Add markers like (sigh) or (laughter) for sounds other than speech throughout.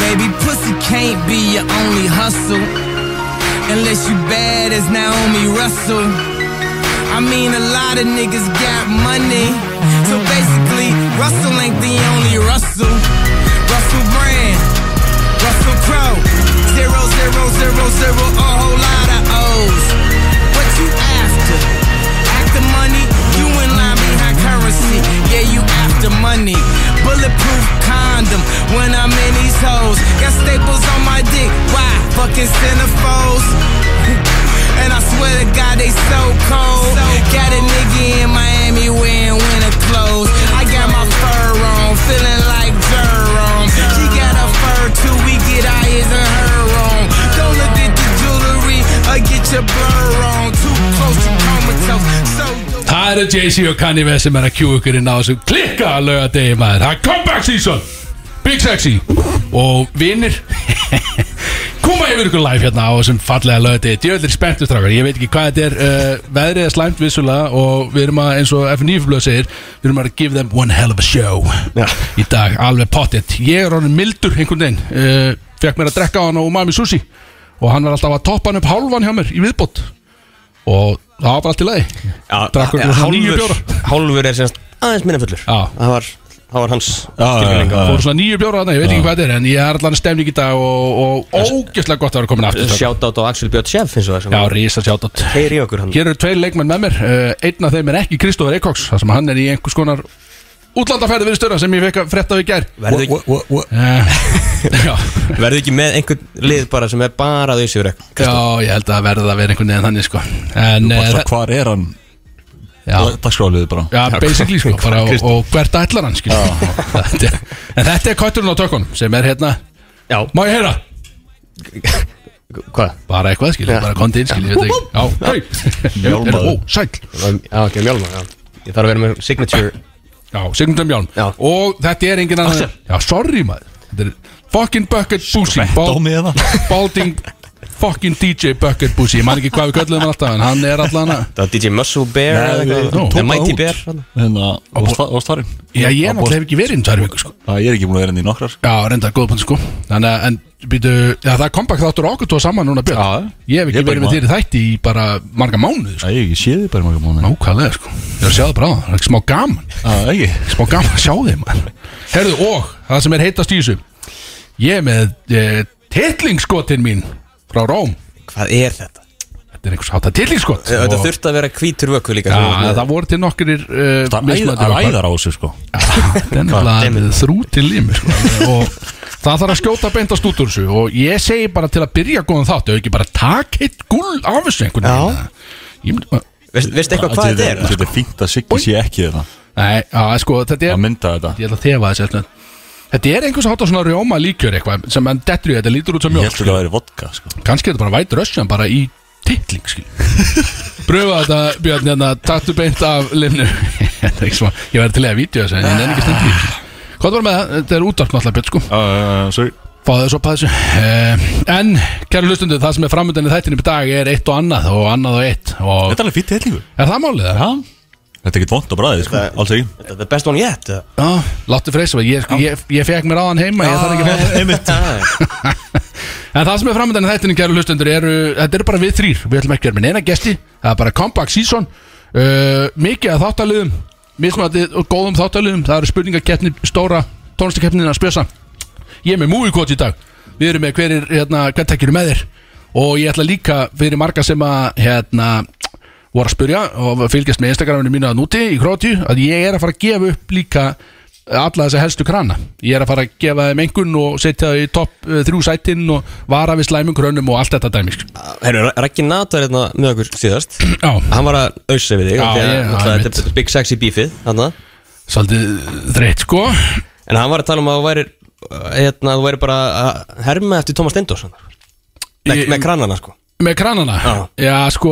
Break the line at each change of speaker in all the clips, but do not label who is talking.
Baby, pussy can't be your only hustle. Unless you bad as Naomi Russell. I mean, a lot of niggas got money. So basically, Russell ain't the only Russell. Russell Brand, Russell Crowe. Zero, zero, zero, zero, a whole lot of O's. What you after? After money? You in line behind currency. Yeah, you after money. Bulletproof condom when I'm in these hoes. Got staples on my dick. Why? Fucking centerfolds. and I swear to God, they so cold. Got a nigga in Miami wearing winter clothes. I got my fur on, feeling like Jerome. She got a fur too, we get our his and her on. Don't look at the jewelry or get your blur on. Too close to comatose. So.
Það eru Jay-Z og Kanye West sem er að kjúa ykkur inn á þessu klikka lögadegi maður Það er comeback season Big sexy Og vinnir (laughs) Koma yfir ykkur live hérna á þessum fallega lögadegi Djöðlir spenntu strákar Ég veit ekki hvað þetta er uh, Veðrið er slæmt vissulega Og við erum að eins og FNF blöð segir Við erum að give them one hell of a show
Já.
Í dag alveg pottet Ég er honum mildur einhvern veginn uh, Fekk mér að drekka á hann á Umami Sushi Og hann var alltaf að toppa hann upp hálfan hjá mér í viðbót Og það var bara allt í lagi Drakk okkur svona níu
hálfur,
bjóra
hálfur er semst aðeins minna fullur
Já.
það var, það var hans
já, já.
skilninga
Fór svona nýju bjóra þarna, ég veit ekki hvað þetta er En ég er allan stemning í dag og, og ógæslega gott að vera komin aftur strákar.
Shoutout á Axel Björn Sjef finnst þú það sem
Já, rísa sjátt
heyri í okkur hann
Hér eru tveir leikmenn með mér uh, Einn af þeim er ekki Kristóður Eikóks þar sem hann er í einhvers konar útlandafæri við störa sem ég fekk að frétta við gær
verði ekki,
uh, já,
verðu ekki með einhvern lið bara sem er bara þau sigur ekki
já, ég held að verða að vera einhvern veginn þannig sko En, uh,
Alltaf hvað er hann
já,
Dagskráliðið bara
Já, basically sko, bara og, og hvert ætlar hann skilur (laughs) Þetta er- En þetta er kvætturinn á tökunum sem er hérna
já,
Má ég heyra?
hvað?
Bara eitthvað skilur,
Já.
bara kondi inn skilur Ég veit ekki Já, hei,
Mjálmaður.
ó, sæl
já, ekki mjálma, já ég þarf að vera með signature
Já, Sigmundur Mjálm
Já.
Og þetta er engin annan
Axel.
Já, sorry maður Þetta er fucking bucket
Sko,
boozy
(laughs) Dómið það
Balding fucking DJ bucket boozy Ég man ekki hvað við köllum hann alltaf En hann er allan að
það var DJ Muscle Bear eða
við
eitthvað.
tókum
The Mighty
út.
Bear þarna.
Þannig að Óstarinn
Já, ég náttúrulega hef ekki verið inn tvær viku sko
Ég er ekki búin að vera henni í nokkrar
Já, reyndar, góða punkt sko Þannig að, en, býtu Já, það kom bakk þáttur á okkur tóð saman núna björn
Já.
Ég hef
Ég
ekki
er bara
verið með
maður.
þér í þætti í bara marga mánuði sko
Æ, ég sé þið bara í marga mánu
Nákvæmlega sko Ég er að sjá það bara á það Það er ekki smá gaman
Það ekki
Smá gaman að sjá þeim maður Herðu, og það sem er heitast í þessu Ég er með e, titlingskotin mín frá Róm
hvað er þetta?
Þetta er einhvers hátta titlingskot
Eh, þetta
Og-
þurfti að vera hvítur vöku líka
Já,
sem þú ert með.
það voru til nokkurir uh,
Það er æð- það er æðar á þessu sko
(laughs)
Dennilega þrútin lími sko. og það þarf að skjóta beintast út úr þessu og ég segi bara til að byrja góðan þátt og ekki bara takk eitt gull af þessu einhvern
Já.
veginn Ég myndi bara-
Veist- veistu eitthvað hvað þetta er?
Þetta er fínt að Siggi sé ekki þetta
Nei, á, sko, þetta er
Að mynda þetta
ég ætla að þefa þessu eitthvað Þetta er einhvers hátta svona rjóma líkjör eitthvað sem enn dettur í þetta lítur út sem
Ég
mjólk
heldur að það væri vodka sko
kannski er þetta bara vætt rössjan bara í titling skil pröfa þetta Björn hérna tattu beint af limnu Þetta er ekki smá- (laughs) ég væri til að vídeo þessu en ég nefn ekki stendur í þessu. hvað var með það, þetta er útvarp náttúrulega Björn sko
Sorry
fáðu þessu upp að þessu Eh, en kæru hlustundu það sem er framöndan í þættinum í dag er eitt og annað og annað og eitt og
Þetta er alveg fínt hellingu
er það málið það?
Já Þetta er ekkert vond á bræðið sko Alls ekki
Þetta er the best one yet eða?
Já, láttu freysa mig, ég, sko, ég, ég fekk mér aðan heima ég þarf ekki að fá
Einmitt
En það sem er framöndan í þættinu, kæru hlustendur, eru, þetta eru bara við þrýr. Við ætlum ekki að vera með neina gesti, það er bara comeback season. Uh, mikið af þáttaliðum, mismandi og góðum þáttaliðum, það eru spurningakeppni, stóra tónlistakeppnin að spjösa. Ég er með múvíkot í dag, við erum með hverir, hérna, hvern tekjur með þér. Og ég ætla líka fyrir marga sem að, hérna, voru að spurja og fylgjast með Instagraminu mínu að núti í Krótíu að ég er að fara að gefa upp líka alla þessa helstu krana ég er að fara að gefa þeim engun og setja þau í topp eh, þrjú sætin og vara við slæmum krönum og allt þetta dæmi sko.
Herru, Raggi Nato er hérna með okkur síðast
Já,
Hann var að ausa við þig
Já,
af því að
ég-
náttúrulega
já,
Þetta er Big Sexy Beefið þarna.
svolítið þreitt sko
En hann var að tala um að þú væri hérna, þú væri bara að herma eftir Thomas Stendos
Ég-
með, með kranana sko
Með kranana?
Já.
sko,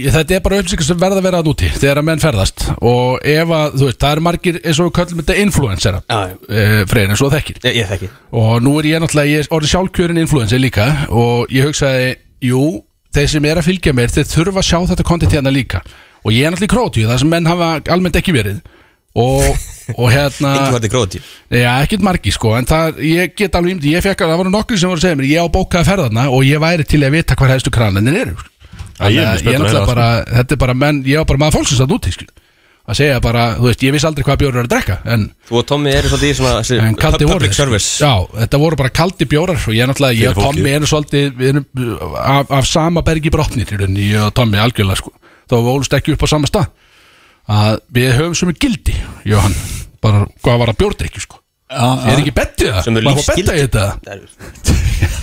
ég- þetta er bara upplýsingar sem verða að vera að úti þegar að menn ferðast og ef að, þú veist, það eru margir eins og við köllum þetta influencera
Já, já.
eh, fregin eins og þú þekkir
Ég, ég þekki
Og nú er ég náttúrulega, ég er orðið sjálfkjörin influencer líka og ég hugsaði, jú, þeir sem er að fylgja mér, þeir þurfa að sjá þetta kontent hérna líka. Og ég er náttúrulega í krótíu, það sem menn hafa almennt ekki verið. og, og
(laughs)
hérna
Engið var til gróti
Já, ekkert margi sko, en það, ég get alveg ímdi, ég fekk að það voru nokkur sem voru að segja mér, ég á bókaði ferðarna og ég væri til að vita hvað hæðstu kranlendin eru sko.
ég er mjög
Þannig að
spenntur að
náttúrulega
heyra sko.
bara, þetta er bara menn, ég á bara maður fólksins að núti, sko að segja bara, þú veist, ég vissi aldrei hvað bjórar er að drekka en,
Þú og Tommy eru svolítið í svona þessi
en kaldi
pub-
voru
Public
þeir, sko.
service
Já, þetta voru bara kaldi bjórar og ég náttúrulega, ég
Fyrir
og Tommy
fólkið.
erum svolítið við erum uh, af, af sama bergi brotnir í rauninni, ég og Tommy algjörlega sko þá við ólust ekki upp á sama stað að við höfum sem er gildi, ég og hann bara hvað var að bjórdrykju sko Er ekki bettið það?
Sem er
Má fá
lífsgild.
betta í þetta?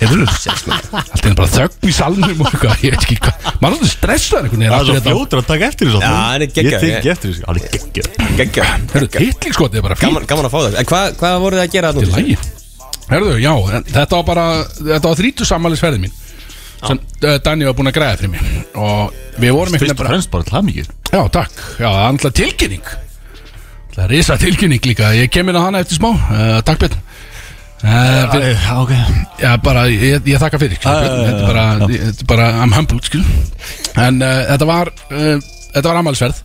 Er það Allt er bara þögn í salnum og eitthvað Ég veit ekki hvað Maður er alltaf stressaður einhvern veginn hérna.
Það er
aftur
svo
þetta.
fljótur að taka eftir þessu
Já, hann er geggjað,
Ég
ég-
tek eftir þessu, hann er geggjað
Gekkja
Herðu, hitlingskotið er bara fínt
Gaman, gaman að fá það En hvað, hvað voruð þið að gera
í
þarna?
lagi Herðu, já, en þetta var bara Þetta var þrítu sammælisferði mín sem uh, Danni var búin að græða fyrir mér og við vorum einhvern
Fyrst
veginn
og
bara
fremst bara til hamingir
Já, takk, já, það er alltaf tilkynning Það er risa tilkynning líka Ég kem inn á hana eftir smá, uh, takk Björn uh, fyrir,
Eh, Ok
Já, bara, ég, ég þakka fyrir
Já,
ah,
já, já,
Þetta er bara, þetta er bara I'm humbled, skil En uh, þetta var uh, Þetta var ammælsverð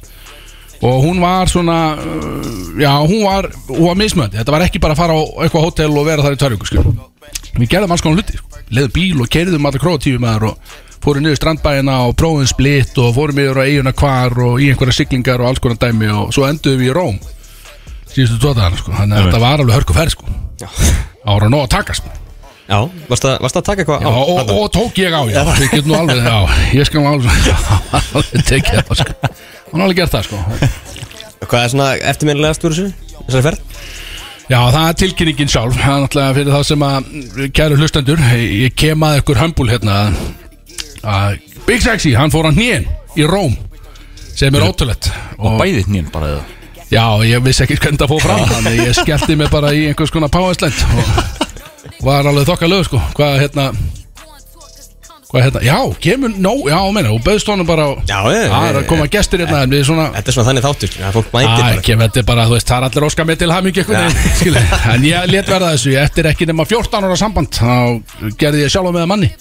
Og hún var svona uh, Já, hún var, hún var mismöndi Þetta var ekki bara að fara á eitthvað hótel og vera þar í tværjungu, skil Við gerðum alls konar hluti sko. Leðum bíl og keiriðum alla króatífi maður og fórum niður strandbæina og prófum splitt og fórum yfir á eiguna hvar og í einhverja siglingar og alls konar dæmi og svo enduðum við í Róm síðustu tótaðan sko. þannig að
Einmitt.
þetta var alveg hörku ferð sko.
Já,
ára nóg að sko. takast
já varst, að, varst að taka eitthvað
Já,
á?
og,
Þarna?
og tók ég á, já, ég get nú alveg, já, ég skal nú alveg, (laughs) já, alveg tekið það, sko, hann alveg gert það, sko,
Hvað er svona eftirminnilegast úr þessu? Þessari ferð?
já, það er tilkynningin sjálf, það er náttúrulega fyrir þá sem að, kæru hlustendur, ég kem að ykkur hömbul hérna, að Big Sexy, hann fór á hnén í Róm, sem er ótrúlegt,
Og
og
bæði hnýn bara eða
já, ég vissi ekki hvernig það fór fram, þannig að ég skellti mig bara í einhvers konar powersland og var alveg þokkalög, sko, hvað, hérna, hvað, hérna, já, kemur, no, já, meina, og bauðst honum bara á,
Já, ég,
Það er að koma gestir hérna en við svona
Þetta er svona þannig þáttur skilur, að fólk mætir
Æ,
bara
ekki, þetta er bara, þú veist, það er allir óskar með til hamingi
Já.
eitthvað, skilu En ég let verða þessu, ég eftir ekki nema 14 ára samband Þá gerði ég sjálf með að manni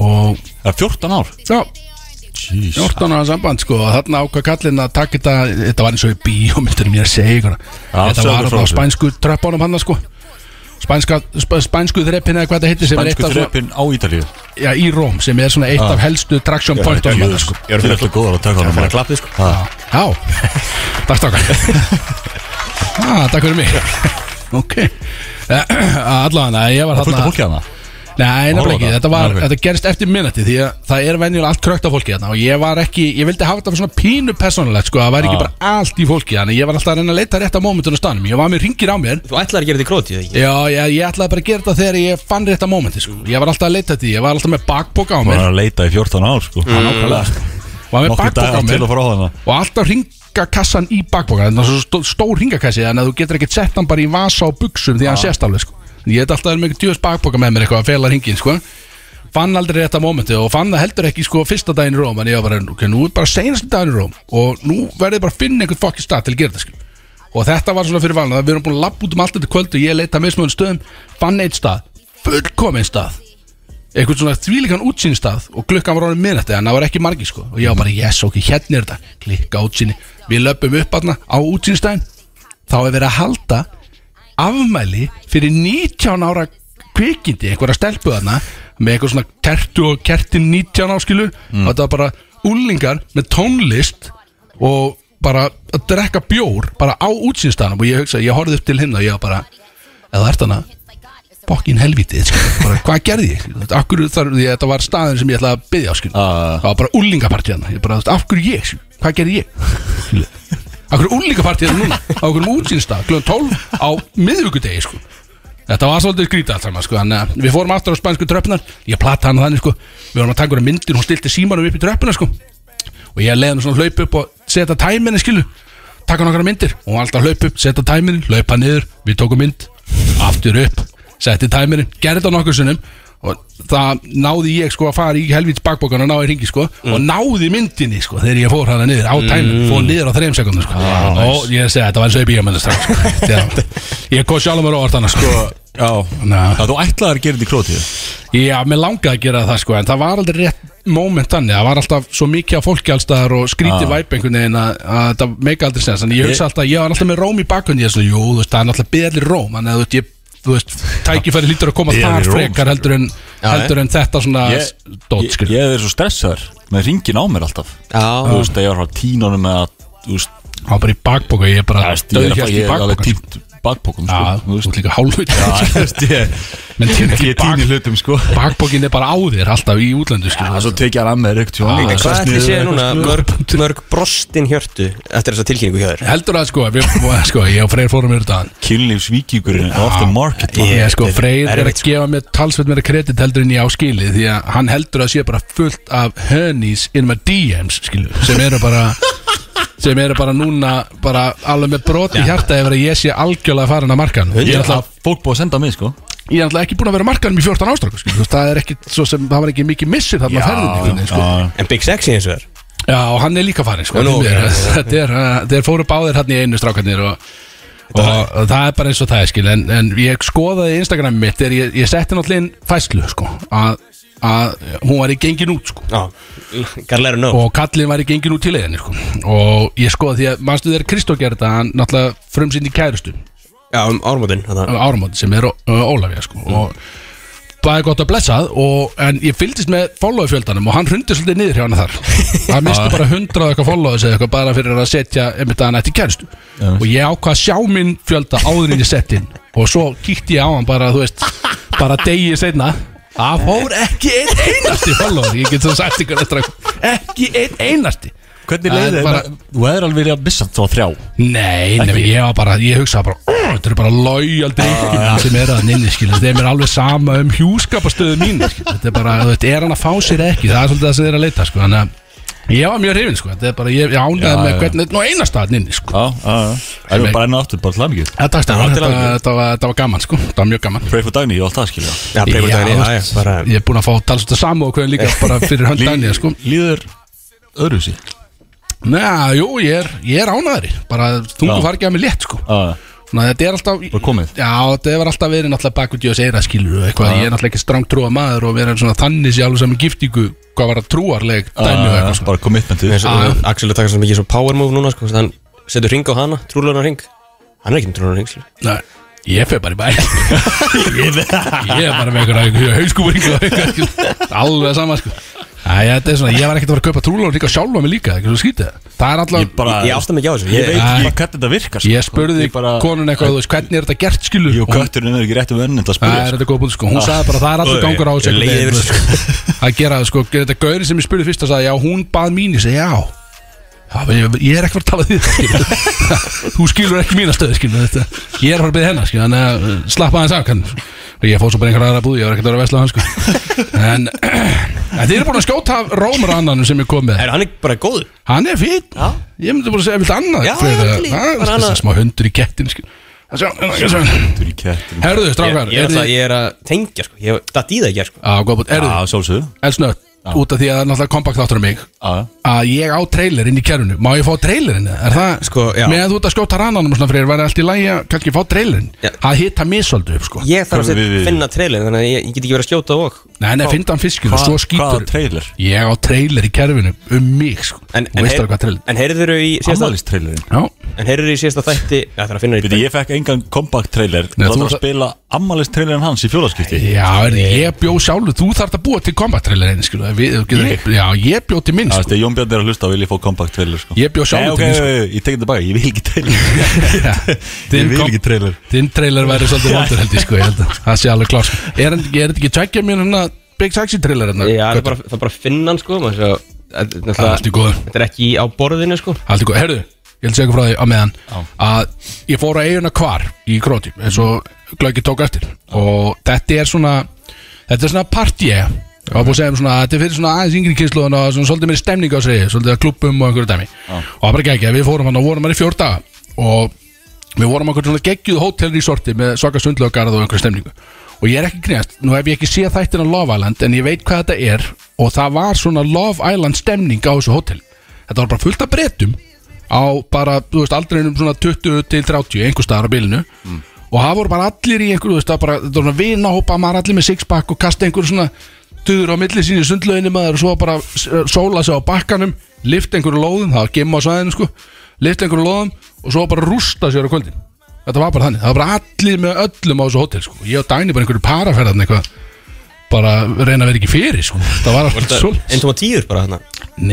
Og,
Það er 14 ár
já,
Jeez
14 ára samband, sko Og þarna ákvað kallinn að taka þetta Þetta var eins og í bíómyndunum ég er að segja ykkur Þetta
segðu
var
frá
bara á
þessu.
spænsku tröppunum hann, sko Spænska, sp spænsku þreppin eða hvað þetta heitir sem er eitt
Bænsku
af svona,
þreppin á Ítalíu
já, í Róm sem er svona eitt af helstu traction pointum
Ég
hann, sko
er fyrir alltaf góðar að taka hann
Það er að klappa því sko
Já, (laughs) takk stokkar (laughs) ah, Takk fyrir mig (laughs) Ok (clears throat) Allan, ég var
Fullt af
þarna
fólki hana
Nei, nefnilega
Horfa
ekki,
það.
þetta, var,
Nei, ok.
þetta gerist eftir minnati Því að það er venjulega allt krökt af fólki þarna Og ég var ekki, ég vildi hafa þetta svona pínu persónulegt Sko, það var ekki
Ah.
bara allt í fólki Þannig ég var alltaf að reyna að leita rétt á mómentinu stannum Ég var með ringir á mér
Þú ætlar að gera þetta í gróti, eða ekki?
Já, ég, ég ætlaði bara að gera þetta þegar ég fann rétt á mómenti sko. Ég var alltaf að leita því, ég var alltaf með bakpoka á
Hún
mér
er að leita í 14 ár sko
Var með Mm.
Nokkur
bakpoka á
dagar til
mér
að fara á hana
og alltaf ringakassan í bakboka þannig að það er svo stó- stór ringakassi þannig að þú getur ekkert sett hann bara í vasa og buksum því að hann sést alveg sko. ég heit alltaf með djöðs bakboka með mér eitthvað að fela ringin sko. fann aldrei þetta mómenti og fann það heldur ekki sko, fyrsta daginn í Róm en ég var bara, ok, nú er bara senast daginn í Róm og nú verður ég bara að finna einhvern fokki stað til að gera þetta sko. og þetta var svona fyrir valna við erum búin að labba út um allt þetta kvöld og ég leita mismöðun stöðum, fann eitt stað fullkominn stað einhvern svona þvílíkan útsýnstað og klukkan var orðin minnætti en það var ekki margi sko og ég var bara yes ok hérna er þetta klikka útsýni við löpum upp aðna á útsýnstæðin þá er verið að halda afmæli fyrir 19 ára kvikindi einhverja stelpu aðna með einhver svona kertu og kertin 19 áskilu mm. og þetta var bara úlingar með tónlist og bara að drekka bjór bara á útsýnstæðanum og ég hugsa ég horfði upp til himna og ég var bara eða ert hana fokkin helvítið sko. bara, hvað gerði ég Þetta- af hverju þar, því, að þetta var staðin sem ég ætlaði að byggja á skil.
Ah.
það var bara úlingapartíðan ég bara, þú veist, af hverju ég, skil? hvað gerði ég Skil. af hverju úlingapartíðan núna á hverjum útsýnstað, kljóðan 12 á miðvíkudegi sko. þetta var svolítið skrítið allt saman sko. en, uh, við fórum aftur á spænsku tröppunar ég platta hana þannig, sko. við vorum að taka hverja myndir hún stilti símanum upp í tröppuna sko og ég leiði hann svona hlaup upp og setja tæminni skilu taka nokkra myndir og hún var alltaf hlaup upp, setja tæminni, hlaupa niður við tókum mynd, aftur upp setti tæminni, gerði þetta nokkur sunnum og það náði ég sko að fara í helvíts bakbókan og náði ringi sko og náði myndinni sko þegar ég fór hana niður á tæminni, fór niður á þreim sekundum sko og ég segi þetta var eins og í bíómynda strax sko. Þetta- ég kom sjálfum mér á orðana sko
Já
Ná.
Það þú ætlaði að gera þetta í krótið
Já, mér langaði að gera það sko En það var aldrei rétt moment þannig Það var alltaf svo mikið af fólki allstaðar Og skrítið
Ah.
væp einhvern veginn Að, að það meika aldrei sens En ég hugsa alltaf, ég var alltaf með róm í bakunni Ég er svona, jú, þú veist, það er náttúrulega beðallir róm Þannig að þú veist, ég þú veist, tækifæri lítur að koma
Beðal í
þar
Róm,
frekar
skilur.
heldur en, heldur en þetta svona
Ég,
dót, sko.
ég,
skilur.
ég hef verið svo stressaður með ringin á mér alltaf Þú
Já,
veist að ég var frá tínunum eða Þú veist,
Það var bara í bakboka, ég er bara
ég er,
döðhjast í
ég er alveg
bakboka sko.
tínt bakpokum
Já, þú
sko. (laughs)
veist líka hálfut
þú veist ég,
Menn tíni
ég
ekki
tíni
bak
hlutum sko
Bakbokin er bara á þér alltaf í útlandu
Já,
skilur.
svo tekið hann að með reykt
Já,
hvað ætli séu núna mörg, mörg brostin hjörtu eftir þessa tilkynningu hjá þér?
Heldur að sko, við, sko ég og Freyr fórum yfir þetta
Kynlífsvíkíkurinn off the market man.
Ég sko, Freyr er að
erfitt, sko.
gefa mér talsveit meira kredit heldur en ég á skilið því að hann heldur að sé bara fullt af honeys in my DMs skilu, sem eru bara sem eru bara núna bara alveg með brot í hjarta ef að ég sé algjörlega farin að markan ég
Ég
er
ætla
alltaf,
að fólk búið að senda mig sko
ég er alltaf ekki búin að vera markanum í 14 ástráku skilu, þú veist, það er ekki svo sem það var ekki mikið missir þarna á ferðinni einhvern veginn, sko.
já.
En Big Sexy eins og þér?
já, og hann er líka farin sko,
Já, nú,
því
ok,
miður.
já,
(laughs) þetta er, uh, þeir fóru báðir hann í einu strákarnir og Og það er bara eins og það er skil en, en ég skoðaði Instagram mitt þegar ég, ég setti náttúrulega inn fæslu sko, að, að hún var í gengin út sko,
Já, gotta let her know
og kallin var í gengin út til leiðinni sko, og ég skoðaði því að mannstu þegar Kristó gerði þetta hann náttúrulega frumsýndi kærustu
Já, um ármótin þarna.
áramóti hérna, sem er uh, Ólafja sko, og það er gott að blessað og, en ég fylgdist með follow-fjöldanum og hann hrundi svolítið niður hjá hann (laughs) þar hann misti bara hundrað eitthvað followers eða eitthvað bara fyrir að setja einmitt að hann ætti kæristu og ég ákvað að sjá minn fjölda áður en ég sett inn og svo kíkti ég á hann bara, þú veist, bara degi seinna það fór ekki einn einasti follower, ég get svo sagt ykkur þetta ekki einn einasti
Hvernig
Það er
leiði þér?
bara-
með- Þú hefur alveg verið að missa þá þrjá
Nei, nefnir, ég var bara, ég hugsaði bara "Ó, Þetta eru bara lojal drikkina sem er að nynni, skilur Þeim er alveg sama um hjúskapastöðu mín skilur. Þetta er bara, þetta er hann að fá sér eða ekki Það er svolítið það sem þeir eru að leita, sko Þannig að ég var mjög hrifin, sko Þetta er bara, ég, ég
Já,
ánæði
já.
með hvernig Nú einast að nynni, sko
Já, já, já Það er bara enn og aftur, bara til hann ekki
Þetta, þetta,
til
þetta,
hamingju.
þetta, var, þetta var gaman, sko Þetta var mjög gaman
Pray for Dagny, ég var alltaf að skilja
Já, breyfur
Já,
daginn í
þú
Já, já,
veist,
bara
Ég er búin að fá talsvölda samókveðin líka bara fyrir hönd dæni, sko
Líður öðruvísi
Næ, jú, ég er, ég er ánæðri Bara þungu
Já.
fari ekki að mig létt, sko
Já,
Svona, þetta er alltaf
Bara komið.
Já, þetta hefur alltaf verið náttúrulega bakvið Jós eira skilur og eitthvað Ég er náttúrulega ekki stráng trúa maður og verið svona þannig sér alveg saman giftingu Hvað var að trúarleg dæmi og eitthvað
já,
svona
bara commitmentið
Eins og-
Já, já.
Axel er takast svo mikið svo power move núna sko, þannig að hann setur ring á hana, trúlunar ring Hann er ekki með sko. trúlunar ring
Nei, ég fer
(laughs)
bara í bæ Ég er bara með einhverja hauskúring Alveg sama sko Æ, þetta er svona, ég var ekkert að fara að kaupa trúlóður líka sjálfa mig líka, það er ekki svo skrítið Það er
Ég
alltaf,
bara
Ég átta mig ekki á þessu
Ég veit
ég,
ekki hvernig þetta virkar sko.
ég spurði
Ég bara-
konun eitthvað, þú veist, hvernig er þetta gert skilur
Ég og
Og hún-
kötturinn er ekki rétt um önnind að
Það
spurja
er þetta góð búin sko, hún
Ah.
sagði bara það er allur
Ó,
gangur á
ég-
þessu
ég leið
einhvern
yfir
veginn, sko. að gera það sko, gera þetta gauri sem ég spurði fyrst að sagði já, hún bað mín, ég segi já Já, men ég, ég er ekki verið að tala við þig skilur. þú (laughs) skilur ekki mína stöðu skilur, þetta. ég er að fara að byrja hennar skilur, þannig að uh, slappa aðeins af kann. og ég fór svo bara einhver aðra búð, ég var ekkert að vera að vesla á hann sko. en, (clears throat) en þið eru búin að skjóta af rómur annanum sem ég kom með
er, Hann er bara góð
hann er fín, ég myndi bara að segja viltu annað
Já,
Fyrir,
já,
að-
líka,
að-
bara
þessi
annað.
smá hundur í kettin skilur. Sjá, sjá, sjá.
Þú er í ketturinn
herðu,
Ég,
strákar
ég, er
eruð
alltaf,
þið-
ég er að tengja sko, ég datt í það ekki sko.
Já, góð búin,
Já,
erðu
sjálfsögðu
Elsnöð, út af því að það er náttúrulega kompakt áttur um mig
Já,
að ég á trailer inn í kerfinu má ég fá trailerinn, eða? er það
Sko, já.
með að þú ert að skjóta rananum og svona fyrir, væri allt í lagi að kannski fá trailerinn,
Já.
að hitta mig svolítið upp sko,
Ég þarf að
Við- við- við-
finna trailin Þannig að ég, ég get ekki verið að skjóta og
nei, nei, fynda hann fiskinu
Hvað-
svo skýtur,
hvaða trailer?
ég á trailer í kerfinu um mig sko,
En,
og veist það hvað trailer
en heyrður í síðasta
Amalist trailerinn
já,
En heyrður í síðasta þætti Já, það er að finna
Viti,
því
ég fekk engan comeback trailer
Nei, þú
Nei, Það var
ert
að
að-
spila ammælist trailerinn hans í fjólaskipti
já, er, ég bjó sjálfur þú þarf að búa til kombat trailerinn sko, við, þú getur,
Ég?
já, ég bjó til minn
Það
sko.
veist, ef Jón Björn er að hlusta vil ég fá comeback trailer sko.
Ég bjó sjálfur til
Nei, ok,
mín, sko.
ég- Ég tek þetta bæði, ég vil ekki trailer
(laughs) Já.
Ég
Þinn
vil
kom-
ekki trailer
Þinn trailer væri svolítið vandur held ég sko ég held að Það sé alveg klart Er hann- er þetta ekki tveggja mín hérna Big Taxi trailer hérna
Já, það er bara, það er bara að finna hann sko maður svo- Það er
Það er allt í
náttúrulega-
góðu
þetta er ekki á borðinu sko
Allt í góðu Herðu, ég held að segja ykkur frá því á meðan Að ég fór á eiguna hvar í Króti eins og Glöggi tók eftir Og þetta er svona Þetta er svona party ég Það var búin að segja um svona Þetta er fyrir svona aðeins yngri kynslu Og svona svolítið meiri stemning á sig Svolítið að klubbum og einhverju dæmi Og það bara gegja Við fórum hann og vorum hann í fjór daga Og Við vorum okkur svona geggjuð hótelresorti með svaka sundlaugarð og einhverja stemningu og ég er ekki greinast, nú hef ég ekki séð þættina Love Island en ég veit hvað þetta er og það var svona Love Island stemning á þessu hótel þetta var bara fullt af breytum á bara, þú veist, aldrinum svona 20 til 30 einhver staðar á bilinu og það voru bara allir í einhverju þú veist, það bara, þetta var svona vinahópa maður allir með sixpack og kasta einhverju svona tuður á milli sín í sundlöginni maður og svo bara s- sóla sig á bakkanum lifta einhverju lóðum, það var gemma á svæðinu sko lifta einhverju lóðum og svo bara rústa sér á kvöldin þetta var bara þannig, það var bara allir með öllum á þessu hótel sko ég og Dæni bara einhverju paraferðan eitthvað bara reyna að vera ekki fyrir sko það var allt svo
Einn tóma tíður bara hérna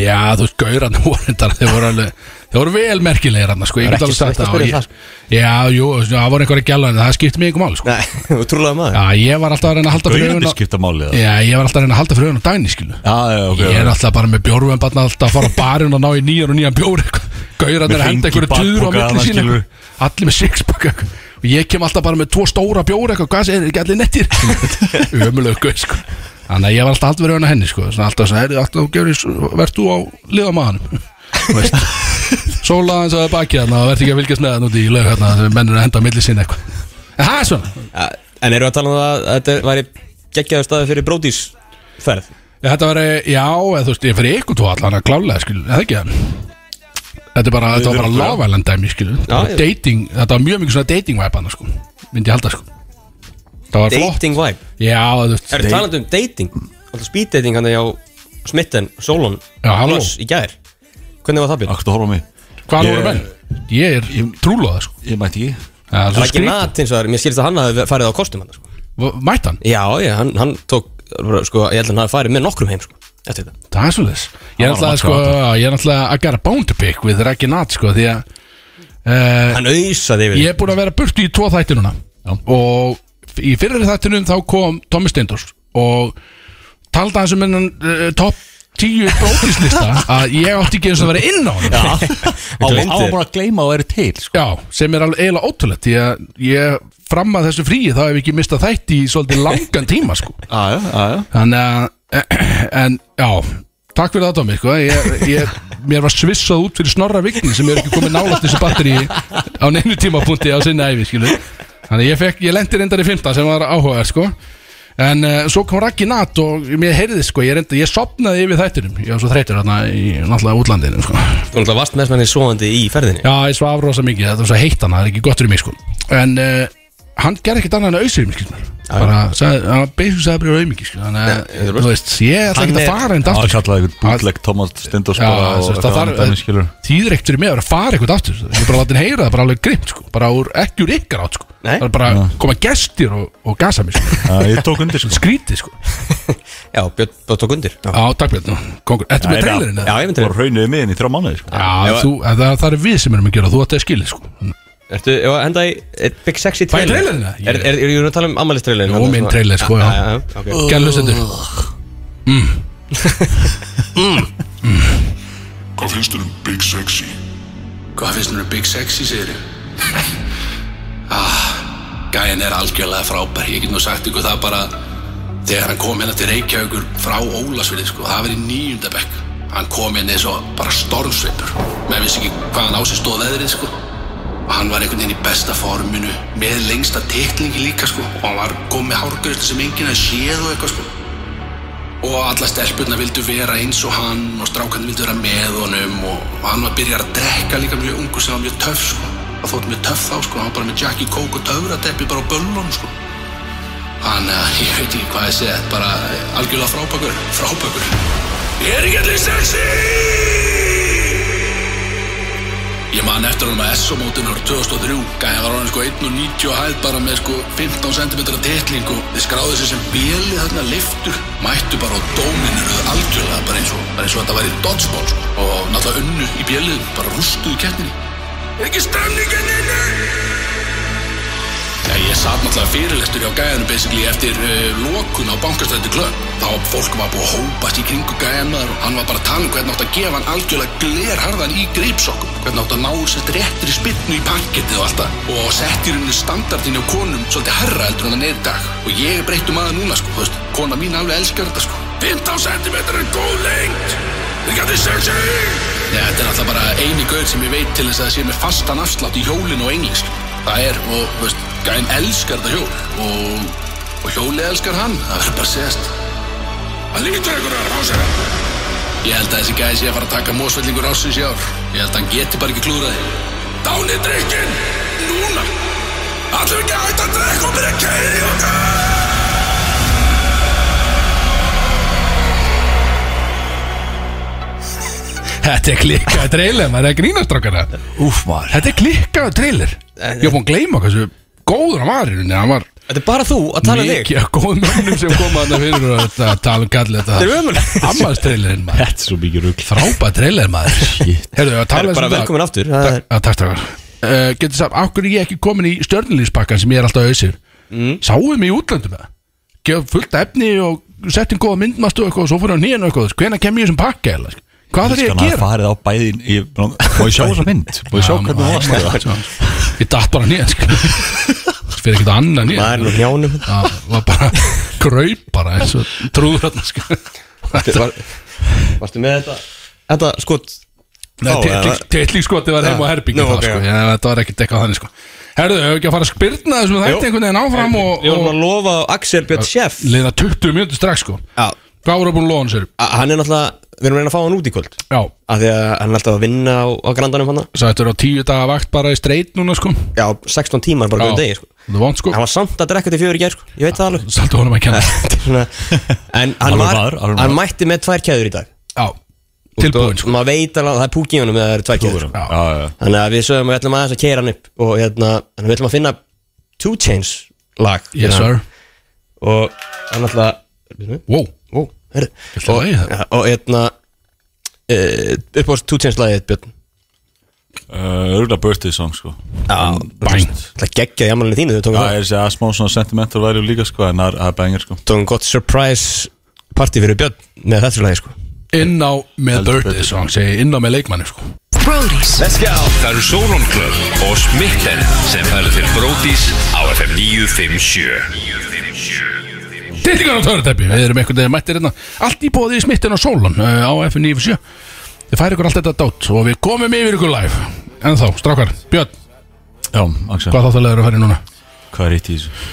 Já, þú veist, (laughs) gauran vorendar Þeir voru alveg Þeir voru vel merkilegir hann, sko, ég
Það er
get alveg
ekki-
sagt
ekki
það og
spyrja
ég-
það, sko.
Já, jú, það voru einhverja gæla en það skipti mig ykkur máli, sko
Nei, (laughs) þú trúlega maður
Já, ég var alltaf að reyna að halda fyrir
Gauðandi
augun á-
skipta málið það
Já, ég var alltaf að reyna að halda fyrir augun á dagni, skilu
Já, já, ok
Ég er alltaf bara með bjórvöðum bara alltaf að fara á barinn og ná í nýjan og nýjan bjór Gauran er
Með
að henda
hring í
einhverju tuður á
bakpoka
milli
annars,
sín
skilurðu.
Allir með sixpack eitthvað. Og ég kem alltaf bara með tvo stóra bjór eitthvað Hvað segir, er ekki allir nettir Ömulegu gauð sko Þannig að ég var alltaf alltaf verið auðvitað henni sko Svona alltaf svona, "Heyrðu, alltaf gerir, verð þú á liðamaðanum Veist Sóla hans að það baki þarna og verð ekki að fylgjast með það núti í lög hérna þegar menn eru að henda á milli sín eitthvað En það er svona
ja, En erum við að tala um það að þetta væri geggjaður staði fyrir bródís ferð
Já, Þetta var, já, eða, þú veist, ég fyrir ykkur tvo allan að klálega, skil, eða ekki það Þetta er bara, þetta var bara
þurfum-
lofælan dæmi, skil Þetta var
já.
dating, þetta var mjög mikið svona dating vibe annars, sko, myndi ég halda, sko Það var flott
Dating vibe
Já, þú veist
Er
date-
þetta talandi um dating? Alltaf speed dating hann hjá Smitten, Solon
Já, halló.
Plus í gær Hvernig var það byrð?
Akkur að horfa á mig
Hvað
Ég-
voru menn? Ég er trúlóða, sko
Ég mætti ekki
Það er
Það
svo
er ekki
skrýt
mat eins og það er Mér skilst að hann hafi farið á kostum hann sko.
Mætt hann,
Já, já, hann, hann tók bara, sko, Ég held að hann hafi farið með nokkrum heim sko, Eftir þetta
það er svo leis Ég er
Hann var
náttúrulega,
að
sko,
matcha
ég er náttúrulega að gera bone to pick við Raggi Nat, sko, því að eh,
Hann auðsaði yfir (laughs)
Ég er búin að vera burtu í tvo þætti núna Og í fyrri þættinum þá kom Tommy Steindors Og taldi hans um hennan uh, top 10 brókislista Að ég átti ekki eins og að vera inn á hann Já,
Á
gleymdi
á
þér.
bara að gleyma að það er til sko.
sem er alveg eiginlega ótrúlegt Því að ég fram að þessu fríi þá hef ég ekki mistað þætti í svolítið langan tíma sko
Já, já, já, já
Þannig að eh, En já Takk fyrir það Tómi sko. ég, ég, Mér var svissað út fyrir snorra vikni sem er ekki komið nálægt þessu batteri á neinu tímapunkti á sinni æfi skilu. Þannig að ég, fekk, ég lendi reyndar í 15 sem var áhugað sko. En uh, svo kom Raggi Nat og mér heyrði sko, ég, reyndar, ég sopnaði yfir þættinum Ég var svo þreytur þarna í náttúrulega útlandinu sko.
Þú náttúrulega varst með sem hann er svoandi í ferðinni
Já, ég svaf rosa mikið, þetta var svo heitt hann, það er ekki gott fyrir mig sko En uh, hann gerði ekkert annað en að auðsir mig, skilst mér Bara, sagði, hann beisum sagði bara auðmiki, skilst Þannig
þetta
að,
er
þú veist, ég ætla ekki
Hann
að
er-
fara einn
Það
aftur
var
sko.
kallað eitthvað bútleg Thomas Stendos
Já,
bara og
þú veist, það
eitthvað annað dæmi,
þarf,
skilur.
tíður ekkert fyrir mig að vera að fara eitthvað aftur sko. Ég er bara látið heyra það, bara alveg grimt, sko Bara úr, ekki úr ykkar átt, sko
Nei.
Það er bara að koma gestir og, og gasa mig, sko
Já, Ég tók undir sko
Skrítið, sko
Já, Björn Björn tók undir Já,
Já, takk fyrir þetta, kongur, ertu með
Já, já.
trailerinn,
já
eða?
ég myndi
Og raunuði miðin í þrjá mánuði sko
Já,
Já.
þú, það, það er við sem erum að gera, þú ætti að skilja, sko
Ertu, já, henda í eh, Big Sexy
Fæ ég
trailer
trailerinn, eða?
Er, er, er, er, að tala um ammælis trailerinn?
Jó, minn trailer, sko, já.
ok.
Gæl hlustendur
Hvað finnst þér um Big Sexy?
Hvað finnst mér um Big Sexy, segir ég? Ah, gæin er algjörlega frábær. Ég get nú sagt ykkur það bara þegar hann kom hérna til Reykjavíkur frá Ólasvili, sko, það var í níunda bekk. Hann kom hérna eins og bara stormsveipur. Menn vissi ekki hvað hann á sig stóð veðrið, sko. Og hann var einhvern veginn í besta forminu, með lengsta tekningi líka, sko. Og hann var komið hárgræslu sem enginn að séð og eitthvað, sko. Og alla stelpurna vildu vera eins og hann og strákan vildu vera með honum og og hann var byrjar að drekka líka mjög ungu sem var mjög töff sko. Það þótt mjög töff þá sko, hann var bara með Jackie Coke og töfradeppi bara á böllum sko. Þannig að (laughs) ég veit ekki hvað ég segi, bara algjörlega frábækur, frábækur. Ég er ekki allir sexy! Ég man eftir honum að SO-mótin ára 2003 Gæði var honum sko 1.90 og hæð bara með sko 15 cm tetling og þið skráðu sér sem bjelið þarna liftur mættu bara á dóminuðu algjörlega bara eins og, bara eins og þetta væri dodgeball sko. og náttúrulega unnu í bjelið bara rústuðu kettinni Er ekki stemningin inni? Já, ég satt náttúrulega fyrirlektur hjá gæðinu basically eftir uh, lokun á bankastrætti klöpp. Þá var fólk var búið að hópast í kringu gæðan maður og hann var bara að tala um hvernig átt að gefa hann algjörlega glerharðan í greipsokkum. Hvernig átt að ná sér réttri spinnu í parkettið og allt það. Og sett í rauninu standardinu á konum svolítið herra heldur en það neður dag. Og ég er breyttum aða núna sko, þú veist, kona mín alveg elskar þetta sko. 15 cm er góð lengt. Þið gætið sexy! Já, þetta er alltaf bara eini gaur sem ég veit til þess að það sé með fastan afslátt í hjólinu og englisk. Það er, og, þú veist, gæn elskar þetta hjól og, og hjóli elskar hann, það verður bara að segjast. Það lítur ykkur að rása það. Ég held að þessi gæði sé að fara að taka mósvellingur ásins í ár. Ég held að hann geti bara ekki klúðraði. Dáni drikkin! Núna!
Allir ekki að hætta að drekka og byrja að keira í okkar
Þetta er klikkaði trailer, maður er að grínast okkar Úf maður Þetta er klikkaði trailer Ég var búin að gleyma hversu góður hann var í rauninni, Hann var
Þetta er bara þú að tala um þig
mikið að góðum mönnum sem koma hann fyrir og þetta, tala um kallið þetta
Þetta er ömurlegt.
Ammast trailerinn maður
Þetta er svo mikið rugg
Frábæð trailer maður Herðu, að
Það
tala
er bara
um þetta-
velkomin aftur Það er-
Já, takk strákar uh, Getur sagt, akkur er ég ekki komin í stjörnulífspakkan sem ég er alltaf auðsir mm. Sáum mig í útlöndum með það Gef fullt af efni og settum góða myndmast og eitthvað og svo fyrir á nýjan og eitthvað Hvenær kem ég í þessum pakka eða? sko? Hvað þarf ég að gera?
farið á bæði (laughs) í- Má ég sjá þessa mynd? Má ég sjá
Já,
hvernig
maður-
það (laughs) var? sko?
Já, Ég datt bara nýjan Fyrir ekkert á annan
Maður er
nýjan
nú
(laughs)
hjánum
Það var bara graup bara eins og trúður þarna sko. Þetta-
Var- Varstu með þetta Þetta sko, skot
Nei,
Þá, eða?
Teitlingskoti var heim á herbyggi
Nú,
það
ok.
sko, ég, þetta var ekkert eitthvað þannig sko Herðu, hefur ekki að fara að spyrna þessum þetta einhvern veginn áfram og,
Við vorum
og
að lofa á Axel Björn Sjeff
liða 20 mjöndu strax sko
Já.
Hvað voru að búin að lóna sér?
A- Hann er náttúrulega Við erum að reyna að fá hann út í kvöld
Já,
Af því að hann er alltaf að vinna á, á grandanum hann
sagði þetta eru á 10 daga vakt bara í streit núna sko Já,
Já, 16 tímar bara hverjum degi sko.
það vond sko
Hann var samt að drekka til fjögur í gær sko. Ég veit það alveg
Saltu honum að kenna
Svona, En hann,
Alveg
var,
maður, alveg maður.
hann mætti með tvær kæður í dag
Já, tilbúin sko
Og maður veit alveg að það er púk í honum eða það eru tvær kæður sko.
Já.
Já, já, já
Þannig að við sögum að við ætlum aðeins að keira hann upp Og hérna, þannig að við ætlum að finna Two Chains lag fyrir
Yes
hann.
sir
Og hann alltaf
Wow,
Ó, herri
Þetta
Og-
lagið það.
ja, Og hérna eh, upp á þessu Two Chains lagið Björn
Örgulega Eh, birthday song sko
bang
Það geggjaði ammælinu þínu þegar við tókum
Það
það
er þessi að smá svona sentimental value líka sko En það er- það er bengir sko
Tókum gott surprise party fyrir Björn Með þessu lagi sko
Inn á með
Heldur
birthday
betur.
song, segi inn á með leikmanni sko
Brody's
Það eru Sólon Club og Smitten sem færðu til Brótis á FM 957
Dillingar á törutæpi, við erum einhvern veginn mættir hérna Allt í bóði í smittin á sólan uh, á FN97 Þið færi ykkur allt þetta dát og við komum yfir ykkur live En þá, strákar, Björn,
Já, Axel
hvað þáttalega eru að fara í núna?
Hvað er eitt í þessu?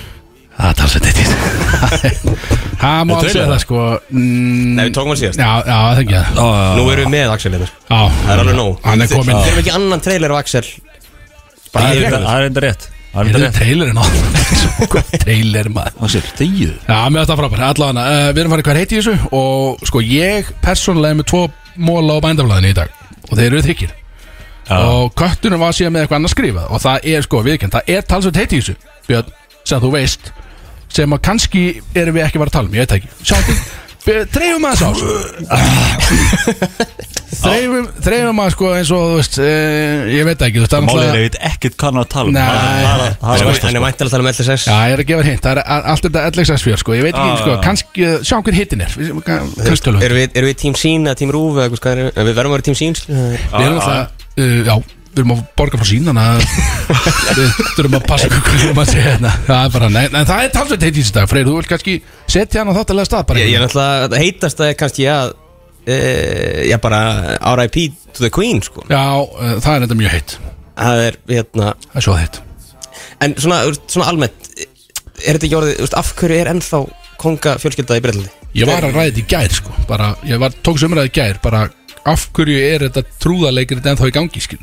Það er talsett eitt (laughs) Það má
Er
alls segja
trailer?
það sko mm,
Nei, við tókum hann síðast
Já, já, það þengi ég það
Nú erum við með Axel hérna sko.
Já,
Það er alveg nóg
Hann er
Þe-
kominn.
Þeir eru ekki annan trailer af Axel Bara
Það
yfir
er-
það
það er enda rétt Það er
Er
enda
þetta
rétt
trailerinn á? (laughs) Svo góð trailer maður
Axel, þegið
Já, mér þetta frábær, allavega uh, Við erum farið hvað heiti í þessu og sko ég persónulega er með tvo móla á bændaflæðinu í dag og þeir eru þykir og köttunum var síðan með eitthvað annað skrifað og það er sko viðkjönd, það er talsvöld heiti í þessu Björn, sem þú veist sem að kannski erum við ekki að fara að tala um, ég veit það ekki Sjáttum, dreifum aðeins á þessu. dreifum, dreifum aðeins sko eins og þú veist, uh, ég veit það ekki þú veist, það er
Málið er
náttúrulega-
ég Sko, veit ekkert hvað hann er að tala um.
Nei.
Það er- það er- það er
Hann er mæntalega að tala með LSS
Já, ég er að gefa hint, það er a- allt þetta LXS4 sko, ég veit
Ah.
ekki, sko, kannski, uh, sjáum hver hittin er Við- kann- kannski tölum
Erum við, erum við tím sín eða tím rúf eða hvað er Við verðum að vera tím sín skilur við.
Við erum alltaf, uh, já, við erum að borga frá sín
(laughs)
Þannig að við þurfum að passa hvað við erum að segja hérna Það er bara, nei, nei það er talsveit heitt í þessu dag Freyr, þú vil kannski setja hann á þáttalega stað bara hérna?
Ég ég er
einhvern
náttúrulega þetta heitast að kannski að e, Já bara R.I.P. to the Queen sko
veginn. Já, uh, það er þetta mjög heitt
Það er hérna
Það er svo heitt
En svona, þú veist, svona almennt Er þetta ekki orðið, þú veist, af hverju er ennþá konga fjölskylda í Breitlandi?
Ég var að ræða þetta í gær, sko, bara, ég var, tók sömraði í gær Bara, af hverju er þetta trúðarleikir þetta ennþá í gangi, skil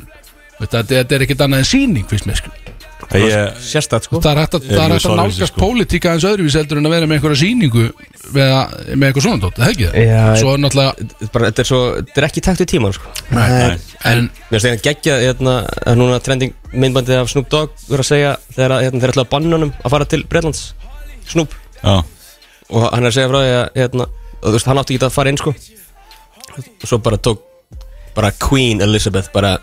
Þetta, þetta er ekkert annað en síning, finnst mér, skil
það er-
Sérstætt sko
Það er hægt að,
Ég
það er
mjög
hægt að
sorry,
nálgast
sko.
pólitíka eins öðruvísi heldur en að vera með einhverja sýningu með, með eitthvað svona dótt, það ekki það?
Já,
Svo náttúrulega,
Þetta er bara, þetta er svo, þetta er ekki í takt við tíman sko Það er-
nei, en
Mér finnst þetta geggja, hérna, að núna trending myndbandið af Snoop Dogg verið að segja þegar að, hérna, þeir ætla að banna honum að fara til Breitlands Snoop
Já.
og hann er að segja frá því að hérna, og, þú veist, hann átti ekki að fara inn sko og svo bara tók bara Queen Elizabeth bara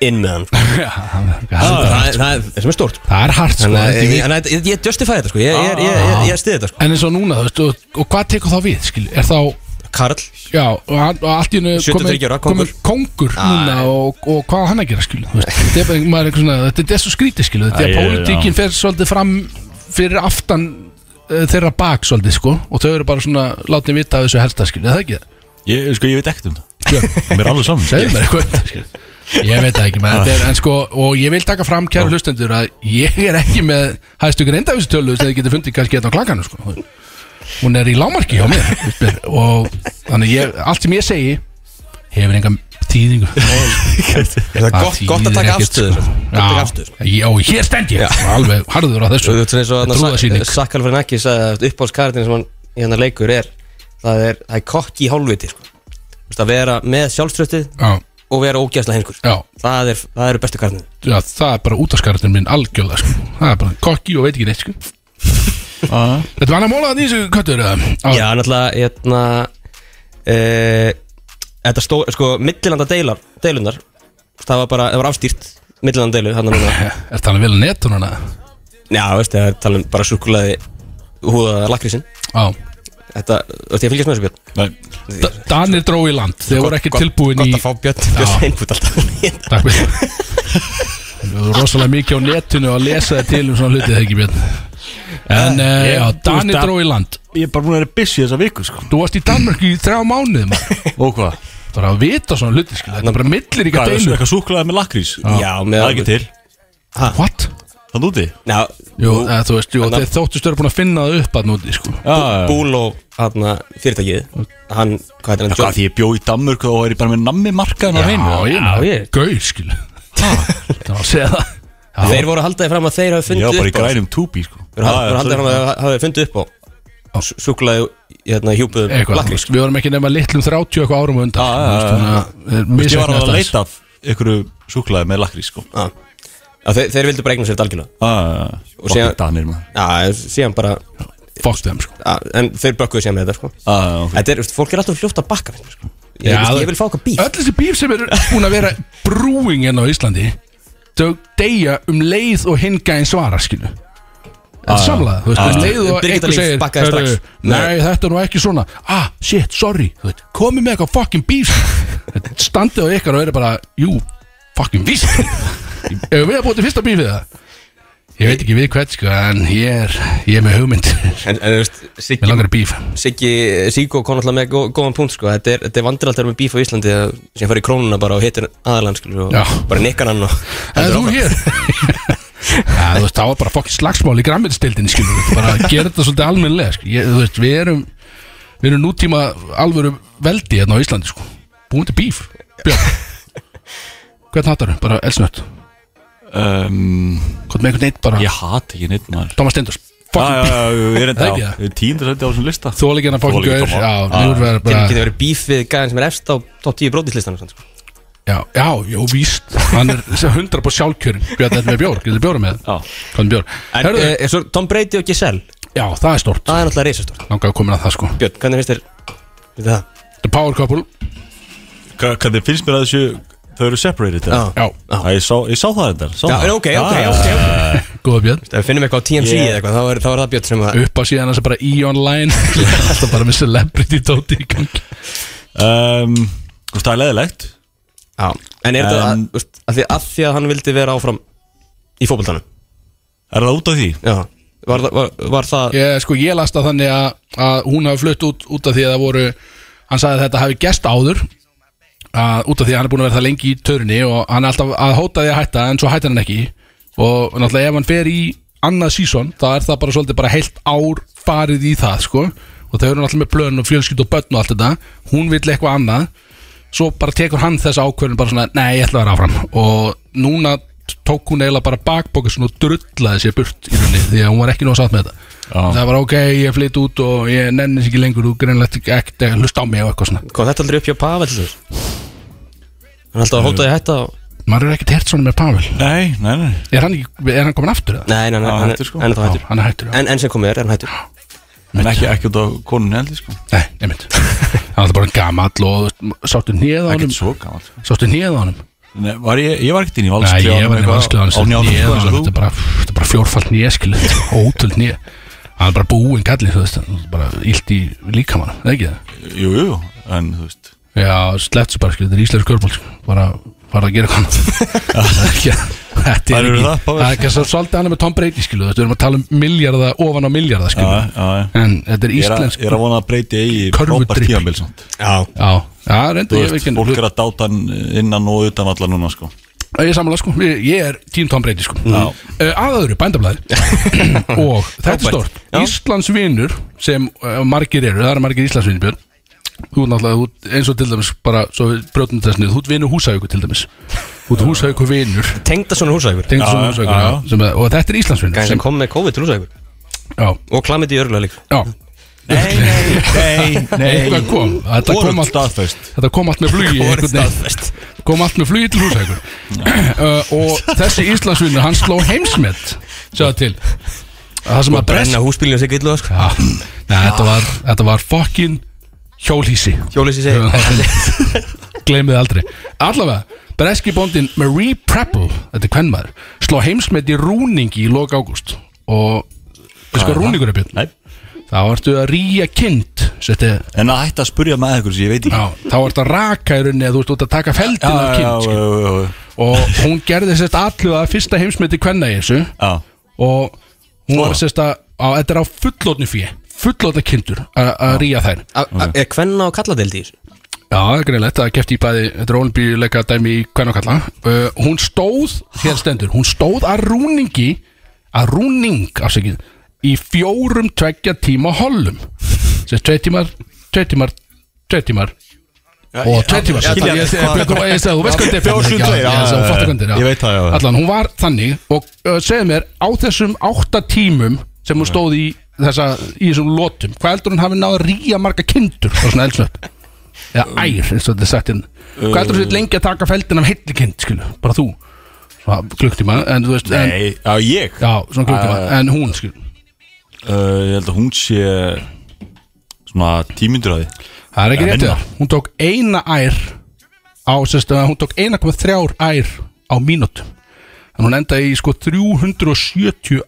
inn með hann sko.
Já,
það,
(laughs) það-
er- það er það sem er stórt
það er hart sko
Þannig að
þetta er
ég,
við-
þannig að ég, ég justify þetta sko, ég, ég, ég, ég, ég stiði þetta sko
En eins og núna, þú veist, og, og hvað tekur þá við, skil, er þá
Karl,
Já, og, hann- og allt í hennu
73 ára, kóngur.
kongur núna og, og hvað á hann að gera, skil þú veist, Þetta er bara einhver- maður er einhver svona, þetta er svo skrítið, skil Þetta
Æ,
er
ég-
pólitíkin fer svolítið fram fyrir aftan eh, þeirra bak svolítið, sko Og þau eru bara svona, látið vita af þessu helsta, skil, er það ekki það?
Ég, sko, ég veit ekkert um það
Björn,
Mér er alveg saman
segðu mér eitthvað Ég veit það ekki, menn, þetta er, en sko, og ég vil taka fram kæru hlustendur að ég er ekki með hæstu greindavísutölu sem þið getur fundið kannski hérna á klakkanum, sko. Hún er í lámarki hjá mér, og þannig ég, allt sem ég segi hefur enga þýðingu
Það er gott, gott að taka afstöðu þessu. Gott að taka afstöðu
sko. Já, já, og hér stend ég Alveg harður á þessu
Þú veist eins og
Trúðasýning
þarna eh, Sakkal fyrir nækki sagði að uppáhaldskartin sem hann í hennar leikur er það er, það er kokki í hálfviti sko. Þú veist að vera með sjálfströttið
Já,
og vera ógæsla heimskur
Já.
það, er, það eru bestu kartin
já, það er bara útaskaratin minn algjörða sko. Það er bara kokki og veit ekki neitt sko. Þetta var hann að móla það í þessu köttur eða?
Já, náttúrulega hérna, e, Þetta stó, sko millilanda deilar, deilunar það var bara, það var afstýrt millilanda deilu hann núna
(laughs) Eh, Er talað vel um að netununa?
Já, veist, það er talað um bara súkulaði húða lakrísin
Já
Þetta, þú veist, ég fylgjast með þessu björn
Nei,
D- Danir dró í land, þeir voru ekki
Gott-
tilbúin í
Gott að fá björn, björn
Já.
Sveinbútt alltaf
Takk fyrir Við erum rosalega mikið á netinu að lesa þér til um svona hluti þegar ekki björn En uh,
Ég-
já, Dani
þú veist að-
dró í land
ég er bara búin að vera busy þessa viku sko
Þú varst í Danmörku í þrjá mánuði maður.
Og hvað?
Það er að vita svona hluti skil Þetta er bara millir ykkar
Hvað,
deilu
eitthvað súklaði með lakrís?
Já,
Það
með
er ekki til
What?
Það úti?
Já,
Jú, eða, þú veist, jú,
Þannig-
þeir þóttust eru búin að finna það upp að núti sko.
Já, já, já.
Búl og hérna fyrirtækið Hann, hvað heitir hann?
Hvað því ég bjó í Danmörk og þá er ég bara með nammi markaðan á hreinu
Já, ég
Já,
meina,
ég-
gauð skil Það var að segja það
John Þeir voru að halda því fram að þeir hafi
Ég
fundið
var bara í
upp á
grænum túbí sko
Þeir
Já, já,
voru að halda því
sorry.
fram að þeir hafi fundið upp á Súklaði hérna hjúpuðum
Eitthvað,
lakrís
við vorum ekki nema litlum 30 eitthvað árum á undan
Já, já, já, já.
Þú
Ég
veist,
var
þannig að það
alveg að
er
leita af einhverju súklaði með lakrís sko
Já, Já, þeir, þeir vildu bara eigna sér þetta algjörlega Og
Og
síðan-
síðan Danir maður
Já, en síðan bara
Fokst þeim sko
já, En þeir bökkuðu síðan með þetta sko
Já, já, Ah, ok.
Þetta er, veist, fólk er alltaf fljótt að bakka finnst mér, sko. ég,
Já,
veist,
það-
ég vil fá okkar bíl
öll þessi bíf sem er búin að vera brúing enn á Íslandi þau deyja um leið og hingæðin svara skilu þetta er samlaða, þú veist, um leið og
Birgitta
einhver
Líf
segir
bakkaði strax.
"Heyrðu, nei, þetta er nú ekki svona ah, shit, sorry, þú veit, komið með eitthvað fucking bíf standið á ykkar og verið bara jú, fucking bíf ef við að búið til fyrsta bífið það ég veit ekki við hvert sko, en ég er ég er með hugmynd,
En, en þú veist, Siggi,
mér langar í bíf
Siggi Siggo kom alltaf með gó, góðan punkt sko. Þetta er, þetta er vandralt að vera með bíf á Íslandi að- Síðan farið í krónuna bara og hittir aðalann skilur,
Já.
og Bara nikkar hann og
Það er þú hér (laughs) Já, þú veist, þá var bara fokkin slagsmál í græmiðstildinni, skilur við bara að gera þetta svolítið almennlega, skilur ég, þú veist, við erum við erum nútíma alvöru veldi hérna á Íslandi, sko búin til bíf, Björn Hvern hattar þau? Bara elsnött
Um,
Hvort með einhvern neitt bara,
Ég hati ekki neitt maður
Thomas Stendors
Já, já,
Fokkin bíf,
já, ég er enda
Það ekki
á
það?
Ég er Tíundarsæti á þessum lista
þú líka hann að fokkin
Þoli ekki
gaur
Thomas.
Já,
Ah.
við erum verið
Þeir
bara
getur verið bíf við gæðin sem er efst á top 10 brótislistan sko.
Já, já, jú, víst Hann er (laughs) hundra på sjálfkjörin Björn, þetta er með bjór, getur bjóra með
Já.
Hvað er bjór?
En
Herðu,
eh, ah. svo Tom Brady og Giselle
já, það er stort
Það er náttúrulega reisastórt
Langaði komin að það, sko
Björn, hvernig finnst þér finnst þér það?
The Power Couple,
Hva- Hvernig finnst mér að þessu Þau eru separated eða?
Já.
já,
Já, Ég sá, ég sá það þetta sá
Já,
það.
ok, ok, ok, ok
góða Björn
Ah. Ef við finnum eitthvað á TMZ
Yeah.
eða eitthvað, þá er, þá er það Björn sem að
upp á síðan þess að bara í (laughs) online alltaf bara með celebrity dóti í gangi
Um, þú veist, Það er leðilegt
Já, en er þetta
Um,
um, að, að, því, að því að hann vildi vera áfram í fótboltanum
Er það út af því?
Já, var, það- var, var það
ég, sko, ég las það þannig að, að hún hafi flutt út, út af því að það voru hann sagði að þetta hafi gest áður að, út af því að hann er búin að vera það lengi í törni og hann er alltaf að hóta því að hætta en svo hættar hann ekki og náttúrulega ef hann fer í annað sísón þá er það bara svolítið bara heilt ár farið í það sko og þau eru náttúrulega með blön og fjölskyld og börn og allt þetta hún vill eitthvað annað svo bara tekur hann þessa ákvörðin bara svona, nei, ég ætla að vera áfram og núna t- tók hún eiginlega bara bakbókast og drullaði sér burt í rauninni því að hún var ekki nóg sátt með þetta það var ok, ég flytt út og ég nenni sér ekki lengur þú greinlegt ekkert að hlusta á mig og eitthvað svona
Kom þetta aldrei upp hjá Pavel til þess Hann er alltaf að hóta því hætta og...
maður er ekkert hert svona með Pavel
Nei, nei, nei
er hann, ekki, er hann komin aftur eða?
Nei, nei, nei,
Já,
hann,
hættur,
er-
sko.
hann er þá hættur
hann er hættur, já,
En, en sem komið er, er hann hættur
En ekki, ekki út af konunni heldur sko
nei, nefnt hann er bara gamall og þú veist, sáttu nýða á
Ekkert
honum
svo gammal sko.
sáttu nýða á honum
Nei, var ég, ég var ekkert inn í
Nei,
valsklefanum
ég var nefnir
eitthvað
vansklega
á sko. njánum,
Ég var
eins og þú.
þetta er bara, þetta er bara fjórfald nýjaskil Ótöld nýja Hann er bara búinn kallið, þú veist hann er Bara illt í líkamann, eða ekki það?
Jú, jú, en þú veist
Já, slett svo bara, skil, þetta er íslensk körbál sko. Bara fara að gera eitthvað annað.
(laughs)
Það er ekki- Þetta
Þær
er
eru
ekki
það,
Það
Pavel.
er ekki svo svolítið hann er með Tom Brady, skil þú veist, Við erum að tala um miljarda, ofan á miljarda, skil
Já, já, já.
En þetta er
Ég er, að,
íslensk
ég er að vona að breyti eigi
Körfudrykk.
Robert Tíamil samt
Já
Já, já, reynda
Þú
ég
veist,
ekki
fólk er að dáta hann innan og utan allar núna sko
Ég er samanlega, sko, ég, ég er tím Tom Brady, sko uh, Aðaður,
(coughs)
bændablaðir eh, Og þetta er stort Íslandsvinur sem uh, margir eru, það eru margir Íslandsvinur Björn þú ert náttúrulega, þú, ert eins og til dæmis bara, svo við brjótum þess niður, þú ert vinur húsauku til dæmis þú ert húsauku vinur
Tengda svona húsækur
tengd svona
Já,
húsauku,
já.
já, sem að- og þetta er Íslandsvinur
Gæðin sem
sem,
kom með COVID til húsækur
já,
Og klamið í örgulega líka
já,
Nei, nei,
eitthvað kom þetta
Vorum
kom allt,
staðfest
þetta kom allt með flugi
Voruð
einhvern veginn.
staðfest.
kom allt með flugi til húsækur (clears throat) uh, og þessi Íslandsvinur, hann sló heimsmet sjáðu til það sem að brest
Sko, Brenna húsbílinu sig villu það sko
Já, neða, þetta var, þetta var fokkin hjólhísi (laughs)
Hjólhýsi segir.
Gleimið aldrei Allavega, breski bóndin Marie Preppel Þetta er kvennmaður Sló heimsmet í rúningi í lok ágúst Og Þú sko rúningur er björn
Nei.
Þá ertu að ríja kind Setti,
En að hætta að spurja maður eitthvað sem ég veit
já,
ekki
Þá ertu að raka í rauninni eða Þú ert út að taka feldin af
já,
kind skilur.
já, já,
Og hún gerði sérst alluga Fyrsta heimsmeti kvenna í þessu
já
og hún var
Svo.
sérst að á- þetta er á fullotni fjö fullotna kindur að að ríja þær
A- a- Er kvenna og kalladeldi í þessu?
já, það er greinlegt, það er keft í bæði þetta er olimpíuleika dæmi í hvern og kalla uh, hún stóð, hér stendur hún stóð að rúningi að rúning, afsakið í fjórum tveggja tíma hollum sérst tvei tímar tvei tímar, tvei tímar og tvei tímar
já,
sérst.
já,
Ég- ég-
hvað-
ég- þú- ég- þú veist hvað þetta er
Fjórum,
fyrir
tveir,
mig,
já,
já, þú
já, já,
fattar hvað þetta er,
ég veit það, já.
allan, hún var þannig og uh, segðu mér á þessum átta tímum sem hún stóð í þessa, í þessum lotum, hvað heldur hún hafi náð að ríja marga kindur og svona elsnöpp eða ær, eins og þetta er sagt hérna hvað heldur þú sér lengi að taka feldin af heilli kind skilu, bara þú svona klukktíma, en þú veist en,
Nei, já, ég
já, svona klukktíma, en hún skilu
Uh, Ég held að hún sé Svona tímyndur að því
það er ekki
Já,
rétt
minna.
það, hún tók eina ær á, sérst, hún tók 1,3 ær á mínútu en hún endaði í sko 370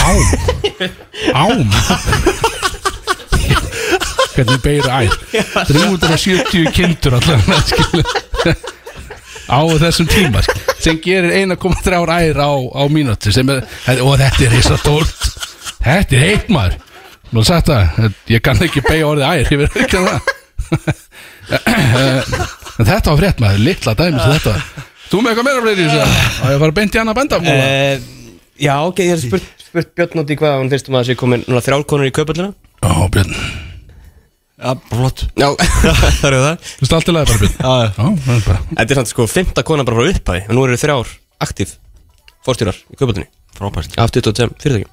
ám ám hvernig beir ær 370 kindur allavega skilu á þessum tíma sk- sem gerir 1,3 ær á, á mínúti sem er, og þetta er eins og stórt þetta er heitt maður Nú er sagt það, ég kann ekki beigja orðið ær ég verður ekki að það en þetta var frétt maður, litla dæmi sem þetta var. þú með eitthvað meira fleiri í þessu og ég var að beint í annað benda
Eh, Já, ok, ég hef spurt, spurt Björn út í hvað hún finnst um að það sé komin núna þrjálkonur í kaupallina
ó Björn,
Já, flott
(laughs) Já, það eru það
þú veist allt í lagi bara Björn
Já, já.
Ó, það er bara-
Þetta er samt sko fymta kona bara frá upphæði og nú eru þrjár aktíf fórstýrar í kaupallinu
Frábært
af 25 fyrirtækjum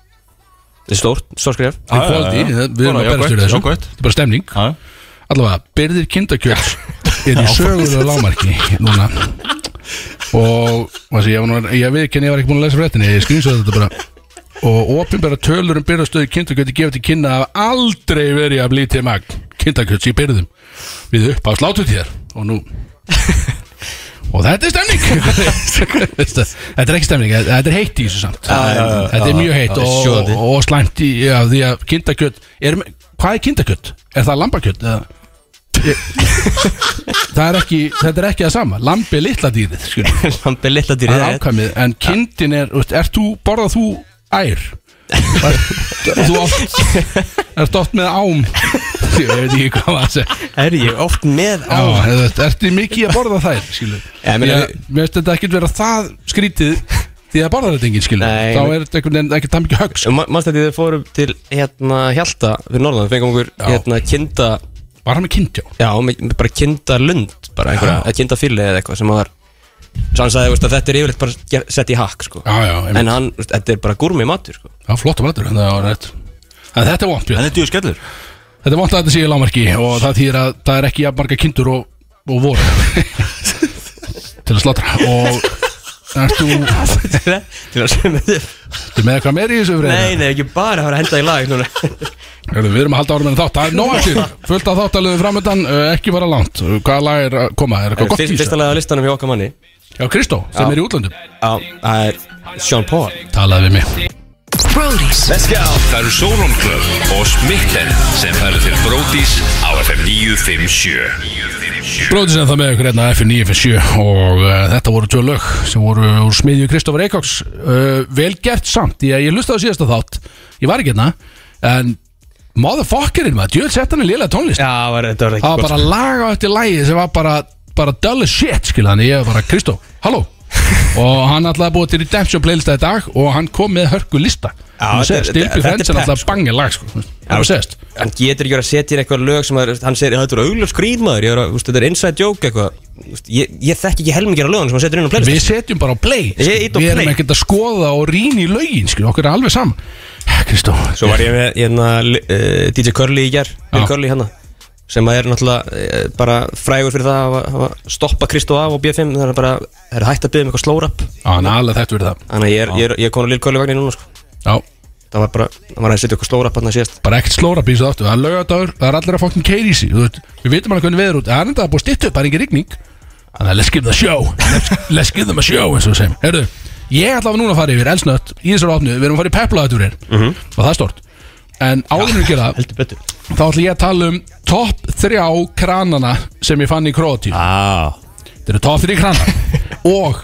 Þetta er stórt, stórt skref (laughs)
Í kvöldi, við erum að berast fyrir þessu
Jákvæmt
þetta er bara stemning
Já, já.
allavega, byrðir kindakjöls er í sögulega lámarki núna og þessi, ég, var nú- ég veit ekki en ég var ekki búin að lesa fréttinni ég skrýnsa þetta bara og ofinbæra tölur um byrðastöðu kindakjöti gefið til kynna að hafa aldrei verið að blítið magn kindakjöts í byrðum við upp á slátutíðar og nú og þetta er
(laughs)
stemning þetta er ekki stemning, þetta er heitt í þessu samt þetta er mjög heitt
já,
og,
sjóðandi.
og, slæmt í já, því að kindakjöt er, hvað er kindakjöt? er það lambakjöt? eða það er ekki, þetta er ekki það sama lambi er litla dýrið skilur við.
Lampi litla eh. dýri
það er ákvæmið en kindin er, veist, er þú, borðað þú ær þú oft ert oft með ám ég veit ekki hvað það sé
Er ég oft með
Já,
á
þú veist, ertu mikið að borða þær skilur
Já, ég
ég,
meina-
mér veist þetta ekkert vera það skrítið því að borða þetta enginn skilur
Nei,
þá
nei.
er þetta einhvern veginn ekkert það mikið högg sko.
Manst þetta þið fórum til hérna Hjalta fyrir Norðan, við fengum okkur
Já.
hérna kinda
bara með kindjá
Já, með, með bara kinda lund bara einhverja,
Já.
eða kinda fylli eða eitthvað sem var Svo hann sagði, veist, að þetta er yfirleitt bara ger- sett í hakk sko.
já, já, einmitt.
En hann, veist, þetta er bara gúrmi matur sko.
já, flott að matur en það var rétt en þetta er vant
En
Björn
þetta er skellur
Þetta er vant að þetta sé í lámarki og það þýðir að það er ekki jafn marga kindur og, og
(laughs)
voru til að slátra og ertu, ertu
(laughs) Til að sem þið
með eitthvað meir í þessu
Nei,
fyrir
nei, ekki bara að fara að henda í lag (laughs) núna.
Við erum að halda árum en þátt, það er nóg eftir fullt af þáttalöðu framöndan, uh, ekki bara langt hvaða lag er að koma, er eitthvað gott í
Fyrst,
þessu?
Fyrsta lega á listanum hjá okkar manni
Já, Kristó, sem
Já.
er í útlöndum
Já, það er Sean Paul
talaði við mig
Brody's
Það eru Solon Club og Smitten sem færðu til Brótis á FM 957
Bróðis en það með ykkur hérna FN 957 og uh, þetta voru tvö lög sem voru úr smiðju Kristófur Eikoks uh, vel gert samt, því að ég lustaði á síðasta þátt ég var ekki hérna en motherfuckerinn maður, djöð sett hann í lélega tónlist
Já, var, þetta var
það var bara lag á eftir lagi sem var bara bara dull as shit, skilja þannig ég var bara, Kristó, halló og hann alltaf búið til Redemption playlista í dag og hann kom með hörku lista
Já,
þú segist,
þetta- þetta-
Stilby
þetta er
Friends er
pep,
alltaf
sko.
bangið lag sko. þú segist
Hann getur ekki verið að setja inn eitthvað lög sem að, hann segir, þetta eru augljós grínmaður, ég er að, úst, þetta er inside joke eitthvað. Þú veist, Ég, ég þekk ekki helmingir af lögum sem hann setur inn á
Við
playlist.
setjum bara á play
Ég ít á
sko. Við erum
play.
ekkert að skoða og rýna í lögin sko. Okkur er alveg saman Kristó
Svo var ég með hérna, li- eh, DJ Curly í ger, Bill
Já.
Curly hérna, sem að er náttúrulega eh, bara frægur fyrir það að hafa- hafa stoppa Kristó af og B5, það er bara, það er hægt að byggja um eitthvað slórap.
Hann er alveg þetta verið það
Þannig að ég er, ég er, ég er konar Lill Curly vagnir núna, sko.
Já,
Það var bara, það var að setja eitthvað slórap hann að síðast.
bara ekkert slóra bísað aftur Það er lögadagur, það er allir að fokkin keiri í sig þú veit. Við vitum alveg hvernig veður út Það er enda að búið stittu upp, það er engin rigning Þannig að let's give them a show Let's, let's give them a show, eins og við segjum Herðu, ég ætla að núna að fara yfir elsnött Í þessari opnu, við erum að fara í peplaðatúrin mm
Mhm.
Og það er stort En áður en við gera það,
Heldur betur.
þá ætla ég að tala um Topp þrjá kranana sem ég fann í Kroatíu
ah,
Þetta eru topp 3 kranar Og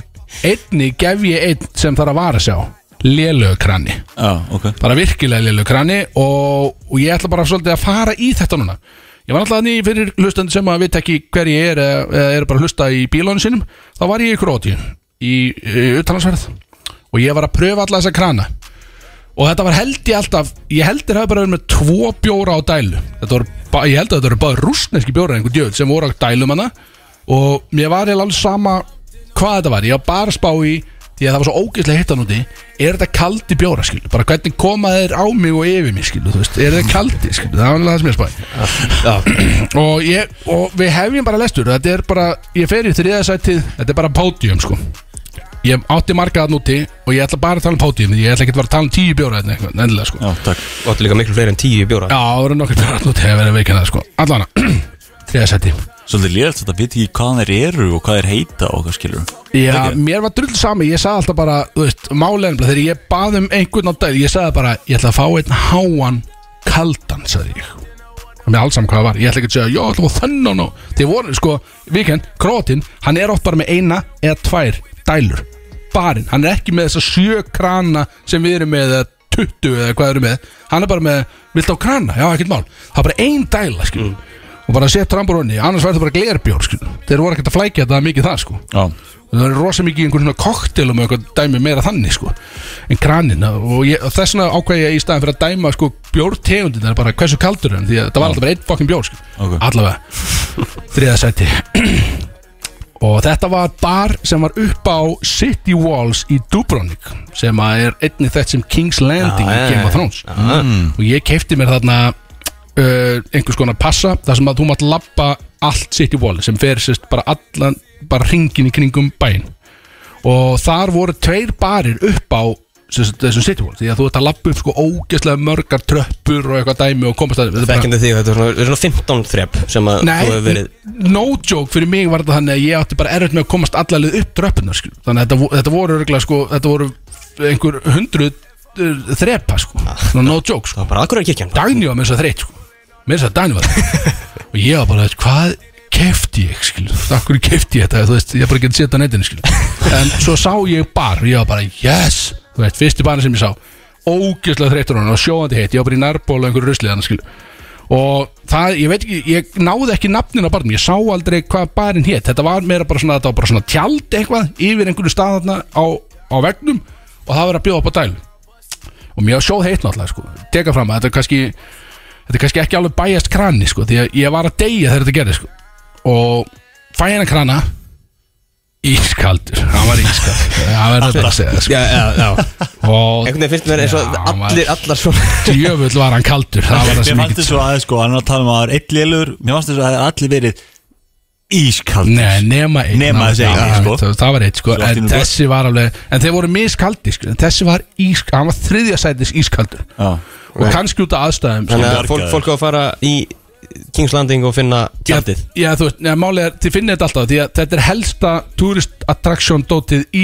einni gef ég einn sem þarf að vara sig á Lélög krani
ah, ok
Bara virkilega lélög krani og, og ég ætla bara svolítið að fara í þetta núna Ég var alltaf ný fyrir hlustandi sem að vita ekki hver ég er eða- eða eru bara að hlusta í bílónu sínum Þá var ég í Króti í, í utanlandsverð og ég var að pröfa alla þessa krana og þetta var held ég alltaf ég heldur hafi bara verið með tvo bjóra á dælu þetta voru, ba- ég held að þetta voru bara rúsneski bjóra einhver djöð sem voru á dælum hana og mér var eiginlega alveg sama hvað þetta var, ég var bara að spá í því að það var svo ógeðslega hittan úti er þetta kaldi bjóra skil, bara hvernig koma þeir á mig og yfir mig skil, þú veist, er þetta kaldi skil, það var alveg það sem ég spáði og, ég, og við hefjum bara lestur þetta er bara, ég fer í þriðasætið þetta er bara pódium sko ég átti marga þarna úti og ég ætla bara að tala um pódium ég ætla ekki að vera að tala um tíu bjóra þetta eitthvað, endilega sko
Já, takk
Þú átti líka miklu fleiri en tíu í bjóra.
Já, það voru nokkur bjóra þarna úti hefur verið veikinn það sko (clears throat) allavega, þriðasæti
Svolítið lélægt þetta, veit ekki hvaðan þeir eru og hvað þeir heita og hvað skilur
Já, mér var drull sami, ég sagði alltaf bara þú veist, málega, þegar ég bað um einhvern á dag ég sagði bara, ég ætla að fá einn háan kaldan, sagði ég og mér alls saman hvað það var, ég ætla ekki að segja já, ætla að fá þennan og þeir voru, sko, vikend krótin, hann er oft bara með eina eða tvær dælur, barinn hann er ekki með þessa sjö krana sem við erum með, eða 20 eða hvað erum með hann er bara með, vilt á krana, já, ekkert mál það er bara ein dæla, skil og bara sett ramburunni, annars verður bara glerbjór skil. þeir voru ekkert að flækja þetta mikið það, sko
Já,
það er rosa mikið í einhvern svona koktelum og eitthvað dæmi meira þannig sko en kranina og, ég, og þess vegna ákveð ég í staðin fyrir að dæma sko bjórtegundin það er bara hversu kaldur er hann því að það var alltaf bara einn fokkin bjór sko
Ok.
allavega þriða sæti og þetta var bar sem var upp á City Walls í Dubrovnik sem að er einnig þett sem King's Landing í
Já,
Game
já,
of Thrones og ég keipti mér þarna uh, einhvers konar passa þar sem að þú mátt lappa allt sitt í voli sem fer sérst bara allan bara ringin í kringum bæinn og þar voru tveir barir upp á sérst, þessum sitt í voli því að þú ert að lappa upp sko ógeðslega mörgar tröppur og eitthvað dæmi og komast að þetta er bara-
Þekkjandi þig, þetta er svona, þetta er svona 15 þrepp sem að þú hefur
Nei,
verið
no joke fyrir mig var þetta þannig að ég átti bara erfitt með að komast allalegð upp tröppunar skil. þannig að þetta, vo- þetta voru örgulega sko, þetta voru einhver hundruð uh, þrepa sko,
Ah.
Svona no joke sko.
Það var bara aðgurra kirkjan
Dagný var með þess að þreytt sko. með þess að Dagný var það. og ég var bara, veist, hvað kefti ég skil, þakkur kefti ég þetta þú veist, ég bara getið setja á netinu skil en svo sá ég bar, og ég var bara yes, þú veist, fyrsti barinn sem ég sá ógeðslega þreyttur á hann og sjóandi heitt ég var bara í nærbóla einhverju ruslið hann skil og það, ég veit ekki, ég náði ekki nafnin á barnum, ég sá aldrei hvað barinn hétt þetta var meira bara svona, þetta var bara svona tjald eitthvað yfir einhverju staðarna á, á vegnum og það var að bjóða upp á dæl og mér var sjóð heitt náttúrulega sko. teka fram að þetta er kannski þetta er kannski ekki alveg bæjast krani sko, því að ég var að deyja þegar þetta gerði sko. og fæ hérna krana ískaldur, hann var ískaldur það verður þetta að segja það,
Já, já, já
sko. og
Einhvern veginn finnst mér eins og
Já, maður-
allir, allar svona
djöfull var hann kaldur það var það
Mér
sem ég
fannst
get
þessu aðeins sko, hann er að tala um að það er eitt lélur Mér fannst þessu að það er allir verið ískaldur
Nei, nema einn
Nema
Ná,
þessi einn,
já,
sko.
það, það var eitt sko
Svo allt í
En
einu bara-
þessi var alveg En þeir voru miskaldi sko En þessi var ískaldur Hann var þriðja sætis ískaldur
Já,
Og kannski út af aðstæðum sko.
Þannig að fólk, fólk á að fara í Kings Landing og finna tjaldið
Já, já, þú veist, neða, málið er, þið finnir þetta alltaf því að þetta er helsta tourist attraction dótið í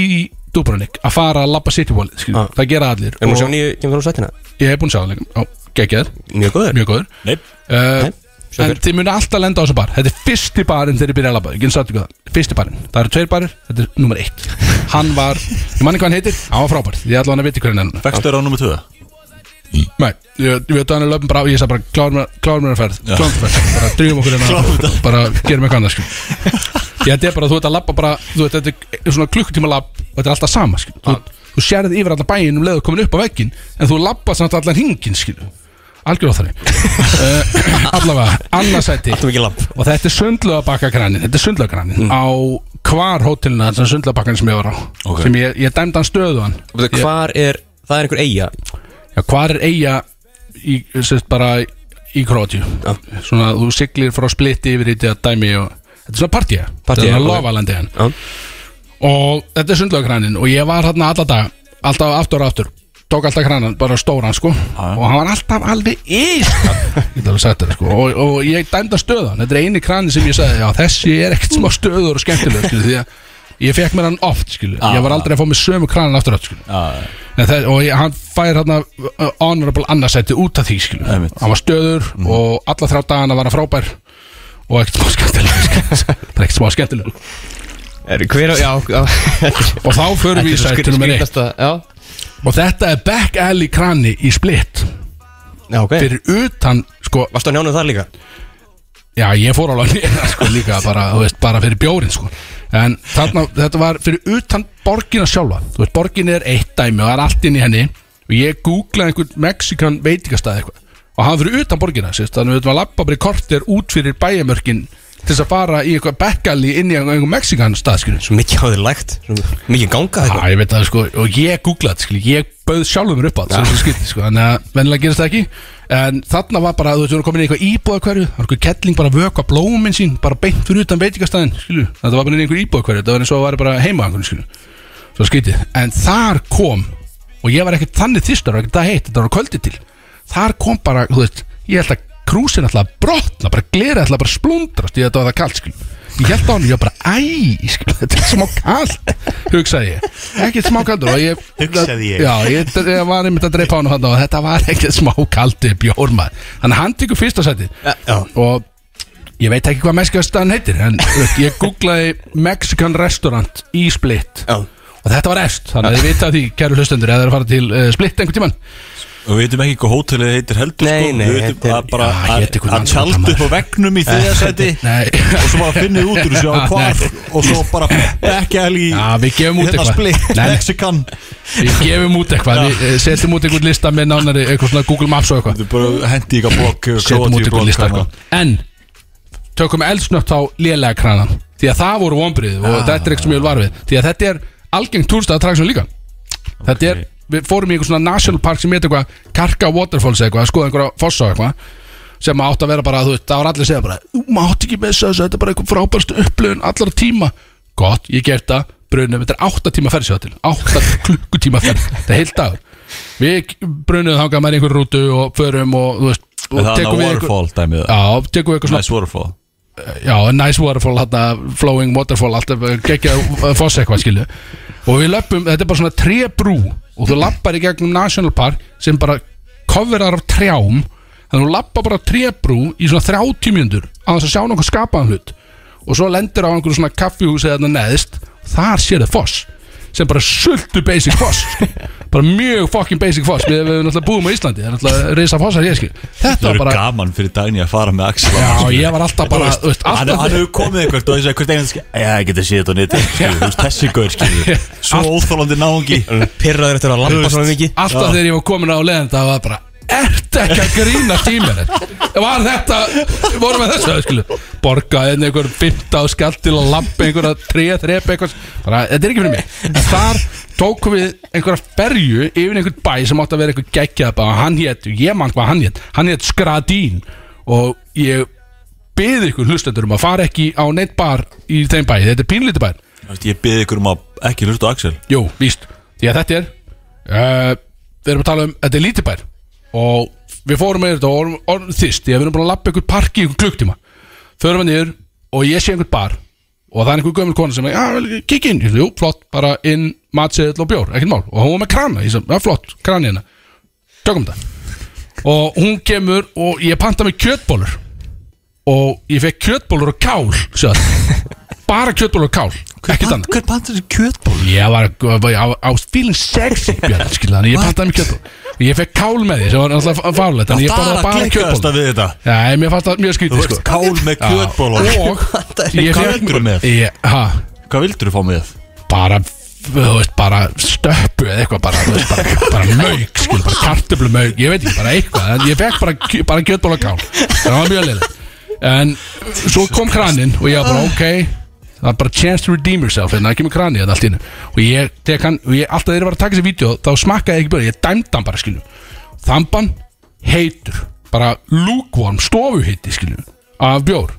Dubrovnik að fara að labba City Wallið, skilju,
Já.
það gera allir
Ah. Erum
og
við að sjá nýju kemur frá sætina?
ég hef búin að sjá það líka, já, geggjaður,
Mjög góður
mjög góður
nei,
uh,
Nei, sjá
En
fyrr.
þið munu alltaf lenda á þessu bar Þetta er fyrsti barinn þegar ég byrja að labba, ég get sagt ykkur það Fyrsti barinn, það eru tveir barir, þetta er nummer eitt
(laughs)
Hann var, ég manni hvað hann heitir, hann var frábært Ég ætla hann að viti hvernig hann er núna
fækstu er á nummer 2
Nei, ég, ég veit að hann er löpum bara á- Ég sagði bara, klárum mér- klárum mér að ferð
Já.
Klárum mér að ferð, bara drýjum okkur hérna Bara gerum eitthvað annars sko. Ég þetta er bara, þú veit að labba bara Þú veit, þetta er svona klukkutíma labb og þetta er alltaf sama skilur. þú, þú sérði yfir allan bæinn um leið og komin upp á veggin en þú labbað samt allan hingin skilur. algjör
(laughs)
á þannig allavega, annarsæti
Alltaf mikið lamp
og þetta er sundlögabakkakranin þetta er sundlögabakkakranin
Mm.
á hvar hótelina þessar sundlögabakkan sem ég var á
Ok.
sem ég, ég dæmdi hann stöðuan
Veitu, Hvar er, það er einhver eiga
Já, hvar er eiga í, sérst bara í- í Króti svona þú siglir frá splitti yfir í þetta dæmi og þetta er svona partíja
Partía,
þetta er
ok.
lofalandi hann
Já.
og þetta er sundlögkranin og ég var hérna alla daga alltaf aftur og aftur tók alltaf kranan, bara stóran sko og hann var alltaf alveg ís Ég get alveg sagt þetta, sko. og, og ég dæmda stöðan þetta er eini kranin sem ég sagði já, þessi er ekkert smá stöður og skemmtileg skilu, því að ég fekk mér hann oft skilu. ég var aldrei að fá mér sömu kranin aftur og aftur skilu. En það, og ég, hann fær hérna uh, honorable annarsætti út af því skilur
Einmitt.
hann var stöður og alla þrjá dagana var hann frábær og ekkert smá skemmtileg það er ekkert smá skemmtileg
er, Hver, já, (laughs) já
og þá förum við í sætti nummer eitt
skrýtasta Já,
og þetta er back alley krani í splitt
já ok
fyrir utan sko
Varstu að njánu þar líka?
Já, ég fór alveg nýra sko líka bara, þú veist, bara fyrir bjórin sko En þarna, þetta var fyrir utan borgina sjálfa Þú veist, borgin er eitt dæmi og það er allt inn í henni Og ég googlaði einhvern mexikan veitingastæð eitthvað Og hann var fyrir utan borgina, sérst Þannig að þetta var lappa bara í kortir út fyrir bæjamörkin Til þess að fara í eitthvað bekkali inn í einhver mexikan stað, skilur
Svo mikið á þér lægt Svo mikið gangað
Já,
eitthvað
ég veit það sko, og ég googlaði, skil, ég bauð sjálfur mér upp á þetta, sem skilti, sko, þannig að vennilega gerist það ekki, en þarna var bara, þú veist, við vorum komin í eitthvað íbúða hverju, það var eitthvað kettling bara að vökva blómin sín, bara beint fyrir utan veitingastæðin, skilu, þetta var bara inn í einhver íbúða hverju, þetta var eins og að vera bara heima einhvern, skilu, svo skilti, en þar kom, og ég var ekkert þannig þýstur, ekkert það heitt, þetta var á kvöldi til, þar kom bara, þú veist, ég held að krúsin alltaf brotna, bara glera alltaf bara splundrast, ég þetta var það kalt, skilju ég held á hann, ég var bara, æ, skilju (laughs) þetta er smá kalt, hugsaði ég ekkert smá kaldur og ég
Hugsaði ég.
já, ég, ég var einmitt að dreipa hann og þetta var (laughs) ekkert smá kaldi bjórmaður, þannig að hann tekur fyrsta sæti
já.
og ég veit ekki hvað mexikastaðan heitir en þú veist, ég googlaði Mexican Restaurant í Split
Já.
og þetta var efst, þannig að þið vita því kæru hlustendur eða það er að fara til uh, Split einhvern tíman
Og við veitum ekki hvað hótelið heitir heldur
Nei,
sko.
nei,
Við veitum
þetta er-
að bara
Já,
að-
héti ykkur
að
landshóta,
tjaldu upp á
maður.
(laughs) vegnum í þriðasæti
Nei.
Og svo bara finnið út
(laughs)
úr þessu á
Ah,
hvar Og svo bara ekki alveg í
Já, við gefum út
hérna
eitthvað.
split,
Nei, nei.
Mexican
við gefum út eitthvað, við eh, setjum út einhvern lista með nánari, eitthvað svona Google Maps og eitthvað
Þú bara hendi ykkar blokk
setjum út einhvern lista
sko.
eitthvað. en tökum eldsnögt á lélega kranan því að það voru vonbrið og þetta er eitthvað sem ég vil vara við því að þetta er algengt túrstæðatraksjón líka þetta er, við fórum í einhver svona national park sem heit eitthvað Karka Waterfalls eitthvað, skoða einhverja fossa og eitthvað sem átt að vera bara, þú veist, það var allir að segja bara "Ú, maður átt ekki með þess að þetta er bara eitthvað frábærst upplöfun allra tíma gott, ég gert það, brunum, þetta er 8 tíma ferð sér til, 8 (laughs) klukkutíma ferð þetta er heilt dagur við brunum þangað með einhver rútu og förum og, þú veist, og
Það er
tekum við einhver-
waterfall dæmið það.
Já, tekum við eitthvað svona
Nice waterfall
Já, nice waterfall, hana, flowing waterfall Alltaf geggja uh, foss eitthvað skilu Og við löpum, þetta er bara svona trébrú Og þú lappar í gegnum National Park Sem bara coverar af trjám Þannig að þú lappar bara trébrú Í svona 30 mjöndur Á þess að sjá nokkuð skapaðan hlut Og svo lendir á einhverju svona kaffihúsi þarna neðist Þar sér það foss sem bara sultu basic foss sko. bara mjög fucking basic foss við, við náttúrulega búum á Íslandi það er náttúrulega reysa fossar hér skil
Það
þetta var
eru
bara
gaman fyrir dagni að fara með Axel
Já, ég var alltaf bara, þú veist,
Hann
alltaf
hann hefur komið eitthvað og þessi eitthvað einhvers Já, ég geti séð þetta á nýtt Þú veist, þessi gaur (laughs) skilur Svo óþólandi náungi
Pirraður eftir að lampa svona mikið
Alltaf þegar ég var komin á leðan Það var bara Ertu ekki að grína tímur Var þetta Vorum við þessu skilu Borga einn einhver 15 skall til að lampa einhverja 3, 3, eitthvað bara, Þetta er ekki fyrir mig En þar tókum við einhverja ferju Yfir einhvern bæ sem átti að vera einhver geggjað bara, Hann hét, ég mann hvað hann hét Hann hét Skradín Og ég beði ykkur hlustendur um að fara ekki á neitt bar í þeim bæ Þetta er pínlítið bær
Þú veist, Ég beði ykkur um að ekki hlusta á Axel
Jú, víst Því að þetta er uh, Við erum að tala um, þetta er lítibær Og við fórum með þetta og orðum, orðum þýst Því að við erum búin að lappa einhvern parki í einhvern klukktíma Förum við niður og ég sé einhvern bar Og það er einhver gömul kona sem er, Já, vel, kikk inn, Ég sagði, jú, flott, bara inn Matseðl og bjór, ekkert mál Og hún var með krana, ég sem, já, flott, krani hérna Tökum þetta Og hún kemur og ég panta með kjötbólur Og ég fekk kjötbólur og kál sagði. Bara kjötbólur og kál Ekkert annað
Hver pantur þessi kjötból?
Ég var, var á, á feeling sexy
(laughs)
Björn, skilja, þannig ég pantaði mér kjötból Ég fekk kál með því sem var náttúrulega fárlegt Þannig ég
Það
borðaði
er að
bara
klikkaðast
kjötból
að við þetta
Nei, mér fannst það mjög
Þú
skrítið
veist,
sko
kál með
Já,
kjötból
Og ég
Hvað
fékk-
vildur þú með?
Ég- ha,
Hvað vildur þú fá með?
Bara þú veist, bara stöppu eða eitthvað bara, þú veist, bara, bara mauk skil, bara kartöflu mauk, ég veit ekki, bara eitthvað en ég fekk bara, kj- bara kjötból og kál það var mjög leiðið en svo kom kraninn og ég var bara ok það er bara chance to redeem yourself en það kemur kranið þetta allt í innu og ég tek hann, og ég, alltaf þegar ég var að taka þessi vídeo þá smakkaði ég ekki bara, ég dæmdi hann bara skiljum þamban heitur bara lukewarm, stofuhitti skiljum af bjór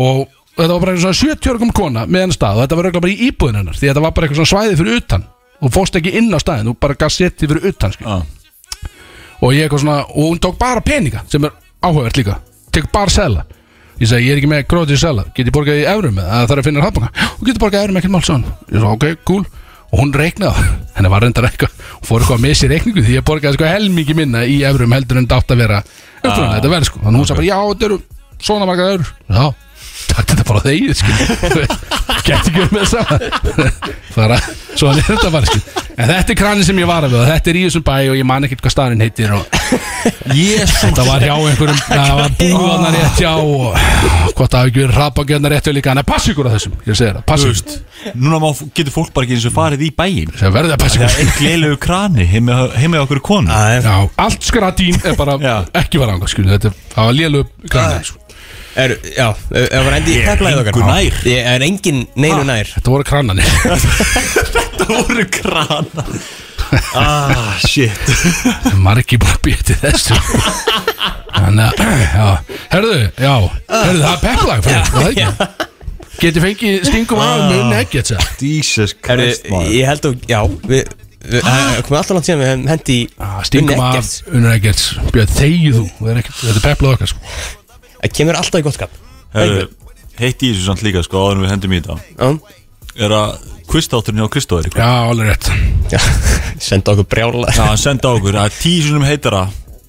og þetta var bara eitthvað svona 70 ára kom kona með hennar stað og þetta var örugglega bara í íbúðin hennar því þetta var bara eitthvað svona svæði fyrir utan og fórst ekki inn á staðin og bara gaf setið fyrir utan skil.
Já.
og ég eitthvað svona og hún tók bara peninga sem er áhugavert líka tek bara sela ég segi ég er ekki með grótið sela get ég borgað í eurum eða það þarf að finna hraðbanka hún getur borgað í eurum ekkert mál svo ég svo ok, cool og hún reiknaði það. (laughs) henni var reyndar eitthvað hún fór eitthvað að missa í reikningu því ég borgaði sko helmingi minna í eurum heldur en þetta átt að vera upprunalega þetta verð sko þannig hún sagði bara já þetta eru svona margar eurur já takk þetta bara á þegið skil gett ekki um með saman bara, svo hann er þetta bara skil en þetta er kranin sem ég var af og þetta er í þessum bæ og ég man ekkert hvað staðurinn heitir og Jesus. þetta var hjá einhverjum það var búðanar rétt hjá og hvort það hafi ekki verið rapagjöðnar rétt hjá líka en það passi ykkur að þessum, ég segi það, passi ykkur
Núna má, getur fólk bara ekki eins og farið í bæin
sem verði að passi
Það er
ykkur
eitt gleilegu krani heimið okkur konu
Já, allt skradín er bara
Já.
ekki var ánga, skil, þetta það var lélug kranin, sko.
Er, já, ef það var endi í
Ég er
peplæðið okkar
engu nær.
Ég er engin neinu nær
þetta voru krananir
Það voru krana Ah, shit
margi búin að býja til þessu þannig að já, herðu, já, herðu það er peplag fyrir ykkur, það ekki geti fengið stingum af mun ekki þetta
er,
Jesus Christ, maður
Ég held að, já Við, við það komum alltaf langt síðan við hefum hendi
Ah, stingum af unnur ekkert björn þegið þú, það er ekkert- þetta er peplag okkar sko.
Það kemur alltaf í gott skap
Herðu, Heitt í þessu samt líka sko áður en við hendum í þetta
Já.
Er að kvistátturinn hjá Kristóður
já, alveg rétt
Já, (laughs) senda okkur brjála
Já, hann senda á okkur að tíu sinum heitara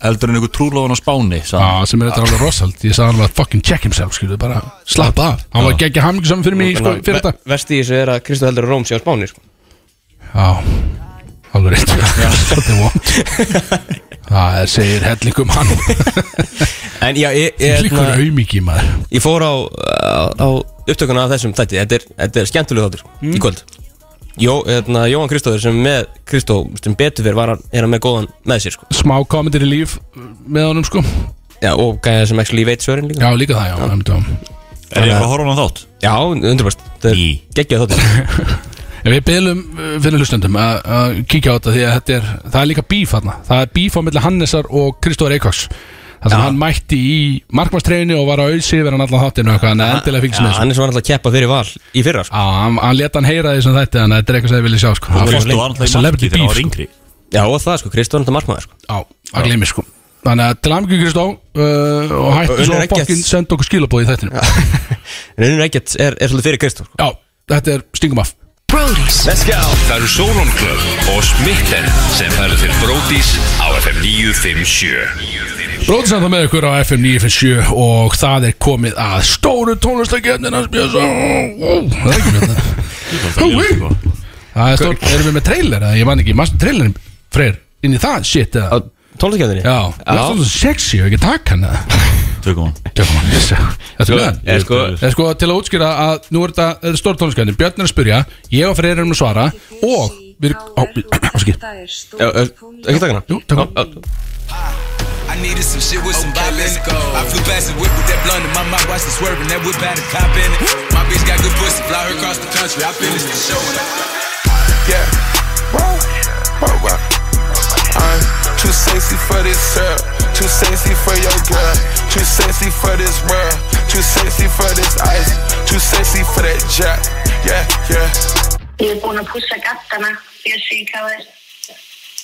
Eldur en einhver trúlóðan á Spáni sagði
já,
hann.
sem er þetta alveg rosald, ég sagði hann var fucking check himself skilu, bara slappa af, hann var ekki ekki hamningum saman fyrir mig sko, fyrir þetta
Vest í þessu er að Kristó heldur að Róm sé á Spáni sko.
Já, alveg rétt (laughs) Svolítið vond Það segir hellingum hann
En já, ég, ég,
Líkur
hérna,
auðmiki maður
ég fór á, á, á upptökuna af þessum þætti Þetta er, þetta er skemmtileg þáttur
Mm.
í kvöld Jó, hérna, Jóhann Kristóður sem er með Kristó sem betur fyrir var hann, er hann með góðan með sér sko.
smá komendir í líf með honum sko
Já, og gæða sem actually veit svörin líka
Já, líka það, já, einmitt, já.
Er ég eitthvað að horfa á hann þátt?
Já, undurbæst, þetta er
Í.
(laughs)
geggjað þáttur
En við bylum fyrir hlustendum að að kíkja á þetta því að þetta er, það er líka bíf þarna Það er bíf á milli Hannesar og Kristóður Eikóks Það sem hann mætti í markmannstreyfinu og var á auðsi yfir hann allan þáttinu og eitthvað, en endilega fylgst með
Já,
þessu
Hannes var alltaf að keppa fyrir val í fyrra sko.
Já, hann, hann leta hann heyra því sem þetta en þetta er eitthvað sem þið viljið sjá sko
Hann
Það er
fórst og var náttúrulega í
celebrity
marki þegar hann
beef, sko.
var yngri
Já, og það sko, Kristó er alltaf
(laughs)
markmaður sko.
Já, það glemir sko Þannig að til amingju Kristó uh, og
Og
hætti svo
Unnur
að
Eggerts.
fokkin senda okkur skilabóð í þættinu Já,
En unnur ekkert er, er svolítið fyrir Kristó sko.
þetta er stingum af
Brody's
Það eru Sólon Club og Smitten sem færðu til Brótis á FM 957
Bróðið samt það með ykkur á FM 957 og það er komið að stóru tónlistakefnin hans Björnsson Það er ekki með þetta Það er stór, erum við með trailer eða ég man ekki, mannstu trailerin freyr inn í það, shit
Á
eða
tónlistakefninni
Já, það er svolítið sexy og ekki takk hann eða
Tökum hann
Tökum hann, yes Þetta er með hann
Er sko,
Það er sko til að útskýra að nú er þetta, þetta stór tónlistakefnin Björn er að spyrja, ég og freyr erum að svara og við erum, (coughs) á, áskil
Já, er- ekki taka hana
Jú, taka hana.
Á, á,
I needed some shit with some okay, let's go. I flew past the whip with that blunt in my mouth, watched it swerving. That whip had a cop in it. My bitch got good pussy, fly her across the country. I finished the show and I. Yeah. Wow. Wow, wow. I'm too sexy for this girl. Too sexy for your girl. Too sexy for this world. Too sexy for this ice. Too sexy for that jack. Yeah, yeah.
Ég er búin að pússa gattana. Ég sé hvað er.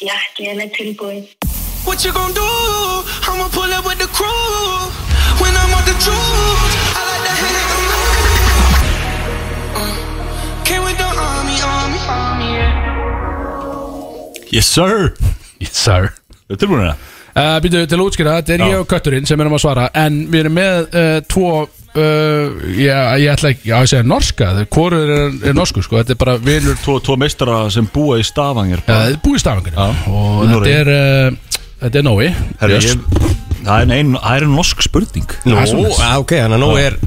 Jakkinn er tilbúin.
What you gonna do? I'ma pull up with the crew. When I'm on the juice, I like to hit it. Uh, Came with the army, army, army, yeah.
Yes sir
Yes sir
Þetta er tilbúin að
Uh, Býtu til að útskýra, þetta er
Já.
ég og kötturinn sem erum að svara En við erum með uh, tvo uh, já, Ég ætla ekki já, ég segja norska Hvorur er, er norsku sko Þetta er bara vinur
Tvo, tvo meistara sem búa í Stavanger
uh, Þetta er búið stafangir
Já.
Og
Í
þetta
Noregi.
er, uh, þetta er Nói
Herra, ég, það, er ein, það er ein norsk spurning
Nú,
Það er svoleiðis.
á, ok, þannig að nú er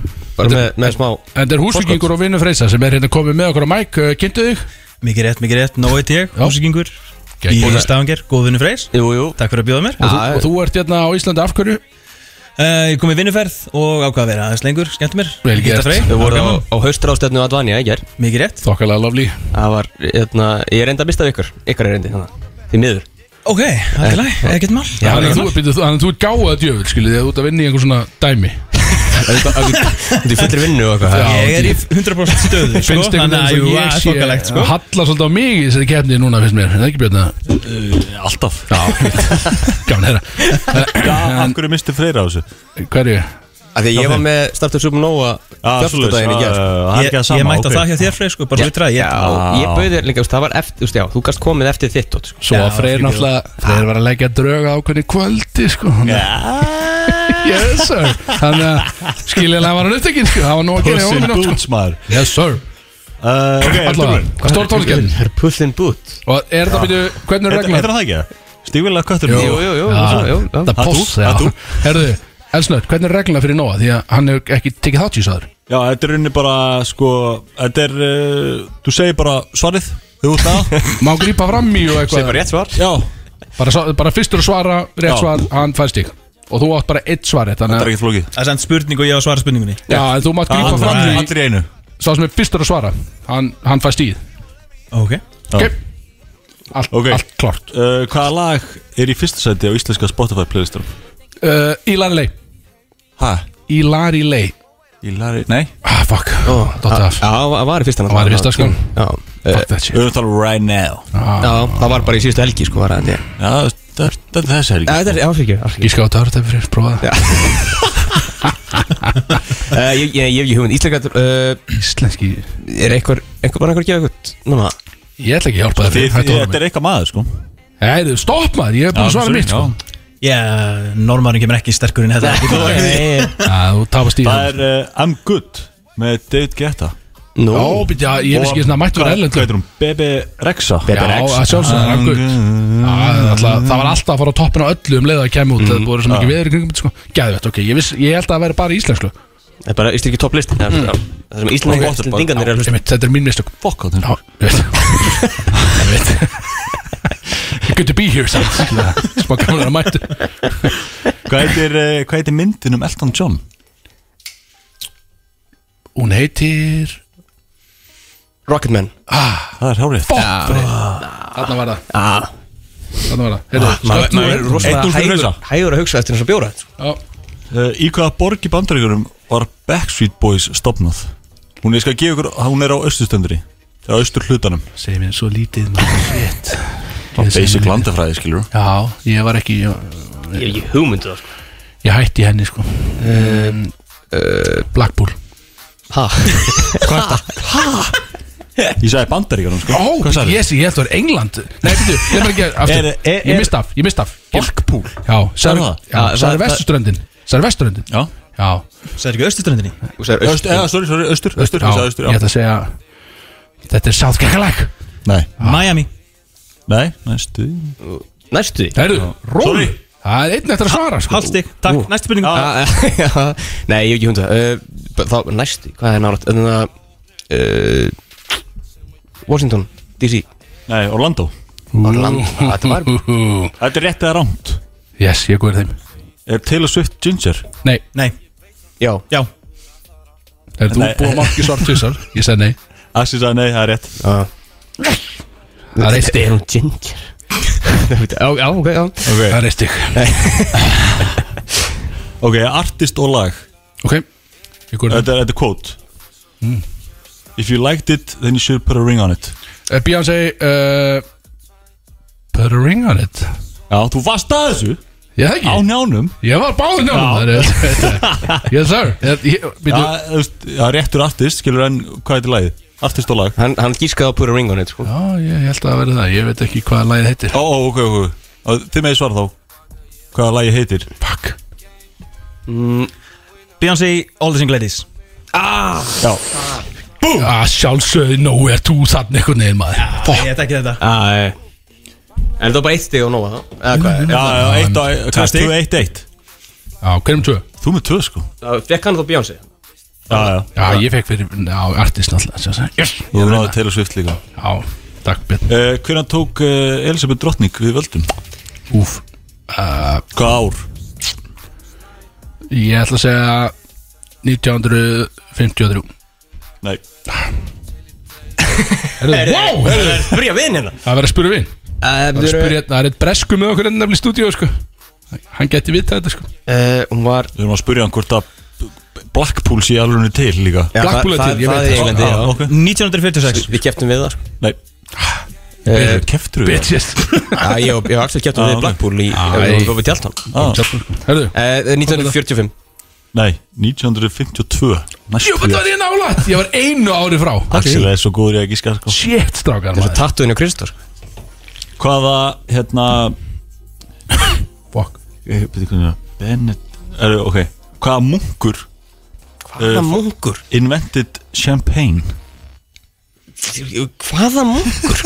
bara með, með smá
Þetta er húsvíkingur og vinur Freysa Sem er hérna komið með okkur á mæk uh, Kynntu þig
Mikið rétt, mikið rétt, nóið ég, húsíkingur
Gegn.
Í stafanger, góðvinni freys
Jú, jú
Takk fyrir að bjóða mér
Og þú, og þú ert hérna á Íslandi af hverju
uh, Ég kom í vinnuferð og ákvað að vera aðeins lengur, skemmti mér
Vel
Hitta
gert.
Frey,
Við
það var
vorum á,
gaman.
á haustrástefnu Advanja í gær
Mikið rétt
Þokkalega lovely
Það var, hérna, ég reyndi að mista af ykkur Ykkar er reyndi, þannig Því miður
Ok, allt í lagi, ekkert mál
Eh, Já, Þannig að þú, býtu, þú- þannig að þú ert gáðað djöfur skilur því að þú ert að vinna í einhver svona dæmi
(laughs) Þetta er fullri vinnu og eitthvað
Ég er í 100%
(laughs)
stöðu sko,
Finnst einhvern
Þannig að jú, það er
veginn sem
fokkalegt
ég
sko.
sé Halla svolítið á mig í þessari kefni núna finnst mér Er Það er ekki björna
Alltaf
(laughs) Gaman að
Já, af
heyra
hverju misti freyra á þessu?
Eh, Hverju?
Af því að ég var með Startup Supernova
Já, svoleiðis,
Fjöldudaginn í gær
já, já, það er
Ég,
ekki það
ég
sama,
mætti á
ok.
það hjá þér Frey, sko, bara hlutra
Já,
Ég
ég bauði þér líka, þú veist, það var eftir, þú veist, já, þú gast komið eftir þitt dót, sko.
Svo
Já,
að Freyr
fyrir
náttúrulega Freyr var að leggja drög á hvernig kvöldi sko Yes sir Þannig að skiljanlega var hann upptekinn sko Það var nú að gera í
Puss in
honum í nótt, sko.
boots maður
Yes sir
Uh, Ok, ertu
Allavega,
búinn?
hvað stór tónleikinn?
Það er Puss in Boot.
Og er það byrju, hvernig er
Heitir
reglar?
heitir hann það ekki? það? Stígvélaga köttur
Jú, jú, jú, svona, jú, já.
Það er
Það
poss,
þú,
já
það þú.
Herðu, Elsnöð, hvernig er reglarna fyrir Nóa? Því að hann hefur ekki tekið þátt í þessu aður
Já, þetta er unni bara, sko Þetta er, uh, þú segir bara svarið Þú út að
Má grípa fram í og
Sem
eitthvað
var rétt svar.
Já,
bara, sá- bara fyrstur að svara, rétt
Já.
svar, hann fær stík Og þú átt bara eitt svar rétt Þannig
þetta er
að,
ekkert flókið
Það er sendt spurning og ég á að svara spurningunni
já, en þú mátt grípa
Allir-
fram í
Allir í einu
Sá sem er fyrstur að svara, hann, hann fær stíð
Ok
Ok Allt,
Ok.
allt klárt
Uh, Hvaða lag er í fyrsta sæti á íslenska Spotify playlistum?
uh, Ilari Ley
Hæ?
Ilari Ley
Ílari, nei
Ah, fuck Dóttu af
Já, það var í fyrsta
Það var í fyrsta, sko.
Já, ah, eh,
Fuck that shit
Við erum að tala um right now
já, það var bara í síðustu helgi, sko, var það, ég.
Já, þetta er- þetta er þessi helgi
Já, þetta er, áfrikið, áfrikið.
Gíska á þetta örtæmi fyrir, prófa það
Eh, Ég ég- ég hef ekki hugmynd, Íslandsgat,
Íslenski
er einhver, einhver bara einhver að gefa eitthvað, núna,
Ég ætla ekki að hjálpa
Þið-
þér
þið-
Hættu
Þetta
orðum
er eitthvað maður, sko
Nei, stopp maður, ég er búin að
Já,
svara
sorry,
mitt sko
já.
Já, normarinn kemur ekki sterkur en þetta Ekki bara-
Já, Ah, þú tapast í
Það
það
er uh, I'm Good með David Guetta
nú,
Já, býtja, ég veist ekki svona mættur
Hvað-
erlendur
Hvað heitir hún? Bebe Rexa
Já, að sjálfsögðu, það er gutt Já, það er alltaf- Það var alltaf að fara á toppin á öllu um leið að kemja út
Mhm.
Það voru svo mikið veður í kringum þetta, sko. Gæðvett, ok, ég, viss, ég held að það væri bara íslensku
það er bara íslenski topplist, það er- það sem íslenski Íslendingarnir er að hlusta.
Einmitt, Þetta er mín mistök
Fokk á þeim
Já, ég veit Ég veit (laughs) Good to be here, samt skilja. Smá gaman að mættu
Hvað heitir, uh, hvað heitir myndin um Elton John?
Hún heitir
Rocketman,
Það er hárið
Þarna var það Þarna var það Heyrðu,
Ah. maður
slökktu- hérna.
maður er
Eitt
rosalega
úr fyrir
hægur,
hausa.
hægur að hugsa eftir þess að bjóra þetta, sko.
Já,
uh, Í hvaða borg í bandaríkurum var Backstreet Boys stopnað? Hún er, ég skal gefa ykkur, hún er á austurstundri Það er á austur hlutanum
Segir mér svo lítið maður Shit Ég segi mér
Basic
lítið.
landafræði, skilur þú
Já, ég var ekki Ég,
Ég hef ekki hugmyndu það, sko.
ég hætti henni, sko um,
uh,
Blackpool
Ha,
Ég sagði bandaríkurum, sko
Ó,
Hvað sagði?
yes, ég held að það er England Nei, býttu, ég var
(laughs)
ekki aftur
Er- er-
Ég
er-
mista af, ég mista af
Blackpool
Já, sagði
það?
Já,
Já, það-
sagði vesturströndin Sagði vesturströndin
Já
Já,
Sæður ekki austurströndinni?
þú segir
Öst,
austur-
eða, sorry, sorry, austur, austur,
já,
ég sagði austur,
ég ætla að segja Þetta er South Carolina
Nei,
Miami
nei, næstu
næstu því.
Herru, ról
Sorry.
Það er einn eftir að svara sko.
Hálfstig, takk, næst spurning
Ah.
Já, (laughs) já, Nei, ég hef ekki hundra uh, Þá næstu, hvað er nárat Þannig að uh, Washington, DC
Nei, Orlando
Orlando, Ah, þetta var
Úhú.
Þetta er rétt eða rámt
(laughs) Yes, ég guður þeim
Er Taylor Swift Ginger?
Nei,
Nei,
Já,
já,
er þú búið að marki svart tvisar? Ég sagði nei
Axi sagði nei, það er rétt
Það er eitt stig
er Ah. hún ginger Já, (laughs) já, ok, já
Það
Ok,
er eitt stig
okay artist og lag
Ok, ég guður
Þetta er þetta er quote If you liked it, then you should put a ring on it
þeim Eh, Beyoncé uh, Put a ring on it
Já, þú varst að þessu
Ég það
Á
ekki
njánum
Ég var báðið náttúrulega Yes sir Ég- ég-
Já,
býtu,
þú veist, já, réttur artist, skilur en hvað heitir lagið? Artist og lag
Hann, hann gískaði að pura ring on it sko.
Já, ég held að það verði það Ég veit ekki hvaða lagið heitir
Ó, ó, ok, ok Ó, Þið með svara þá Hvaða lagið heitir
Fuck
Beyoncé, All the Single Ladies
ah, Sjálfsögði nóg er þú þann einhvern veginn maður Fuck
Ég veit ekki þetta
ah, En það var bara eitt stig og nóa þá Eða hvað er
Já, já, eitt og Hvað,
stig.
tvö, eitt, eitt
Já, hverjum tvö?
Þú með tvö, sko
Það fekk hann þá Beyoncé
Já, já
Já, ég fekk fyrir Já, artist náttúrulega sjálfsagt. Yes
Þú náðu Taylor Swift líka
Já, Takk Björn
uh, Hvernig tók uh, Elisabeth Drottning við völdum?
Úf uh,
Hvað ár?
Ég ætla að segja 1953
Nei
Herðu, wow!
Það er spyrja vinn hérna
Það verður að spyrja vinn Það er að spyrja hérna, það er eitt bresku með okkur enn nefnilega í stúdíu sko Hann geti vita þetta sko
uh, Hún var
Við erum að spyrja hann hvort að Blackpool sé alveg til líka
Já,
Blackpool er
það-
til, ég
það
veit
er Englandi, já.
ah, ok.
1946
Við keftum við þar
Nei
(laughs) Eh,
Keftur við það?
Bitches
Já, ég og ég og Axel keftum
Ah,
við
ok.
Blackpool í
Æ.
Európa tjáltan
Ah,
Herðu,
Eh, 1945
Nei, 1952
jú, þetta var ég nálægt Ég var einu ári frá
Axel er svo góður ég að gíska sko.
Shit, strákar maður
Tattuðin og Kristór
Hvaða, hérna
Fuck
eh, byrju, hvernig er það? Bennett er, ok, Hvaða munkur
Hvaða
Eh,
munkur?
invented champagne?
Hvaða munkur?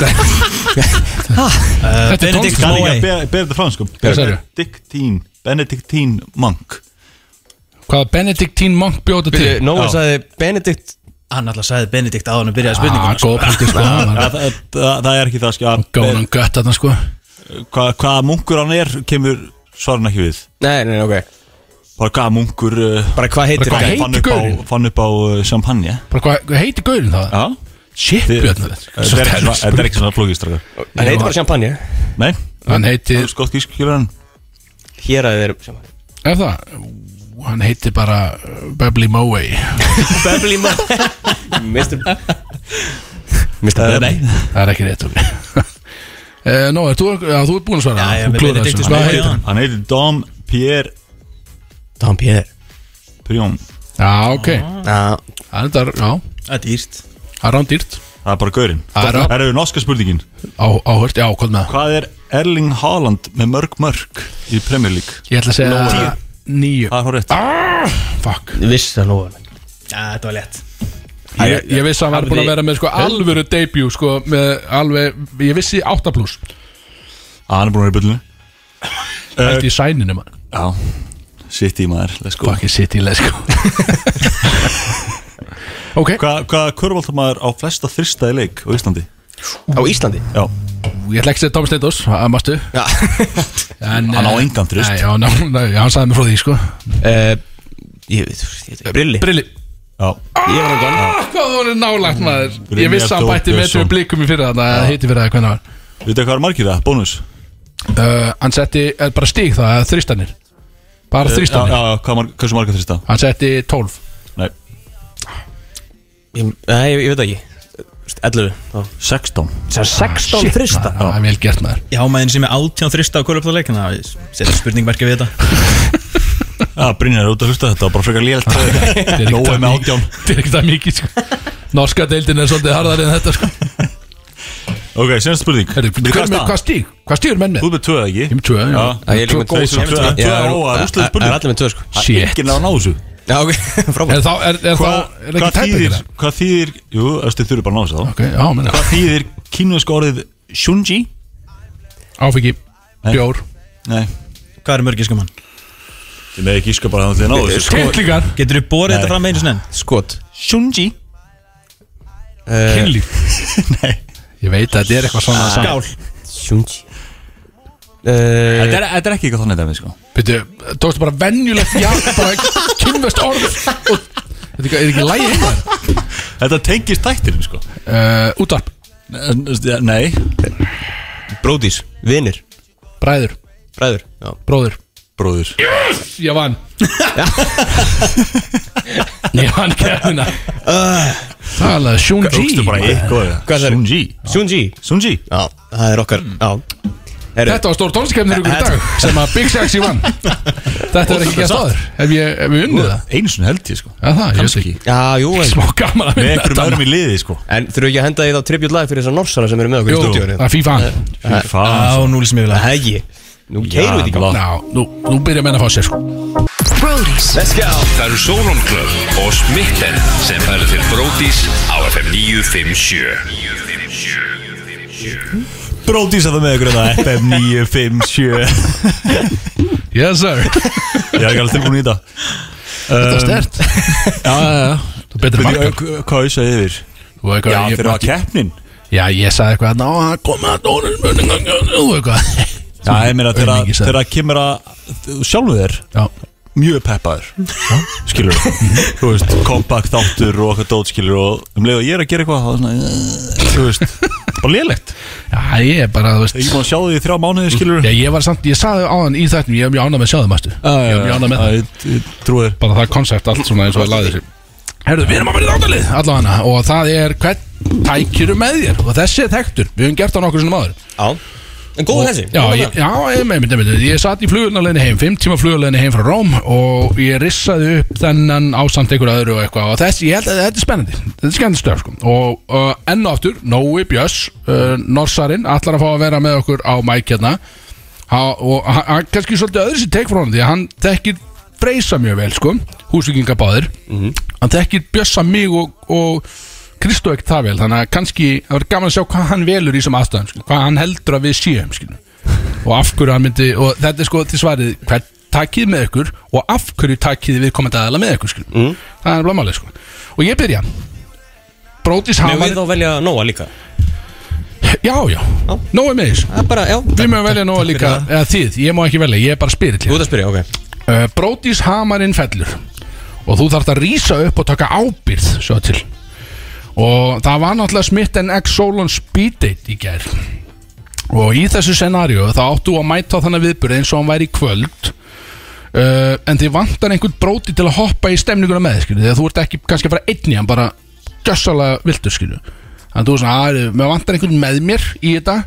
Þetta er
Benedict
tónlist
Kann ekki
Boy.
að bera bera þetta fram sko
sagðirðu?
Benedictine Benedictine Monk
Hvað Benedictine Monk bjóta til
Nói sagði Benedikt
Hann alltaf sagði Benedikt á hann að
Ah,
byrjaði
um
spurninguna sko.
góð punktur sko
Þa,
maður.
það, það það er ekki það sko
Góðan gött þarna sko
Hvaða hva munkur hann er kemur svaran ekki við
Nei, nei, nei, ok
Bara hvaða munkur uh,
Bara hvað heitir
Bara hvað heitir
þetta?
fann, upp á,
gaurinn?
fann upp á uh, champagne
Bara hvað hvað heitir gaurin það?
Já
Shit,
Þið- eh,
Björn
Þetta er
sko.
ekki svona- þetta er ekki svona flókistrakar
Hann heitir bara champagne
Nei,
Hann
það
heitir
er skott gískilur hann
Hér að þeir champagne
Er það? Ú, Hann heitir bara uh, Bubbly Moway
(laughs) Bubbly maður Mr. Mr. Bubbly
Nei
Það er ekki rétt okkur (laughs) uh, Nó, er þú, já, þú ert búin að svara
Já, já,
Þú
með
klúðrar
Benedikt
þessu.
í
Hvað
smá-
heitir hann?
Hann heitir Dom Pierre
Tom Pierre
Prion
Já, ok
Já,
Það er þetta, já
Það er dýrt
Það er rándýrt
Það er bara gaurinn
Það er-
Það eru norska spurningin
Á- Áhört, já, hvað með það?
Hvað er Erling Haaland með mörg mörg í Premier League?
Ég ætla að segja Níu
Það er hún rétt
Ah. Fuck
viss það nú
Já, þetta var lett
Ég, ég vissi að hann var búin að vera með sko alvöru debut sko með alveg, ég vissi 8 plus
Að Ah, hann er búin að vera í byllinu
Þetta í sæninu mann
Já Sitt í maður, let's go
Fucking city, let's
(laughs)
go sko. Ok,
Hvað hva, körvalda maður á flesta þrista í leik á Íslandi?
Á Íslandi
Já
ég ætla ekki að segja Tom Steindos, að mastu
Já
Hann
Hann á engan þrist.
Nei, já, ná, ná, já, hann sagði mér frá því, sko
(laughs) Eh, Ég veit, ég veit Brilli
Brilli
Já
Ég var náttúrulega
ah, Hvað þú er nálægt maður
Mm. Brynjar
Ég vissi að hann
Þór
bætti með
Björnsson.
tvö blikum í fyrir þarna eða Heiti fyrir það, hvernig
Við veitum hvað er margir það? Bónus
það var uh, Hann setti eh, bara stíg það, eða þrýstanir Bara
Eh, Já,
þrýstanir
já, hvað marg, hversu marga þrista?
Hann setti 12
Nei
Ég- Nei, ég, ég veit það ekki Þú veist, 11 þá.
16
Sem 16
Shit,
þrista
maður, Það er vel gert maður
Já, maður sem er 18 þrista á kvöluplaleik Þannig að ég setja spurningmerki við þetta
Já, Brynjar er út að hlusta þetta var bara frekar
(laughs)
lélt Nóa með átján
Þetta er ekki það
(laughs)
mikið, sko Norska deildin er svolítið harðari en þetta, sko
Ok, senast spurning
Herri,
Við
hver
hvað
með-
stað?
Hvað stíg? Hvað stígur menn með?
Þú ert með tvö, eða ekki?
Ég með tvö, já.
Já,
ég er líka með tvö,
Tveir sem
ég er með
tvö-
tvö.
Tvö
Já,
óa,
Það
rúslega
er
spurning
allir með 2 sko
Shit
Enginn að ná þessu
Já, ok, (laughs) frábært
Er þá, er, er
Hva,
þá, er ekki
hvað
tæpið
þýðir,
þetta?
hvað þýðir Jú, eftir þurfi bara að ná þessu þá
Ok, já, menna
Hvað þýðir kínveska orðið Shunji?
Áfengi,
Nei.
bjór
Nei
Hvað er mörgiskum hann?
Þið með ekki íska bara að það ná þessu sko.
Kettlingar,
Getur þú borið
Nei.
þetta fram einu sinni?
Skot
Shunji Eh.
kynlíf
(laughs)
Ég veit að þetta er eitthvað svona
Skál
Sjungi Eh,
Þetta er, þetta er ekki eitthvað þannig dæmi sko
Býttu, tókstu bara venjulegt Já, bara kynvest orð og, Þetta er ekki- er ekki lægi heima þér?
Þetta tengist tættinum sko
uh, Útvarp,
Nei
Bróðís Vinir
bræður,
Bræður Já
bróður
Bróður
Ég vann Ég vann kæðuna Talaði Sean G
Tókstu bara eitthvað
sagðirðu?
Shunji
Sjunji
Shunji
Já, það er okkar Já Heru,
Þetta var stór tónlistkefnir ykkur í dag sem að Big Sexy vann Þetta er ekki gert áður Hef ég, hef ég unnið það?
Einu sinni held ég sko
Já það, ég veit ekki
Já, jú en,
Smá gaman að
Með
vinna
einhverjum öðrum í liði sko
en þurfum við ekki að henda því þá tribute lag fyrir þessar norsana sem eru með okkur
Jú,
í stúdíóinu
það er FIFA
Eh. Fyrir
Á,
faðan, sko.
nú lísum ég vilja
Hegi Nú keirum við þetta í
Já,
gang
Já, nú, nú byrja menn að fá sér sko
Let's go
Það eru Solon Club og Smitten sem færa til Brótis á FM 957
Bróðís að það með ykkur hérna, þetta FM 957
Yes sir
(laughs) Ég er ekki alveg tilbúin í þetta
Þetta er stert Um, (laughs) Já, já, já Þú betur
Veit
margar
ég, Hvað hausaði yfir?
Þú veit hvað,
Já,
ég-
fyrir að keppnin
Já, ég sagði eitthvað Ná, það koma að dónu Nú, eitthvað (laughs)
Já, ég meina þegar
Aumingi sagði.
þegar það kemur að þú sjálfu þér
Já.
mjög peppaður skilur (laughs) þú veist, kompakt áttur og okkar dót skilur og um leið og ég er að gera eitthvað þá er svona, "Eh", þú veist, bara lélegt Mm.
Já, ég er bara, þú veist
Ég má sjá því í þrjá mánuði skilur
Já, ég var samt, ég sagði á hann í þættum Ég er mjög ánað með sjáðum, aðstu Ég er mjög ánað með það
það Trúir
Bara það konsept allt svona eins og það laði sér Herðu, við erum að vera í þáttalið allavega Og það er hvern tækjur með þér Og þessi er þekktur, við höfum gert það nokkur sinni maður
En góð þessi
Já, ég, já, ég með mynd, mynd, ég satt í flugurnalegni heim Fimm tíma flugurnalegni heim frá Róm Og ég rissaði upp þennan ásamt einhver öðru og eitthvað Og þessi, ég held að þetta er spennandi Þetta er skemmandi stöf, sko Og uh, enn og aftur, Nói Björs uh, Norsarin, allar að fá að vera með okkur á mæk hérna ha, Og ha- hann kannski svolítið öðru sér teik frá honum Því að hann þekkir Freysa mjög vel, sko Húsvíkingabáðir Hann þekkir Björsa mig og, og Kristó ekkert það vel, þannig að kannski það verður gaman að sjá hvað hann velur í þessum aðstæðum skilur, hvað hann heldur að við séum skilur. og af hverju hann myndi og þetta er sko til svarið, hvern takið þið með ykkur og af hverju takið þið við komandi aðala með ykkur skilur.
Mm.
það er blamálega sko og ég byrja Brótis
Megum við
Hamar,
þá velja Nóa líka
já já, nóg er með þess
Það er bara, já
við mögum velja nóg líka, eða þið, ég má ekki velja ég er bara spyrill
Þú ert að spyrja, ok
uh, Brótis hamarinn fellur og þú þarft að rýsa upp og taka ábyrð svo til og það var náttúrulega smitt en x Solon speed date í gær og í þessu scenaríu þá áttu að mæta á þannig viðbyrð eins og hann væri í kvöld uh, en þið vantar einhvern bróti til að hoppa í stemninguna með skilu, þegar þú ert ekki kannski að fara einn í hann bara gjössalega viltur skilu þannig að þú er svona, að, mér vantar einhvern með mér í þetta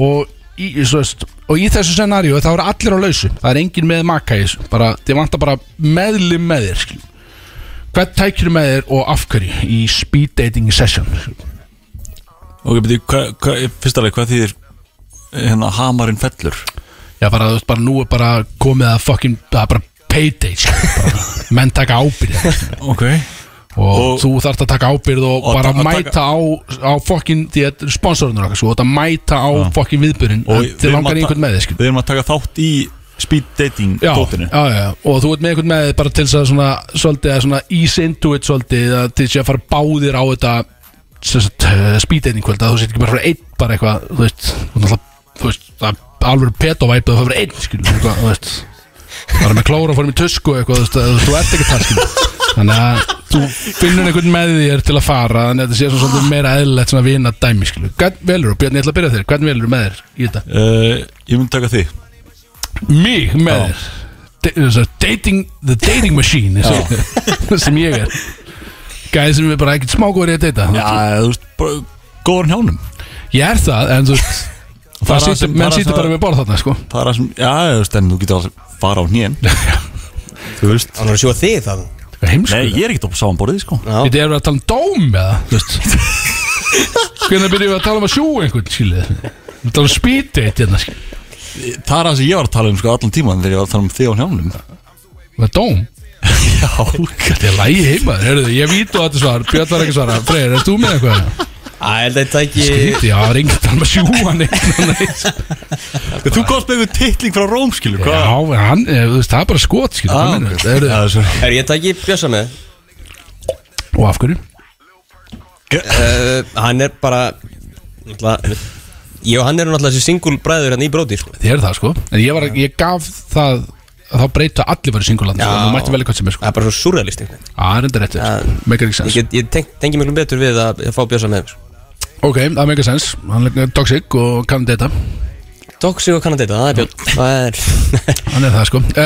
og í, svo veist, og í þessu scenaríu þá eru allir á lausu, það er engin með maka í þessu bara, þið vantar bara meðlum með þér skilu. hvern tækir með þér og af hverju í speed dating session skilu.
Ok, beti, hva, hva, fyrst alveg, hvað þýðir hérna hamarinn fellur?
já bara, þú veist, bara nú er bara komið að fucking, það er bara payday skilu, bara, (laughs) menn taka ábyrð
Ok
og,
Og-
þú þarft að taka ábyrð og,
Og
bara
taka-
mæta á, á fokkin því að sponsorunur okkar, sko, þú þarft að mæta á ja. fokkin viðbyrðin,
Og við
þið
erum
langar
að
í
ta-
einhvern með sko. þið, skil
Við erum að taka þátt í speed dating
Já,
um dótinu
já, já, og þú ert með einhvern með þér bara til þess að svona, svolítið, að svona ease into it svolítið, að til þess að fara báðir á þetta sem sagt, eh, speed dating kvöld að þú sett ekki bara fyrir einn bara eitthvað, þú veist, þú náttúrulega, þú veist, það er alveg petovæpið að fara fyrir einn, skil, eitthvað, þú veist bara með klóra fórum í tusku og eitthvað, þú veist, að þú ert ekki það, skil þannig að þú finnur einhvern með þér til að fara, þannig að þetta sé svona svolítið meira eðlilegt svona vina dæmi, skil hvern velur, Björn, ég ætla að byrja þér, hvern velur með þér í þetta?
uh, Ég mun taka þig
mig með þér Da- þess að dating, the dating machine eins og- (laughs) sem ég er gæði sem við bara ekkert smágóri að deyta
Já, þú veist, bara góðan hjánum
ég er það en þú veist
Það er
það
það
situr,
sem-
menn
það er
sýtur
það-
bara við borð þarna sko
Það er það sem, já, þú veist, en þú getur alveg fara á (laughs) hnén Þú veist
Þannig að sjóa þig það
Nei,
heimsku
ég er ekkert upp á samanborðið, sko
þetta er verið að tala um dóm eða þú veist (laughs) hvernig byrjum við að tala um að sjú einhvern skilið við tala um speed date hérna skilið
Það er það sem ég var að tala um, sko, allan tíman Þegar ég var að tala um þig á hjánum
það er dóm
Já,
þetta er lægi heima Heyrðu, ég vítu að þetta svar Björn var ekki að svara Freyr, erst þú með eitthvað?
Æ, held að þetta ekki
Skrítið, já, það er enginn að tala um að sjú hann eitthvað
þú komst með einhver titling frá Róm, skilur
Já, en hann, eh, þú veist, það er bara skot skilur,
Ah,
ah,
ok.
mennur, er,
Já, sorry.
Er ég takk í Bjössa með?
Og af hverju?
Uh, hann er bara náttúrulega- Ég og hann eru náttúrulega þessi singul bræður hérna í bróti sko.
Þið eru það sko En ég, var, ég gaf það að þá breyta allir verið singulann sko.
Já.
Nú mætti velja hvað sem er sko Ah,
Það er bara svo surrealist einhvern veginn.
Það er sko. enda réttir,
Já.
meikar ekki sens
Ég, get- ég tenk, tengi miklu betur við að, að fá Bjössa með sko. mér.
Ok, það meikar sens, hann er toxic og kann data
Toxic og Kanadita, það er Björn Það er (laughs)
Hann er það sko uh,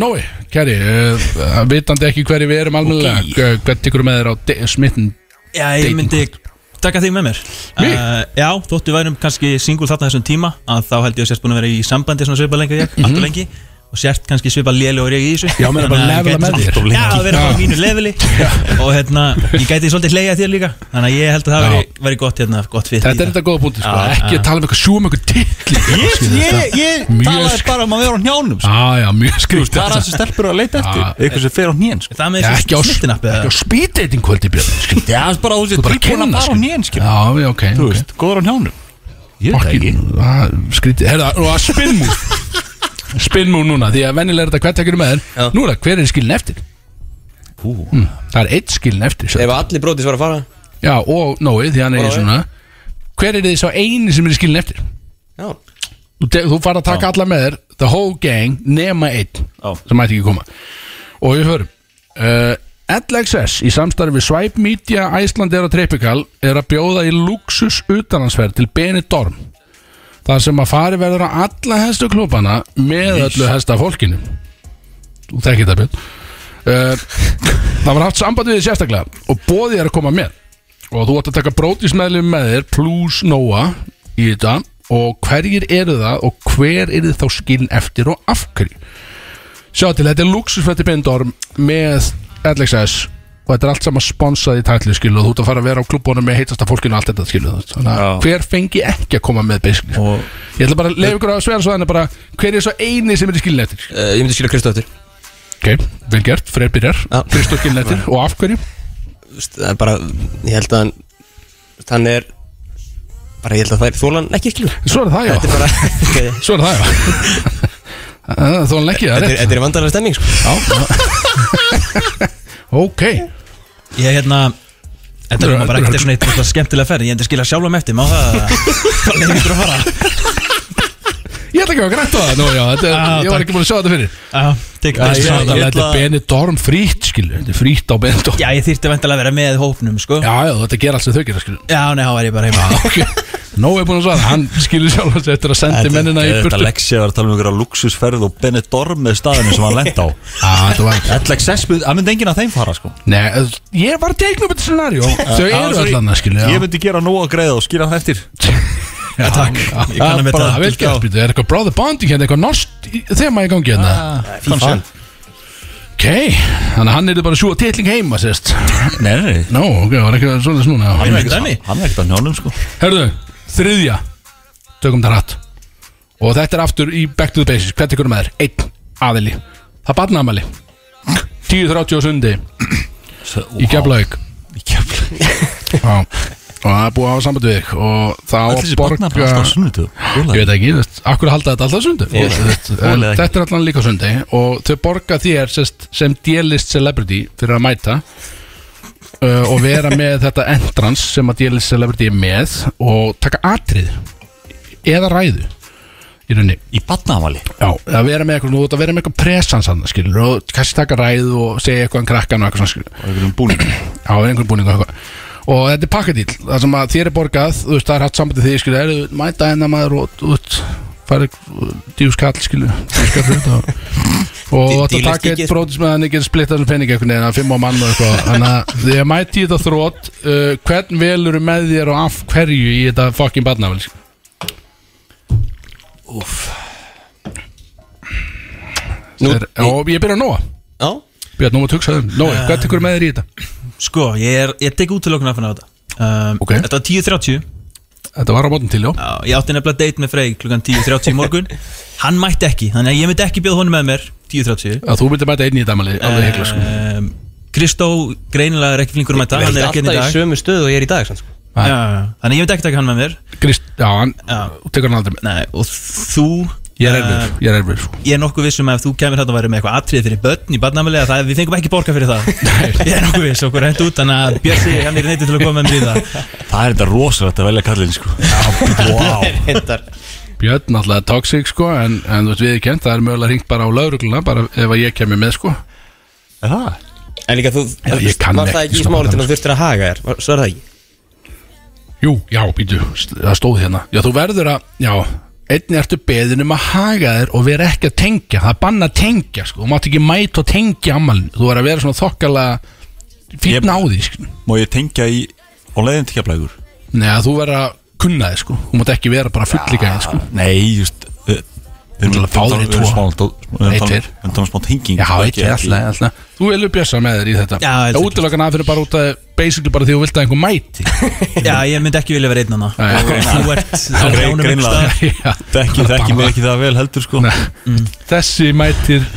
Nói, kæri, uh, vitandi ekki hverju við erum almennilega okay. Hvern tekur með þér á de- smitten
Já, ég
Dating
myndi taka þig með mér
Mig?
Uh, Já, þóttu værum kannski singul þarna þessum tíma að þá held ég að sérst búin að vera í sambandi svona svipað lengi og ég, allt og lengi og sérst kannski svipað léli og ég í þessu
Mhm. Já, meina bara
Þannig að
levela
ég gæti
með
svona-
þér.
Já, að vera
Já.
á mínu
(laughs)
leveli og hérna, ég gæti svolítið hleyja þér líka þannig að ég held að það
Já.
veri, veri gott hérna, gott fyrir
Þetta er þetta góða búti sko
Já,
Ekki
já.
að tala um eitthvað sjúum eitthvað titli
Ah, Ég, ég, ég
Mjög
talaði
sk-
bara um að vera á hnjánum, sko
Já, já, mjög skrýst
Það er það sem stelpur eru að leita
Já.
eftir Eitthvað sem fer á hnén, sko
Það með
Ekki á,
þessu snittinappi
ekki á speed dating kvöldi björn skilur.
Já, það er bara þú
Þú
sér
bara
tilbúin að
kynna
fara á hnén, sko. skilur
Já, já, ok,
Þú
ok.
veist, góður á hnjánum Ég veit það ekki
Fucking, það skrítið Herða, og að spinnmú Spinnmú núna, því að venjulega er þetta hvert tekjur með þér Nú er það, hver er skilin eftir? Mm, það er eitt skilin eftir
Ef
svo.
allir brótis var að fara
Já, og Nói, því hann er í
Nói.
svona hver er þið sá eini sem er skilin eftir
Já.
þú, te- þú farð að taka alla með þér the whole gang nema einn Já. sem mætti ekki koma og við hörum uh, LXS í samstarfi við Swipe Media Æslandir og Tropical er að bjóða í luxus utanhansferð til Benidorm þar sem að fari verður á alla hestu klubana með öllu hesta fólkinu þú þekkir það björn uh, það var haft samband við þig sérstaklega og bóðið er að koma með og þú ætti að taka brótismeðlum með þér plus Nóa í þetta og hverjir eru það og hver eru þið þá skilin eftir og af hverju Sjá til, þetta er luxusfætti bindorm með LXS og þetta er allt saman sponsað í tætlu skilu og þú ert að fara að vera á klubbónum með heitasta fólkinu og allt þetta skilu þú veist. þannig að
Já.
hver fengi ekki að koma með basically og... ég ætla bara að leiða ykkur að svera svo þannig bara hver er svo eini sem er skilin eftir
uh, Ég myndi skilja Kristó eftir
Ok, vel gert, Freyr byrjar Kristó skilin eftir og af hverju?
Það er bara, ég held að hann Hann er Bara ég held að það er þólan ekki skilja
Svo er það já
Þetta er
(laughs)
bara
Svo er
(laughs)
það já Þó hann ekki, það er
Þetta er-
rétt
þetta er vandalega stemning sko.
Ok
Ég hérna Þetta
Þetta
er nú
er-
bara ekkert svona eitt rosalega skemmtilega ferð Ég endur skilja sjálfum eftir, má það
(laughs)
Hvað leiðir þú að fara?
Ég ætla ekki að græta það nú, já, þetta, er- Ég var
Já, Ah, takk.
ekki búin að sjá þetta fyrir
Já, tek-
Já, ég-
Já,
ég- Þetta er Benidorm frýtt skilu Þetta er frýtt á Benidorm
Já, ég þýrti vantilega að vera með hópnum, sko
Já, já, þetta ger allt sem þau gera skilu
Já, nei, þá var ég bara heima
Ok, nóg er búin að svara Hann skilur sjálf hans eftir að sendi mennina í
Þetta
burtu
Alexia var að tala um einhverja luxusferð og Benidorm með staðinu sem hann lent á
Já, þetta var
LXS, myndi- hann myndi enginn að þeim fara sko
Ah, Nei, ég var að teikna upp þetta scenarió Þau
Já,
eru
sorry.
allan að skilu
Ég myndi gera nóg að greiða og skýra það eftir
Já, takk Ég kann að sko. metta
Bara vel gert, býtu, er eitthvað bráði bonding hérna, eitthvað norskt í- þema í gangi hérna
Ah.
Fífan
Ok, þannig að hann er bara að sjúa titling heima, sérst
Nei, nei, nei,
Nó, ok, það var eitthvað svona snúna
Hann er ekki þannig
hann er ekkert að njánum sko
Herðu, þriðja Tökum það rætt Og þetta er aftur í Back to the Basics Hvert ykkur er með þér? Einn aðili Það er barnaamali 10.30 á sundi Í Keflavík
Í keflaug
Já Og það er búið að hafa samband við þig Og það á
Allir
að
þessi sko,
borga
barna bara alltaf á sunnutu
Ég veit ekki, þú veist, akkur halda þetta alltaf sundu
Ég veit
veist,
ekki.
en
Þolið ekki.
Þetta er allan líka sundi Og þau borga þér sest, sem D-list celebrity Fyrir að mæta uh, Og vera með (laughs) þetta entrance Sem að D-list celebrity er með Og taka atrið Eða ræðu Í rauninni
Í barnaamali
Já, að vera með eitthvað, þú ert að vera með eitthvað presans hann, skilur, og kannski taka ræðu og segja eitthvað um krakkan og eitthvað svona, skilur
og einhverjum búning
Já, við erum einhvern búning og eitthvað Og þetta er pakkadýl, það sem að þér er borgað Þú veist, það er hatt sambandi því, skilur Er þú mæta hennar maður og út Færi djúskall, skilur Djúskall út
(laughs)
og Og þú átt að
Dí- dílist
taka
ekki,
eitt
sko.
brótis með hann ekki splitta þessum pening einhvern veginn að fimm á mann og eitthvað Þannig að því að mæti þetta þrótt uh, Hvern velur með þér og af hverju í þetta fucking barnafél sko?
Nú,
Þeir- Og ég byrja á Nóa
Já,
Björn, nú maður tugsa þeim um. Nói, hvað tekur með þér í þetta?
Sko, ég er, ég tek útilokun af hann á þetta um,
Ok.
Þetta var 10.30
Þetta var á mótum til, já
Já, Ég átti nefnilega date með Frey klukkan 10.30 í (laughs) morgun Hann mætti ekki, þannig að ég myndi ekki bjóð honum með mér 10.30
Að þú myndir mæta einn í þetta amali Alveg heikla, sko
um, Kristó greinilega er ekki flinkur um þetta
ég
Hann
er
er ekki hérna
alltaf í
í dag já,
sömu stöðu og ég er í dag sann, sko.
Nei.
já, Þannig að ég myndi ekki taka hann með mér
Krist, já, hann
Já.
þú tekur hann aldrei með
Nei, og þú
Ég er
eh,
erfur, ég er erfur, sko
Ég er nokkuð vissum að ef þú kemur hérna og væri með eitthvað atrið fyrir börn í barnamæli að það við fengum ekki borga fyrir það Ég er nokkuð viss, okkur hend út þannig að Björsi, hann er neitt til að koma með mér í það
Það er þetta rosalegt að velja kallinn sko Wow
Björn náttúrulega toxic sko en, en þú veist við kent, það er mögulega hringt bara á laurugluna bara ef að ég kemur með sko
(laughs) Er það?
En líka þú,
Já, ég kann
var
ekki
það
sko,
ekki í
svona
smáli til
þannig,
að þurftir að haga þér Var- Svo er það ekki
Jú, já, býtu, st- það stóð hérna Já, þú verður að, já, einnig ertu beðin um að haga þér og vera ekki að tengja það er banna að tengja sko, þú mátt ekki mæta og tengja ammalin, þú verður að vera svona þokkalega
Ég-
fínna á því sko.
Má ég tengja í á leiðin til keflaugur?
Nei, að þú verður að kunna þið sko, þú mátt ekki vera bara fullika þið sko
Ah, Nei, just Við
erum að fá þér í tvo. Nei, tveir.
Við erum um talað smátt henging
Já, eitt er alltaf, alltaf Þú velur bjössa með þér í þetta
Já, ég
Það útilokan að fyrir bara út að basically bara því þú vilt að einhver (laughs) mæti
Já, ég myndi ekki vilja vera einn hana
Nei.
og þú ert á
Grein-
hrjánum einhvers
greinlega.
staðar.
(laughs) Já,
Þekki,
bara
þekki mig
bannað.
ekki það vel heldur sko
Nei. Þessi mætir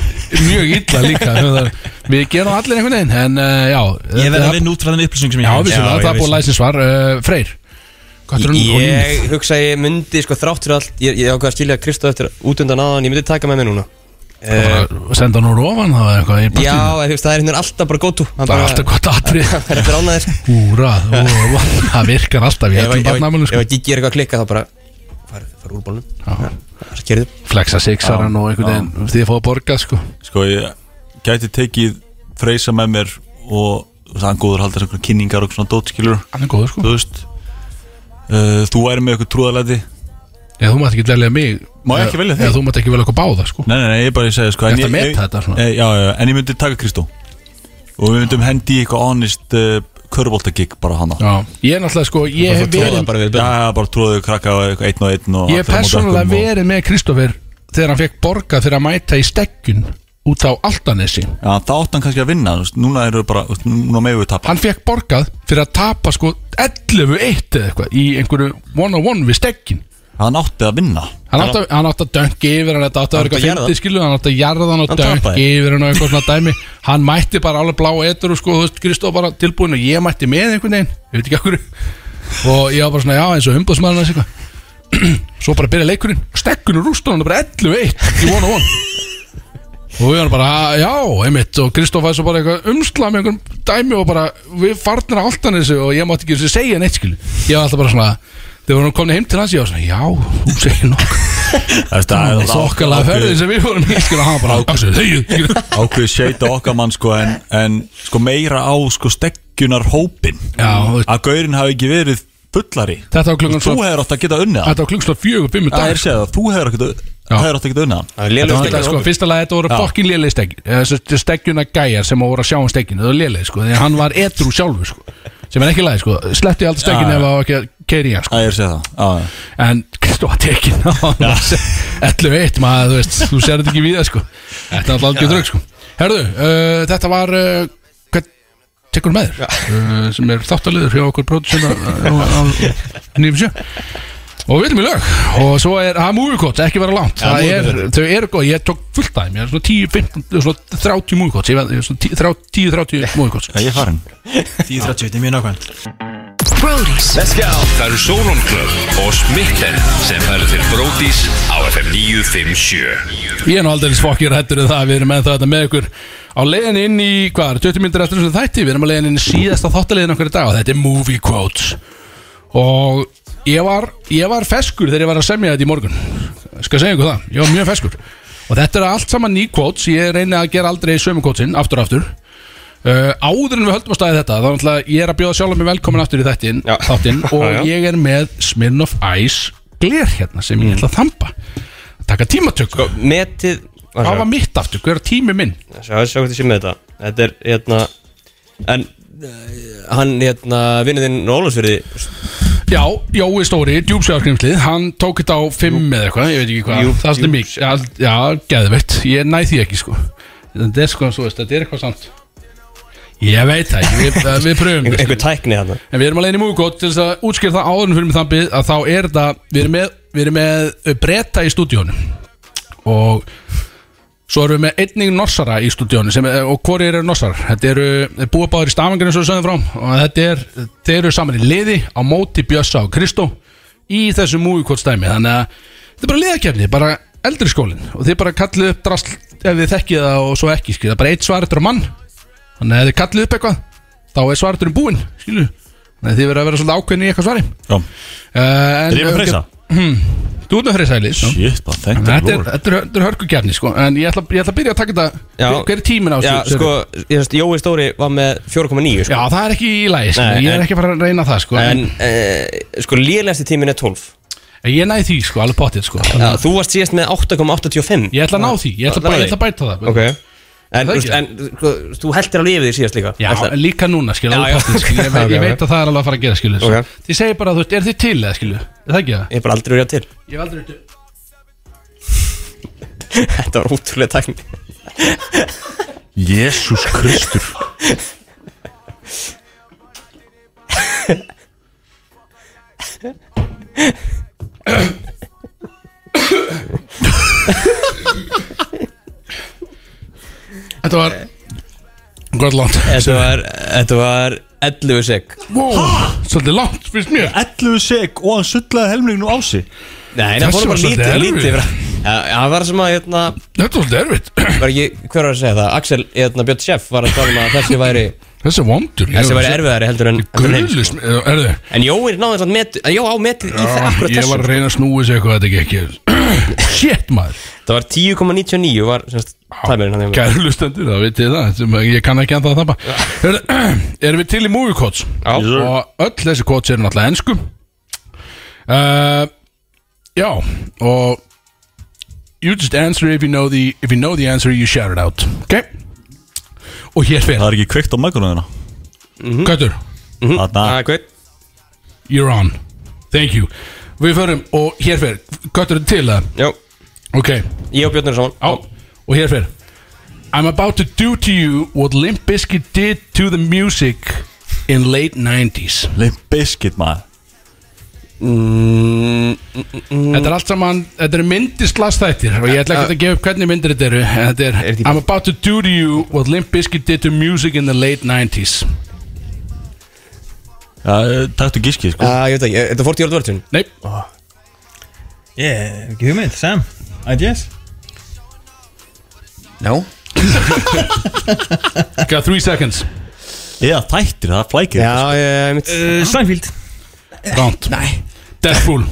mjög illa líka (laughs) Þannig að Við gerum allir einhvern veginn En uh, já
Ég verð
þetta-
að vinna út frá þeim upplýsing sem
Já,
ég hef.
vissulega, eh, það er búið læsins svar uh, Freyr Hvað er hún og lífið?
Ég hugsa að ég myndi sko þrátt fyrir allt Ég, ég ákvað að skilja Kristó eftir út undan aðan Ég myndi taka með mér núna
Bara Senda hann úr ofan það var eitthvað í
Já,
partíinu
en þú veist, það er hérna alltaf bara gótu
Það er
(laughs)
alltaf gott atrið
Það
(laughs)
er eftir ánaðir
Úra, ó, ó, það virkar alltaf í
Ef
öllum barnamælum
ef- ef
sko.
ekki gerir eitthvað klikka þá bara fara far úr bólnum Það er kerðið
Flexa sixaran og einhvern veginn Því að fá að borga sko
Sko ég gæti tekið freysa með mér og það er góður að halda einhverjum kynningar og svona dótskilur
Hann er góður, sko.
Þú veist uh, Þú væri með eitthvað trúðalæti
Já, þú mátt ekki velja mig
Má ég ekki velja þig?
Já, þú mátt ekki velja okkur báða sko
Nei, nei, nei, ég bara ég segi sko en
Ertu að
ég-
meta
ég-
þetta svona?
Eh, Já, já, já, en ég myndi taka Kristó Og við myndum hendi í eitthvað honest uh, Körbóltagig bara hana
Já, ég er náttúrulega sko Ég hef verið
bara við Já, já, bara trúðaðu krakka og eitthvað einn og einn og
Ég hef
allir á móti
persónulega
ökkum og-
verið með Kristófer Þegar hann fekk borga fyrir að mæta í stekkun Út á Altanesi
Já, þá átti hann kannski að vinna, þú veist, núna eru bara, þú veist, núna meðu við tapa
Hann fekk borgað fyrir að tapa sko 11-1 eða eitthvað Í einhverju one-on-one við stekkin
Hann átti að vinna
Hann átti, hann átti að dönki yfir hann, þetta átti að vera
Hann átti að
eitthvað
jarða.
fyndi skilu, hann átti að jarða hann og
Hann
dönki
tapaði.
yfir hann og eitthvað svona dæmi Hann mætti bara alveg blá etur og sko, þú veist, Kristóf bara tilbúin og ég mætti með einhvern veginn, ég veit ekki okkur Og ég var bara svona, já, eins og umbóðsmaðurinn hans eitthvað (clears throat) Svo bara byrja leikurinn, stekkunum rústunum, bara 11-1 í one on one Og við varum bara, "Ah, já, einmitt Og Kristóf var svo bara eitthvað umslað með einhverjum dæmi Og bara, við farnir að altan þessu Og ég mátti ekki þessu segja neitt, skilu Ég var alltaf bara svona, þegar við varum komin heim til hans Ég var svona, já, hún segir nokkuð
Það
Það er þokkalega ferðin sem við vorum í Skilja, hann bara ákvæmstu þegið
ákveðið seita okkar mann sko en, en sko meira á sko stekkjunar hópin
Já,
að gaurin hafi ekki verið fullari
Þetta var klukkan
þú
svo-
hefur átt að geta unnið hann.
Þetta var klungst á fjögur, fimmu
það
dag
er segið að þú hefur átt að, hefur átt að geta unnið hann.
Þetta var þetta, sko,
hópur.
fyrsta lagi þetta voru
Já.
fokkin léleg stekkin Þessu stekkjuna gæjar sem voru að sjá um stekkinu Það var léleg, sko, því að hann var edru sjálfu sko, Sem er ekki lagi, sko Sletti alltaf stekkinu
Já, já.
ef það var ekki að keiri hann, sko
það er segið það Já, já.
En Kristó var tekin á hann 11-1, maður, þú veist, þú sér þetta ekki víða, sko Þetta er alltaf algjör drögg, sko Herðu, uh, þetta var uh, Hvern tekur með þér uh, Sem er þáttaliður hjá okkur uh, pródusina Nýjum sjö Og við viljum í lög Og svo er að múvikot, ekki vera langt
Ja,
Það
movie
er,
quote.
Þau eru góð, ég tók fullt dæmi Ég er svona 10, 15, svona 30 múvikot Ég veit, ég er svona 10, 30, 10, 30 múvikot
Já, ég er farin
10.30, þetta er mjög nákvæmt
Brodís Let's go Það eru Solon Club og Smitten sem færir til Brodís á FM 957
Ég er nú aldrei svokkir hættur um það að við erum ennþá þetta með ykkur á leiðin inn í, hvað er, 20 minnir eftir þessu þætti, við erum á leiðin inn í síðasta þáttaleiðin okkur í dag og þetta er Movie Quotes og ég var, ég var feskur þegar ég var að semja þetta í morgun skal segja ykkur það, ég var mjög feskur og þetta er allt saman ný quotes, ég reyni að gera aldrei sömu quotesin, aftur og aftur uh, áður en við höldum að staði þetta þá er náttúrulega ég er að bjóða sjálf mig velkomin aftur í þættin, þáttin og
Já, já.
ég er með Smirnoff Ice gler hérna sem ég ætla að þampa taka tímatöku sko,
metið
það var mitt aftur, hver er tími minn
Sjá, sjá hvað þið sé með þetta Þetta er, hérna En eh, hann, hérna, vinnuðinn Ólafsfyrði
já, Jói Stóri, djúpsjáðarskrimslið hann tók þetta á fimm eða eitthvað ég veit ekki hvað,
Jú,
það er
jú.
svolítið mikið já, já, geðveitt, ég næ því ekki sko þetta er sko, svo veist, þetta er eitthvað samt ég veit það ekki, við, eh, við pröfum
Einhver- einhver tækni hérna
En við erum alveg inn í Múgótt til þess að útskýra það áðurinn fyrir mig þambið að þá er þetta, við erum með, við erum með breyta í stúdíónu og svo erum við með einning norsara í stúdíónu sem, er- og hvori eru norsarar? Þetta eru þeir búa báður í stafangarinn sem við sögum frá og þetta er, þeir eru saman í liði á móti Bjössa og Kristó í þessu Múgótt stæmi þannig að þetta er bara liðakefni, bara eldri skólinn og þið bara kallið upp drasl ef þið þekkið það og svo ekki, skilja, bara eitt svar eftir á mann Þannig að ef þið kallið upp eitthvað Þá er svarturinn búinn, skilu Þannig að þið verður að vera svolítið ákveðin í eitthvað svari
Já
uh,
Er ég með freysa?
Hmm, þú ert með freysa í lýs
Shit, bara thank the
Þetta er,
Lord.
þetta er, þetta er hörkugjarni sko En ég ætla, ég ætla að byrja að taka þetta hver, hver er tíminn á
Já,
þessu,
sko,
Sverrir?
ég veist, Jói Stóri var með 4,9 sko.
Já, það er ekki í lagi sko. Ég er ekki að fara að reyna það sko
En, eh, sko, lélæsti tíminn er 12
En ég næði því sko, alveg potið sko
Já, þú varst síðast með 8,85
Ég ætla að ná því, ég ætla, bara, ég ætla að bæta það
Ok En,
Það
þú
er
veist, en sko, þú heldur alveg yfir því síðast líka
Já,
Ætla-
líka núna skil, alveg
Já, já.
potið skil
(laughs)
Ég, veit-
Ok,
ég
ok.
veit að það er alveg að fara að gera skil
Ok.
Þið segir bara, þú veist, er þið til eða skil Er það ekki það?
Ég er bara aldrei verið til (laughs)
Ég hef aldrei til
Þetta var ótrúlega tækni
Jésús Kristur
Þetta var Gott langt
Þetta var, þetta var 11 sek
wow, Svolítið langt, finnst mér
11 seg og hann sullaði helminginu á sig
Nei, það fór bara lítið, lítið yfir að- Já, já, það var sem að, hérna
Þetta var svolítið erfitt (clears throat)
Var ekki, hver var að segja það? Axel, hérna, Björn Sjeff var að tala um að þessi væri
Þessi vondur
Þessi væri erfiðari heldur en heldur en hinn,
Guðlis,
sko.
er þið?
En Jói náði þess að meti Jó á metið í það akkurat
Ég
þessu
var að reyna að snúi sig eitthvað þetta gekk ekki (clears throat) Shit maður
Það var 10,99 var semst tæmirinn hann hefur
Kæru lustendur, það vitið það sem Ég kann ekki ennþá að þappa Heyrðu, (clears throat) Erum við til í movie quotes
Já.
Og öll þessi quotes eru náttúrulega ensku uh, Já Og You just answer if you know the If you know the answer you shout it out Ok Og hér fyrir
Það er ekki kveikt á mækunum
Gautur
Mhm.
þína Þarna,
Akkur
You're on Thank you Við förum og hér fyrir Gautur til það
Jó,
Ok
ég og Björn eru saman
Já Og hér fyrir I'm about to do to you what Limp Bizkit did to the music in late 90s
Limp Bizkit maður
Mm, mm, mm,
Þetta er allt saman, þetta er myndislasþættir og ég ætla ekki að gefa upp hvernig myndir þetta eru en þetta
Er
er
þetta í-
I'm about to do to you what Limp Bizkit did to music in the late 90s
Já, Takktu gískið sko
Já, ég veit ekki, er þetta 40 ára dvartun
Nei,
Ég, ekki hugmynd, Sam Ideas
No
got three seconds
Eða þættir, það flækir
Já, ég mitt
uh, Seinfeld
Ránt
Eh, Nei Eh.
Deadpool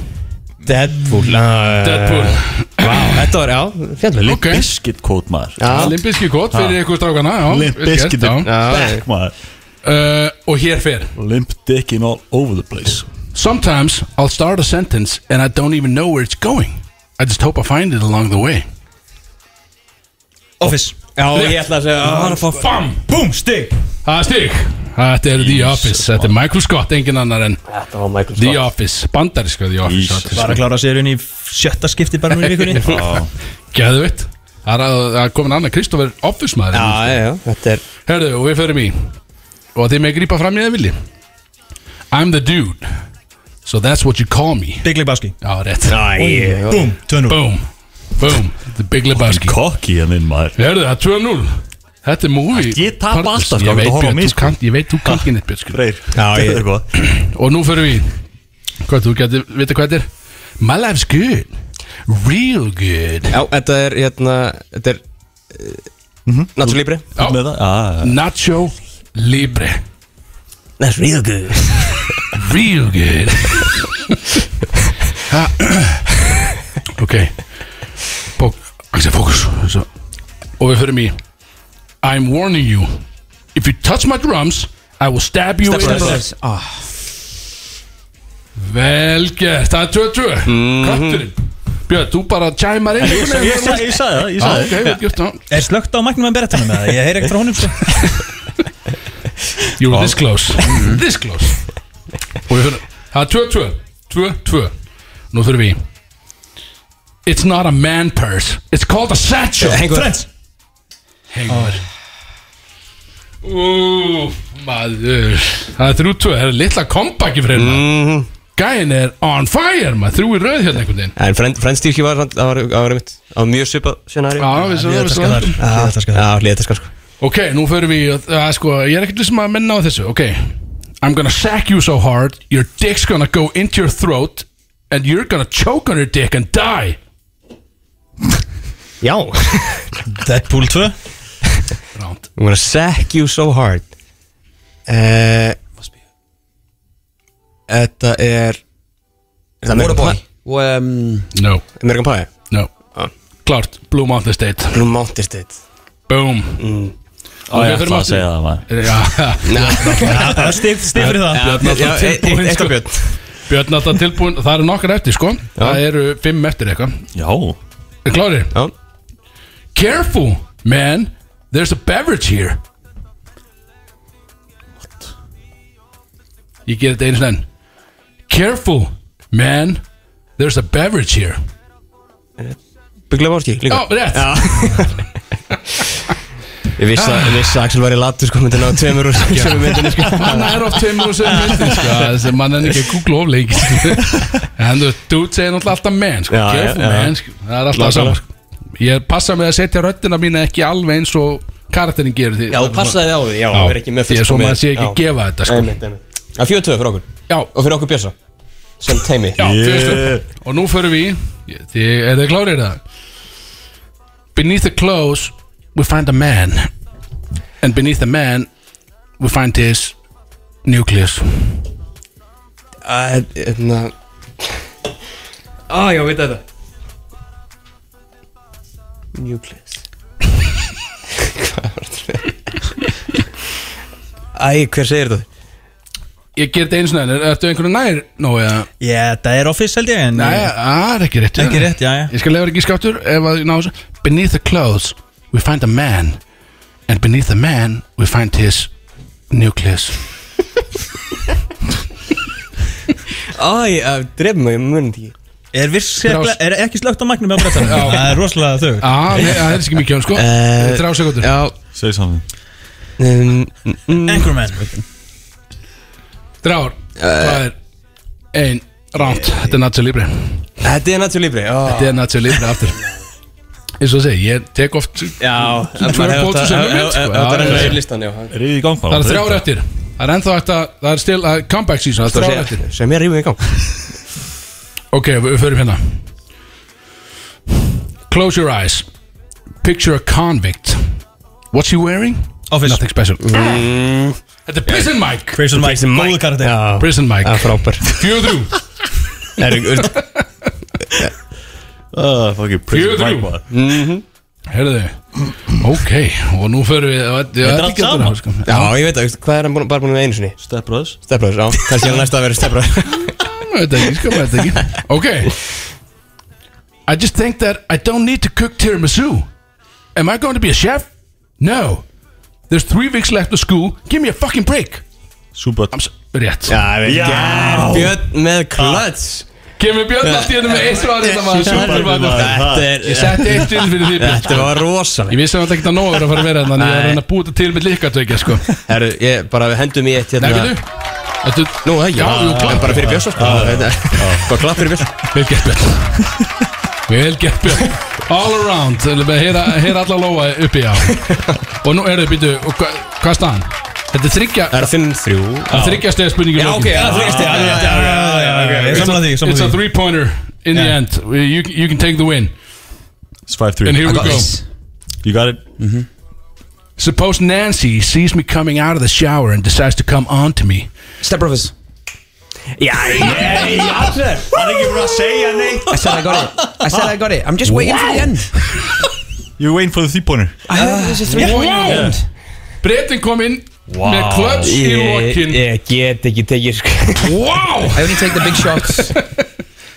Deadpool Ah, eh,
Deadpool
Vá, þetta var, já, fjallvel
Ok,
Bizkit kót maður
Já,
Limp Bizkit kót fyrir ykkur strákana já,
Limp
vel gert,
Bizkit
já.
er
já
back maður
Uh, Og hér fer
Limp Dickin all over the place
Sometimes I'll start a sentence and I don't even know where it's going. I just hope I find it along the way.
Office
Já, ég ætla að segja
Bara að fá fam Búm, stig
Það er stig. Þetta er The Office. Þetta er Michael Scott, engin annar en
Þetta var Michael
The Office. Bandariska The Office.
Jesus.
Bara að klára sér í sjötta skipti bara nú í
(laughs)
vikunni
Gæðvitt. Það er að- það er komin annar Kristoffer Office maður.
Já, já, já, þetta er
Herðu, og við förum í. Og þið með grípa fram í það vilji. I'm the dude. So that's what you call me.
Big Lebowski
Já, rétt.
Æ,
Búm, tönur
Boom. Boom. The Big Lebowski.
Kokki hann inn maður
Herðu, það er 2-0. Þetta er movie
Ég tapa
partners.
alltaf, sko,
Ég veit,
þú horfir á
Björn,
mig,
þú
sko.
kannt- ég veit, þú kannt ekki neitt Björn sko.
Freyr,
Já, ég-
gerðu eitthvað
Og nú förum við í- Hvað, þú getur, vita hvað þetta er? My life's good Real good
Já, þetta er, hérna, þetta er Nacho Libre
Þú með það? Ah. Já, já,
Nacho Libre
That's real good
Real good Ha, Ok Bók, Axel, fókus Svo. Og við förum í I'm warning you If you touch my drums I will stab you in the
brothers.
breast Vel gert, það er 2-2 Katturinn Björn, þú bara tjæmar inn Ég
já. Mhm. Ég sa- Ég sagði það, ég
Já,
sagði
ok, vel gert já.
Er slögt á magnum að bera tannum með það? Ég heyri ekkert frá honum sko
You were this close (laughs) This close Og við höfum Það er 2-2 2-2 Nú þurfum við í It's not a man purse It's called a
Eh,
satchel
Friends
Hengur Ú, maður Það er 3-2 Það er litla kompaki fyrir hérna
Mhm.
Gæin er on fire maður Þrjú í röð hérna einhvern veginn
En frendstýrki var, samt- það var, það var einmitt Það var mjög svipað scenari
Já, við svo, við
Liðataska
svo.
þar Liðataska þar
Já, liðetaska sko
Ok, nú förum við í að- að sko, Ég er ekkert vissum að menna á þessu Ok I'm gonna sack you so hard Your dick's gonna go into your throat And you're gonna choke on your dick and die
Já
Deadpool 2
Ránt
I'm gonna sack you so hard Eh, Þetta er Þetta er American Pie
um,
No,
American Pie
no
Ah.
Klart, Blue Mountain State
Blue Mountain State
Boom
Mm.
Á, ég ætla að segja það maður
Já,
(laughs)
Stig stig fyrir það
Björn
Já,
alltaf
e- e-
tilbúin
eitt á
sko.
björn
Björn alltaf tilbúin Það eru nokkar eftir sko Það eru fimm eftir eitthvað
Já,
Er klárir?
Já.
Careful, man There's a beverage here What? Ég ger þetta einu sinni enn. Careful, man There's a beverage here Oh,
Big Lebowski líka
Já, rétt
Ég vissi að, ég vissi að Axel var í latu sko myndi ná tveimur úr sömu myndinni sko
Hann er oft tveimur og sem myndi sko. Þessi mann er ekki að googla of leik En þú dude segir náttúrulega alltaf man sko.
Já, já,
Careful,
já.
man sko. Það er alltaf
Nákvæmlega.
saman sko. Ég passa mig að setja röddina mína ekki alveg eins og karakterin gerir því
Já, þú passaði á því, já,
Já,
það er ekki með
Ég er svo
fullkomið-
maður sé ekki
Já.
gefa þetta sko.
Einmitt, einmitt. Það er fjóðu tvö fyrir okkur
Já,
Og fyrir okkur Björsa sem teimi
Já, yeah. fyrstu Og nú förum við í Þið, er þið klárið það? Beneath the clothes We find a man And beneath the man We find his Nucleus
Æ, hérna Á, Ah, já, veit þetta Nucleus Hvað var þetta? Æ, hver segir þetta?
Ég ger þetta eins og næður Ertu einhvern nær Nó eða
Já, það er office held ég en
Nei, ah, það er ekki rétt
Ekki rétt, já, já.
Ég skal lefa ekki skáttur Ef að ég ná þessu Beneath the clothes We find a man And beneath the man We find his Nucleus
Æ, að drefum mig, ég mun ekki
Er, virkilega- er ekki slögt á magnum með brettanum? Það er rosalega þau
Já, Ah, nei, það er ekki mikið um sko
Eh,
Þrjá sekundur
Já
Segð saman
um, mm,
Anchorman
Þrjár Það er Ein Ránt Þetta er Nacho Libre
Þetta er Nacho Libre
Þetta er Nacho Libre aftur eins og segi, ég tek oft
Já,
Tvöru bótu sem hugmynd sko.
Það er
Já, já,
ennþá
já.
í listan, já
Ríði í gang
Það er þrjár eftir Það er ennþá eftir að- Það er still að comeback season Það er þrjár eftir
Sem ég rífum í gang
Ok, við við förum hérna Close your eyes Picture a convict What's he wearing?
Office
Nothing special Þetta er prison mic
Prison Mike, góðu karakter
Prison mic
Það er frábær
Fjögur þrjú
Er,
Ah, fucking prison
Fjögur
mic
þrjú.
maður.
Herðu Ok, og nú förum við Þetta sko.
er allt saman.
Já, ég veit það, hvað er hann búinn- bara búin með einu sinni?
Step Brothers
Steflaður, já, kannski er hann næst að vera steflaður
Þetta ekki, sko, þetta ekki Ok I just think that I don't need to cook tiramisu Am I going to be a chef? No There's three weeks left of school Give me a fucking break
Súböt
I'm s- Rétt
Já, við gerum Björn með klöts
Kemur Björn allt í hennu með eitt svar Þetta var super vann
Þetta er
Ég setti eitt til fyrir því Björn
Þetta var rosalega
Ég vissi að þetta ekki að nóg er að fara að vera Þannig að ég er að reyna að búta til með líkatökja sko
Herru, ég bara við hendum í eitt
Nei,
hérna
veitu Þetta
Nú, það ekki
Já, jú, klapp.
En bara fyrir Björn svo sko Þetta- Bara klapp fyrir Björn
Vel gert Björn Vel gert Björn All around Þegar við heyra, heyra alla lóa uppi á Og nú er þau býtu og hva, Hvað er staðan? Þetta er þryggja
Það er 5-3
Þryggja stegar spurningi
Já, ok, það er þryggjast
Já, já, já, já, já, já, já, Samla því,
It's
samla
a
því
three pointer in the end you, you can take the win
It's 5-3
And here we go
You got it
Suppose Nancy sees me coming out of the shower And decides to come on to me
Step Brothers
Yeah, yeah,
Það er ekki verið að segja neitt
I said I got it. I said I got it. I'm just waiting for the end.
You're waiting for the three-pointer
I heard there's a three point end.
Bretin kom inn Með klöps í lokin
Ég get ekki tekið sko
Wow
I only take the big shots.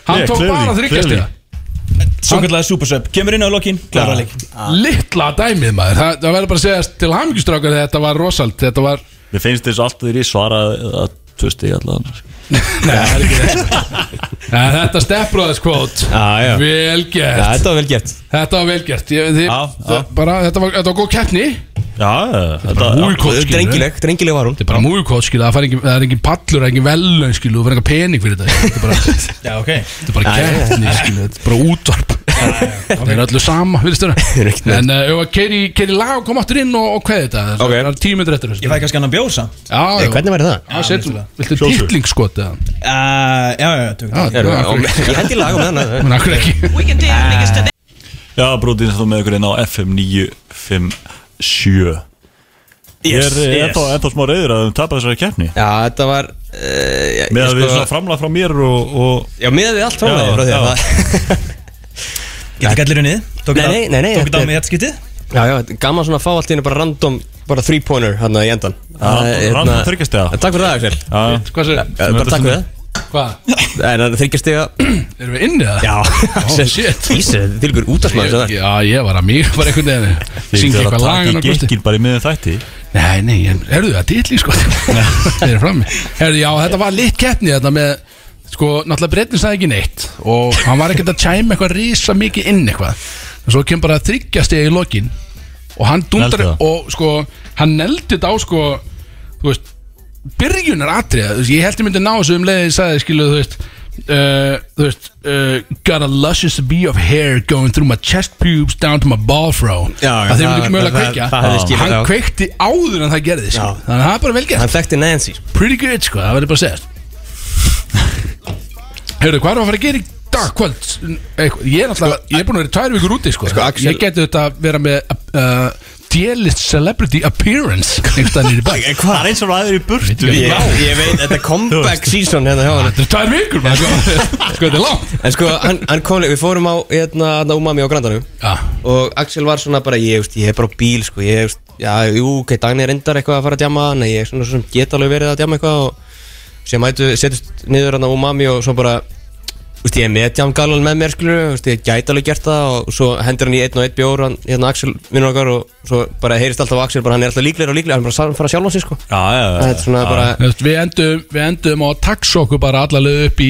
Hann
Yeah,
tók
clearly,
bara þryggja
clearly.
stegar
Svo kallega Supersub Kemur inn á lokin, klara leik
Littla dæmið maður Það, það verður bara að segja til hamingustrákar Þetta var rosalt Þetta var
Mér finnst þess alltaf þegar ég svara að tvö stig allan
Nei, það er ekki rétt En Þetta stefbróðiskvót
Já, já.
Vel
Já,
gert
þetta var vel gert
Þetta var vel gert Ég, þið,
Já, já.
það- bara, þetta, var, þetta var góð keppni
Já, þetta
Mújukótt Þetta
Drengileg, drengileg var hún
er bara mújukótt skilu Það fær engin- það er engin pallur, það er engin velun skilu Þú fær engin pening fyrir þetta Þetta er bara, þetta
Já, ok
er bara keppni skilu Þetta er bara útvarp (laughs) Það er öllu sama virðist
er
vera.
ekkert neitt.
En uh, Keiri keiri lag og kom aftur inn og, og hvað þetta
Ok.
Það er tímyndur eftir
Ég
þessu
fæ kannski annan bjór samt
Já, já.
Eh, Hvernig væri það?
Já, setjum
vissulega.
Viltu
Sjóðsug.
tittlingsskot eða?
Uh, Já, já, já, tökum
Já,
Er-
já, (laughs)
á- Ég hendi lag um þannig
Men akkur ekki
We can damn niggas today.
Já, bróðin sem þú með ykkur inn á FM 957 Ég er eh, ennþá, ennþá smá reyður að þau tapa þessari keppni
Já, þetta var uh, ég,
Með að
ég
við
sko-
svona framlega frá mér og, og
Já, miðað við allt frá
Já,
mig frá því að
já.
það
Geti gætlir henni Tók
Nei,
þetta-
nei, nei, nei,
Tók
þetta
þetta á
er-
mig þetta skytti
Já, já, þetta er gaman svona að fá allt í henni bara random bara three pointer hérna í endan Það er, hérna-
random þryggjastega
Takk fyrir það, Axel
Já,
Hvað sér?
Já, bara takk fyrir
Hvað?
það En það þryggjast ég að
Erum við inni það?
(laughs) Já, Axel
shit.
Ísir, þetta er til ykkur útastmaður sem það er.
Já, ég var að mig bara einhvern veginn Syngja
Þegar
eitthvað
það
lagan
taka
og
í
kosti
gekkin bara í miðum þætti
Nei, nei, herðu það, dýtling
(laughs)
sko Það er frammi Herðu, já, þetta var lit keppni þetta með Sko, náttúrulega breytin sagði ekki neitt Og hann var ekkert að tæma eitthvað rísa mikið inn eitthvað En svo kem bara að þryggja stiga í lokin Og hann dundar
Negldi það.
Og sko, hann neldi þetta á sko Þú veist, byrjunar atriða Þú veist, ég held ég myndi ná þessu um leiði Sæði, skilu, þú veist Uh, þú veist uh, Got a luscious bee of hair Going through my chest pubes Down to my ball throw
Já,
Það þeim
já, það-
myndi ekki mögulega
það-
kveikja
það hefði skilið,
Hann
já.
kveikti áður en það gerði sko. Þannig að það er bara vel gert
Hann þekkti Nancy
Pretty good sko, það verður bara að segja (laughs) Heyrðu, hvað erum við að fara að gera í dag, kvöld? Eitthvað, Ég er náttúrulega, ég er búin að vera í tvær vikur úti, sko,
Axel-
Ég geti þetta að vera með uh, D-list celebrity appearance Einhvern veginn í bæk
Það er eins og ræður í burtu
Ég, ég veit, þetta er comeback season hérna hjá hann
Þetta er tvær vikur, maður sko, (laughs) sko, þetta er langt
En sko, hann, hann kom, við fórum á hérna, hérna, umami á grandanum
ja.
Og Axel var svona bara, ég, veist, ég er bara á bíl sko, ég, veist, Já, jú, ok, Dagni er reyndar eitthvað að fara að djama Nei, ég er svona sem get alveg verið að djama eitthvað Og sem mætu, setjast niður hérna umami og svo bara Vist, ég er með djamgalan með mér skilur Vist, ég gæti alveg gert það og svo hendur hann í einn og einn bjór hann, hérna Axel vinnur okkar og svo bara heyrist alltaf á Axel bara hann er alltaf líklegir og líklegir hann er bara að fara sjálf á sig sko
Já, já, já
Þetta er svona
já.
bara-
Þú veist, Við endum, við endum á að taxa okkur bara allaveg upp í,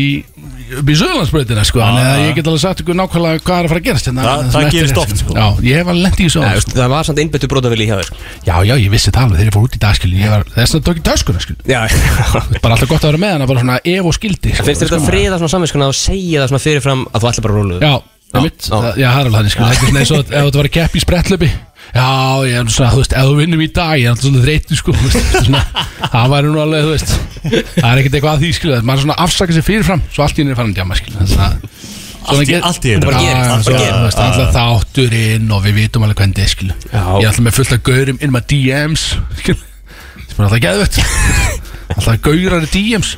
upp í Söðurlandsbreytina sko, Þannig að ég get alveg sagt ykkur nákvæmlega hvað er að fara að gerast hérna,
Það-
það
það
sem eftir
gerist
er,
oft, sko.
Já, ég hef alveg lent í þessu
Nei,
áður, sko.
veist, það var samt einbættu brótavili hjá þér sko.
Já, já, ég vissi það alveg þegar ég fór út í dagskilin Ég var þess að tók í töskuna skil
Já, Sko,
Bara alltaf gott að vera með hana, bara svona ef og skildi sko,
En finnst þér þetta friða svona samvinskuna og segja það svona fyrirfram að þú ætla bara að róla þig?
Já, einmitt. Það- já, það er alveg þannig skil Þetta er svona eins og að- ef þetta var að keppi í sprettlöpi Já, ég er svona, þú veist, ef þú vinnum í dag Ég er alltaf svona þreytu sko þú veist, svona, Það væri nú alveg, þú veist Það er ekkert eitthvað að því skil Maður svona afsaka sér fyrirfram, svo allt í henni er farin djama skil
Allt í- allt í einu. Bara gerist,
Það
allt bara gerist.
er alltaf þátturinn og við vitum alveg hvernig þetta er skil Ég er alltaf með fullt af gaurum inn með DMs skil sem er alltaf geðvett alltaf gaurar í DMs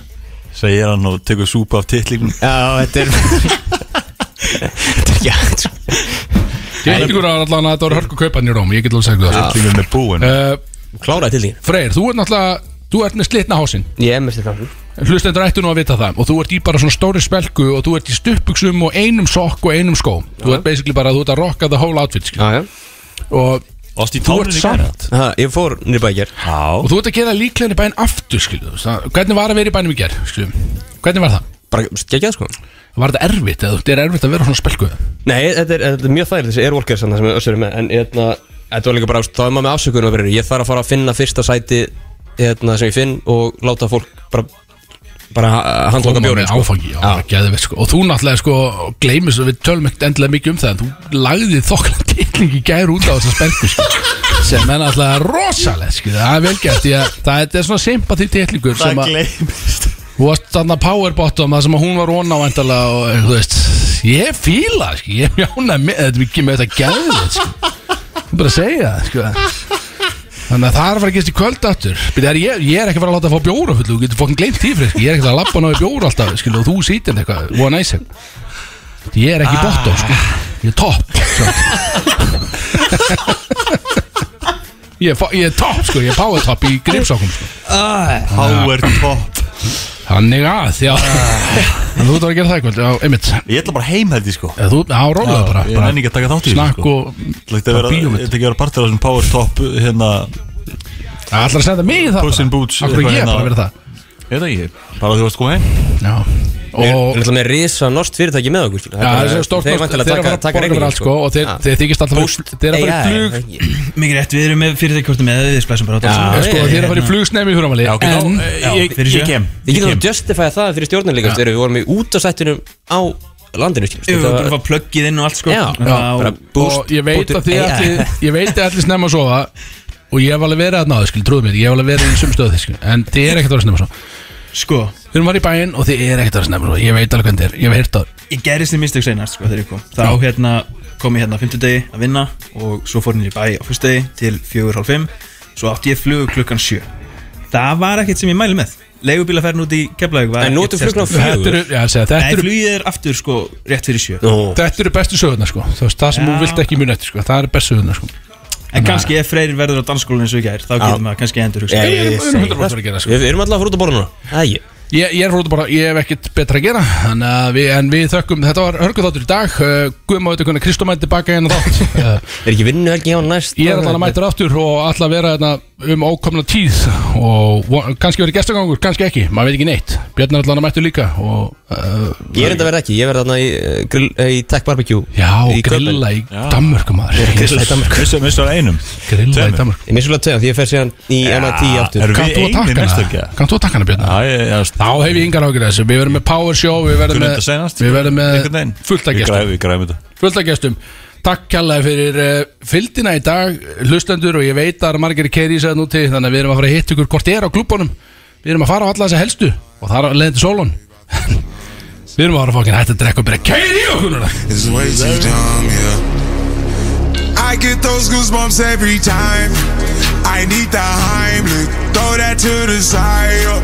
Segir hann og tekur súpa af titlingum
Já, þetta er Já,
Ég veit ykkur að allan að þetta voru hörku kaupan í Róm Ég get alveg sagt það
Titlingum er búin
uh,
Kláraði til þín
Freyr, þú ert náttúrulega Þú ert með slitna hásinn
Ég er mest þetta
Hlustendur ættu nú að vita það Og þú ert í bara svona stóri spelku Og þú ert í stuppuksum og einum sokk og einum skóm Þú ert basically bara, þú ert að rocka the whole outfit skil.
Já, já
Og
Ást í
Þú ert
tóninu
samt-
Ha, Ég fór nýr bækjar
Og þú ert að gera líklegin í bæn aftur skilu, Hvernig var að vera í bænum í ger skilu? Hvernig var það?
Bara geggjað sko
Var þetta erfitt eða þetta er erfitt að vera svona spelku
Nei, þetta er, þetta er mjög þærið þessi airwalkers þarna sem össur er með En hérna, þetta var líka bara, þá er maður með afsökunum að vera Ég þarf að fara að finna fyrsta sæti hérna, sem ég finn Og láta fólk bara, bara ha- handloka sko.
Koma
bjórinn
með áfangi, já, já. Geðveit, sko. Og þú náttúrulega sko gleymis og við tölum ekkert endilega mikið um það en þú lagði þokkla tilning í gær út á þessa spengu sko, sem er náttúrulega rosaleg sko, það er vel gert því að það þetta er svona sympati tilningur sem að
gleymist
þú varst þarna powerbottom það sem að hún var onna væntalega og þú veist ég fíla, það, sko, ég mjána með þetta er mikið með þetta geðveit sko. Ég bara að segja það sko Þannig að það er að fara að gerast í kvöld aftur Býta, er, ég, ég er ekki að fara að láta að fá bjóra fullu Þú getur fokkin gleymt því fyrir sko. Ég er ekki að lappa náðu bjóra alltaf skilu, Og þú sýtir eitthvað, one nice Ég er ekki ah. bottom sko. Ég er topp sko. ég, er fo- ég er topp sko. Ég er power top í gripsákum sko.
Power top
Þannig að já.
Ah.
En Þú ert að fara að gera það í kvöld Já, einmitt
Ég ætla bara heim held ég sko
Þú, á, rólaðu bara,
Ég
bara
nenni ekki að taka þátt í sko.
Snakk og-
Ég ætla
bara
ekki
bíómynd.
að vera partur af þessum power top Hérna
Það ætlar að senda mig í það
Puss in boots hérna.
Akkur ég bara að vera það
Ég veit ekki Bara þú varst komið heim
Já
Við erum alltaf með risa norskt fyrirtæki með okkur skilur.
Já, það er svo stórt
Þeir
kost-
væntanlega
þeir eru að
taka-
fara að
taka
borga fyrir
reikningin,
allt, sko, og þeir-
Já.
þeir þykjast alltaf-
Boost
þeir eru að fara í
AI,
flug.
það ekki.
(laughs) Mikið rétt, við erum með fyrirtækkortum með við splæsum bara á
Ah.
Já,
þetta.
já,
Sko,
já,
þér er að fara í
hérna.
flugsnefn í hurumali
Já, ok, þá,
En
eh,
Já,
ég,
fyrir
ég,
sjö.
kem
Við getum að justify það fyrir stjórnin líka Við vorum í út af sættinum á landinu skilur.
Við
Þetta
vorum bara
var-
að fá pluggið inn og allt sko.
Já,
Þá-
bara
og
boost
ég veit
bútur
að þið
AI.
allir ég veit að allir snemma að sofa og ég hef alveg verið að náðu, skil, trúðu mér ég hef alveg verið í sum stöðu, skil, en þið er ekkert að vera snemma að sofa
Sko,
við erum var í bæinn og þið er ekkert að vera snemma að sofa ég veit alveg hvernig þið er, ég hef heyrt það
ég gerði sér mistök seinast sko þegar ég kom. Þá hérna kom ég hérna á fimmtudegi að vinna og svo fór nýri bæ á fyrstudegi til fjögur hálf fimm. Svo átti ég flug klukkan sjö. Það var ekkert sem ég mæli með. Leigubílaferðin út í Keflavík var
En nú ertu
ekkert
flugna á (laughs)
sérstakt.
þetta eru, já, segja, þetta
Nei,
eru,
flugið er aftur sko rétt fyrir sjö.
Nú.
þetta eru bestu sögurnar sko, þú veist, það sem þú
Já.
vilt ekki muna eftir sko, það eru bestu sögurnar sko
En kannski ef Freyr verður á dansskólinni svo í gær, þá getur maður kannski endur
Já,
hugsa.
Við erum- við
ég
erum
segi
100% að gera, sko.
Við við erum alltaf að fara út að borða núna Æ,
Ég, ég er frá út að bara, ég hef ekkert betra að gera Þannig að við, en við þökkum, þetta var hörguþáttur í dag uh, Guðma veitur hvernig Kristó mætti baka hérna þátt uh,
er ekki vinnu helgi hjá næst
Ég er um alltaf mættur aftur og alltaf vera hérna um ókomna tíð Og von- kannski verið gestagangur, kannski ekki, maður veit ekki neitt Björn er alltaf mættur líka og, uh,
Ég er enda verið ekki, ég verði þarna í, eh, grill, eh, í Tech Barbecue
Já,
í Köpen.
grilla í Danmörku maður
Grilla í Danmark
Missa, missa einum
Grilla í
Tveimur.
Danmörku
Ég misst svolítið að því ég fer síðan í MIT aftur
Erum
Kannt
við
þú að
einir
taka
næstu
hana?
ekki?
Kannt þú að taka hana Björn?
Já, ég, já, st-
Þá hef ég yngar ágjur þessu, við verðum með power show Við verðum
Kunnum þetta
með,
seinast?
við verðum
einhvern
með
veginn
fullt að
Við
gestum
græfum- Við græfum þetta
fullt af gestum Takk kjallaði fyrir uh, fylgdina í dag hlustendur og ég veit að það eru margir keiri í sæðan úti þannig að við erum að fara að hitta ykkur hvort er á klubunum (laughs) við erum að fara á alla þessa helstu og það er að leiðin til sólun Við erum að vera fokkin hætt að drekka og byrja að keira í okkur núna
It's way too dumb, yeah. I get those goosebumps every time. I need the Heimlich, throw that to the side. yo.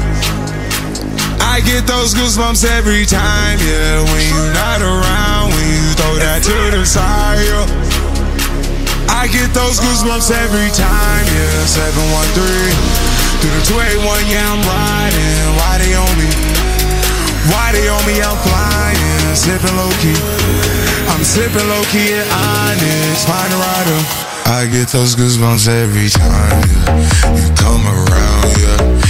I get those goosebumps every time, yeah. When you're not around, when you throw that to the side. yo. I get those goosebumps every time, yeah. 713 through the 281, yeah, I'm riding. Why they on me? Why they on me? I'm flying, sipping low key. I'm sipping low key and honest. Find a rider. I get those goosebumps every time yeah. you come around, yeah.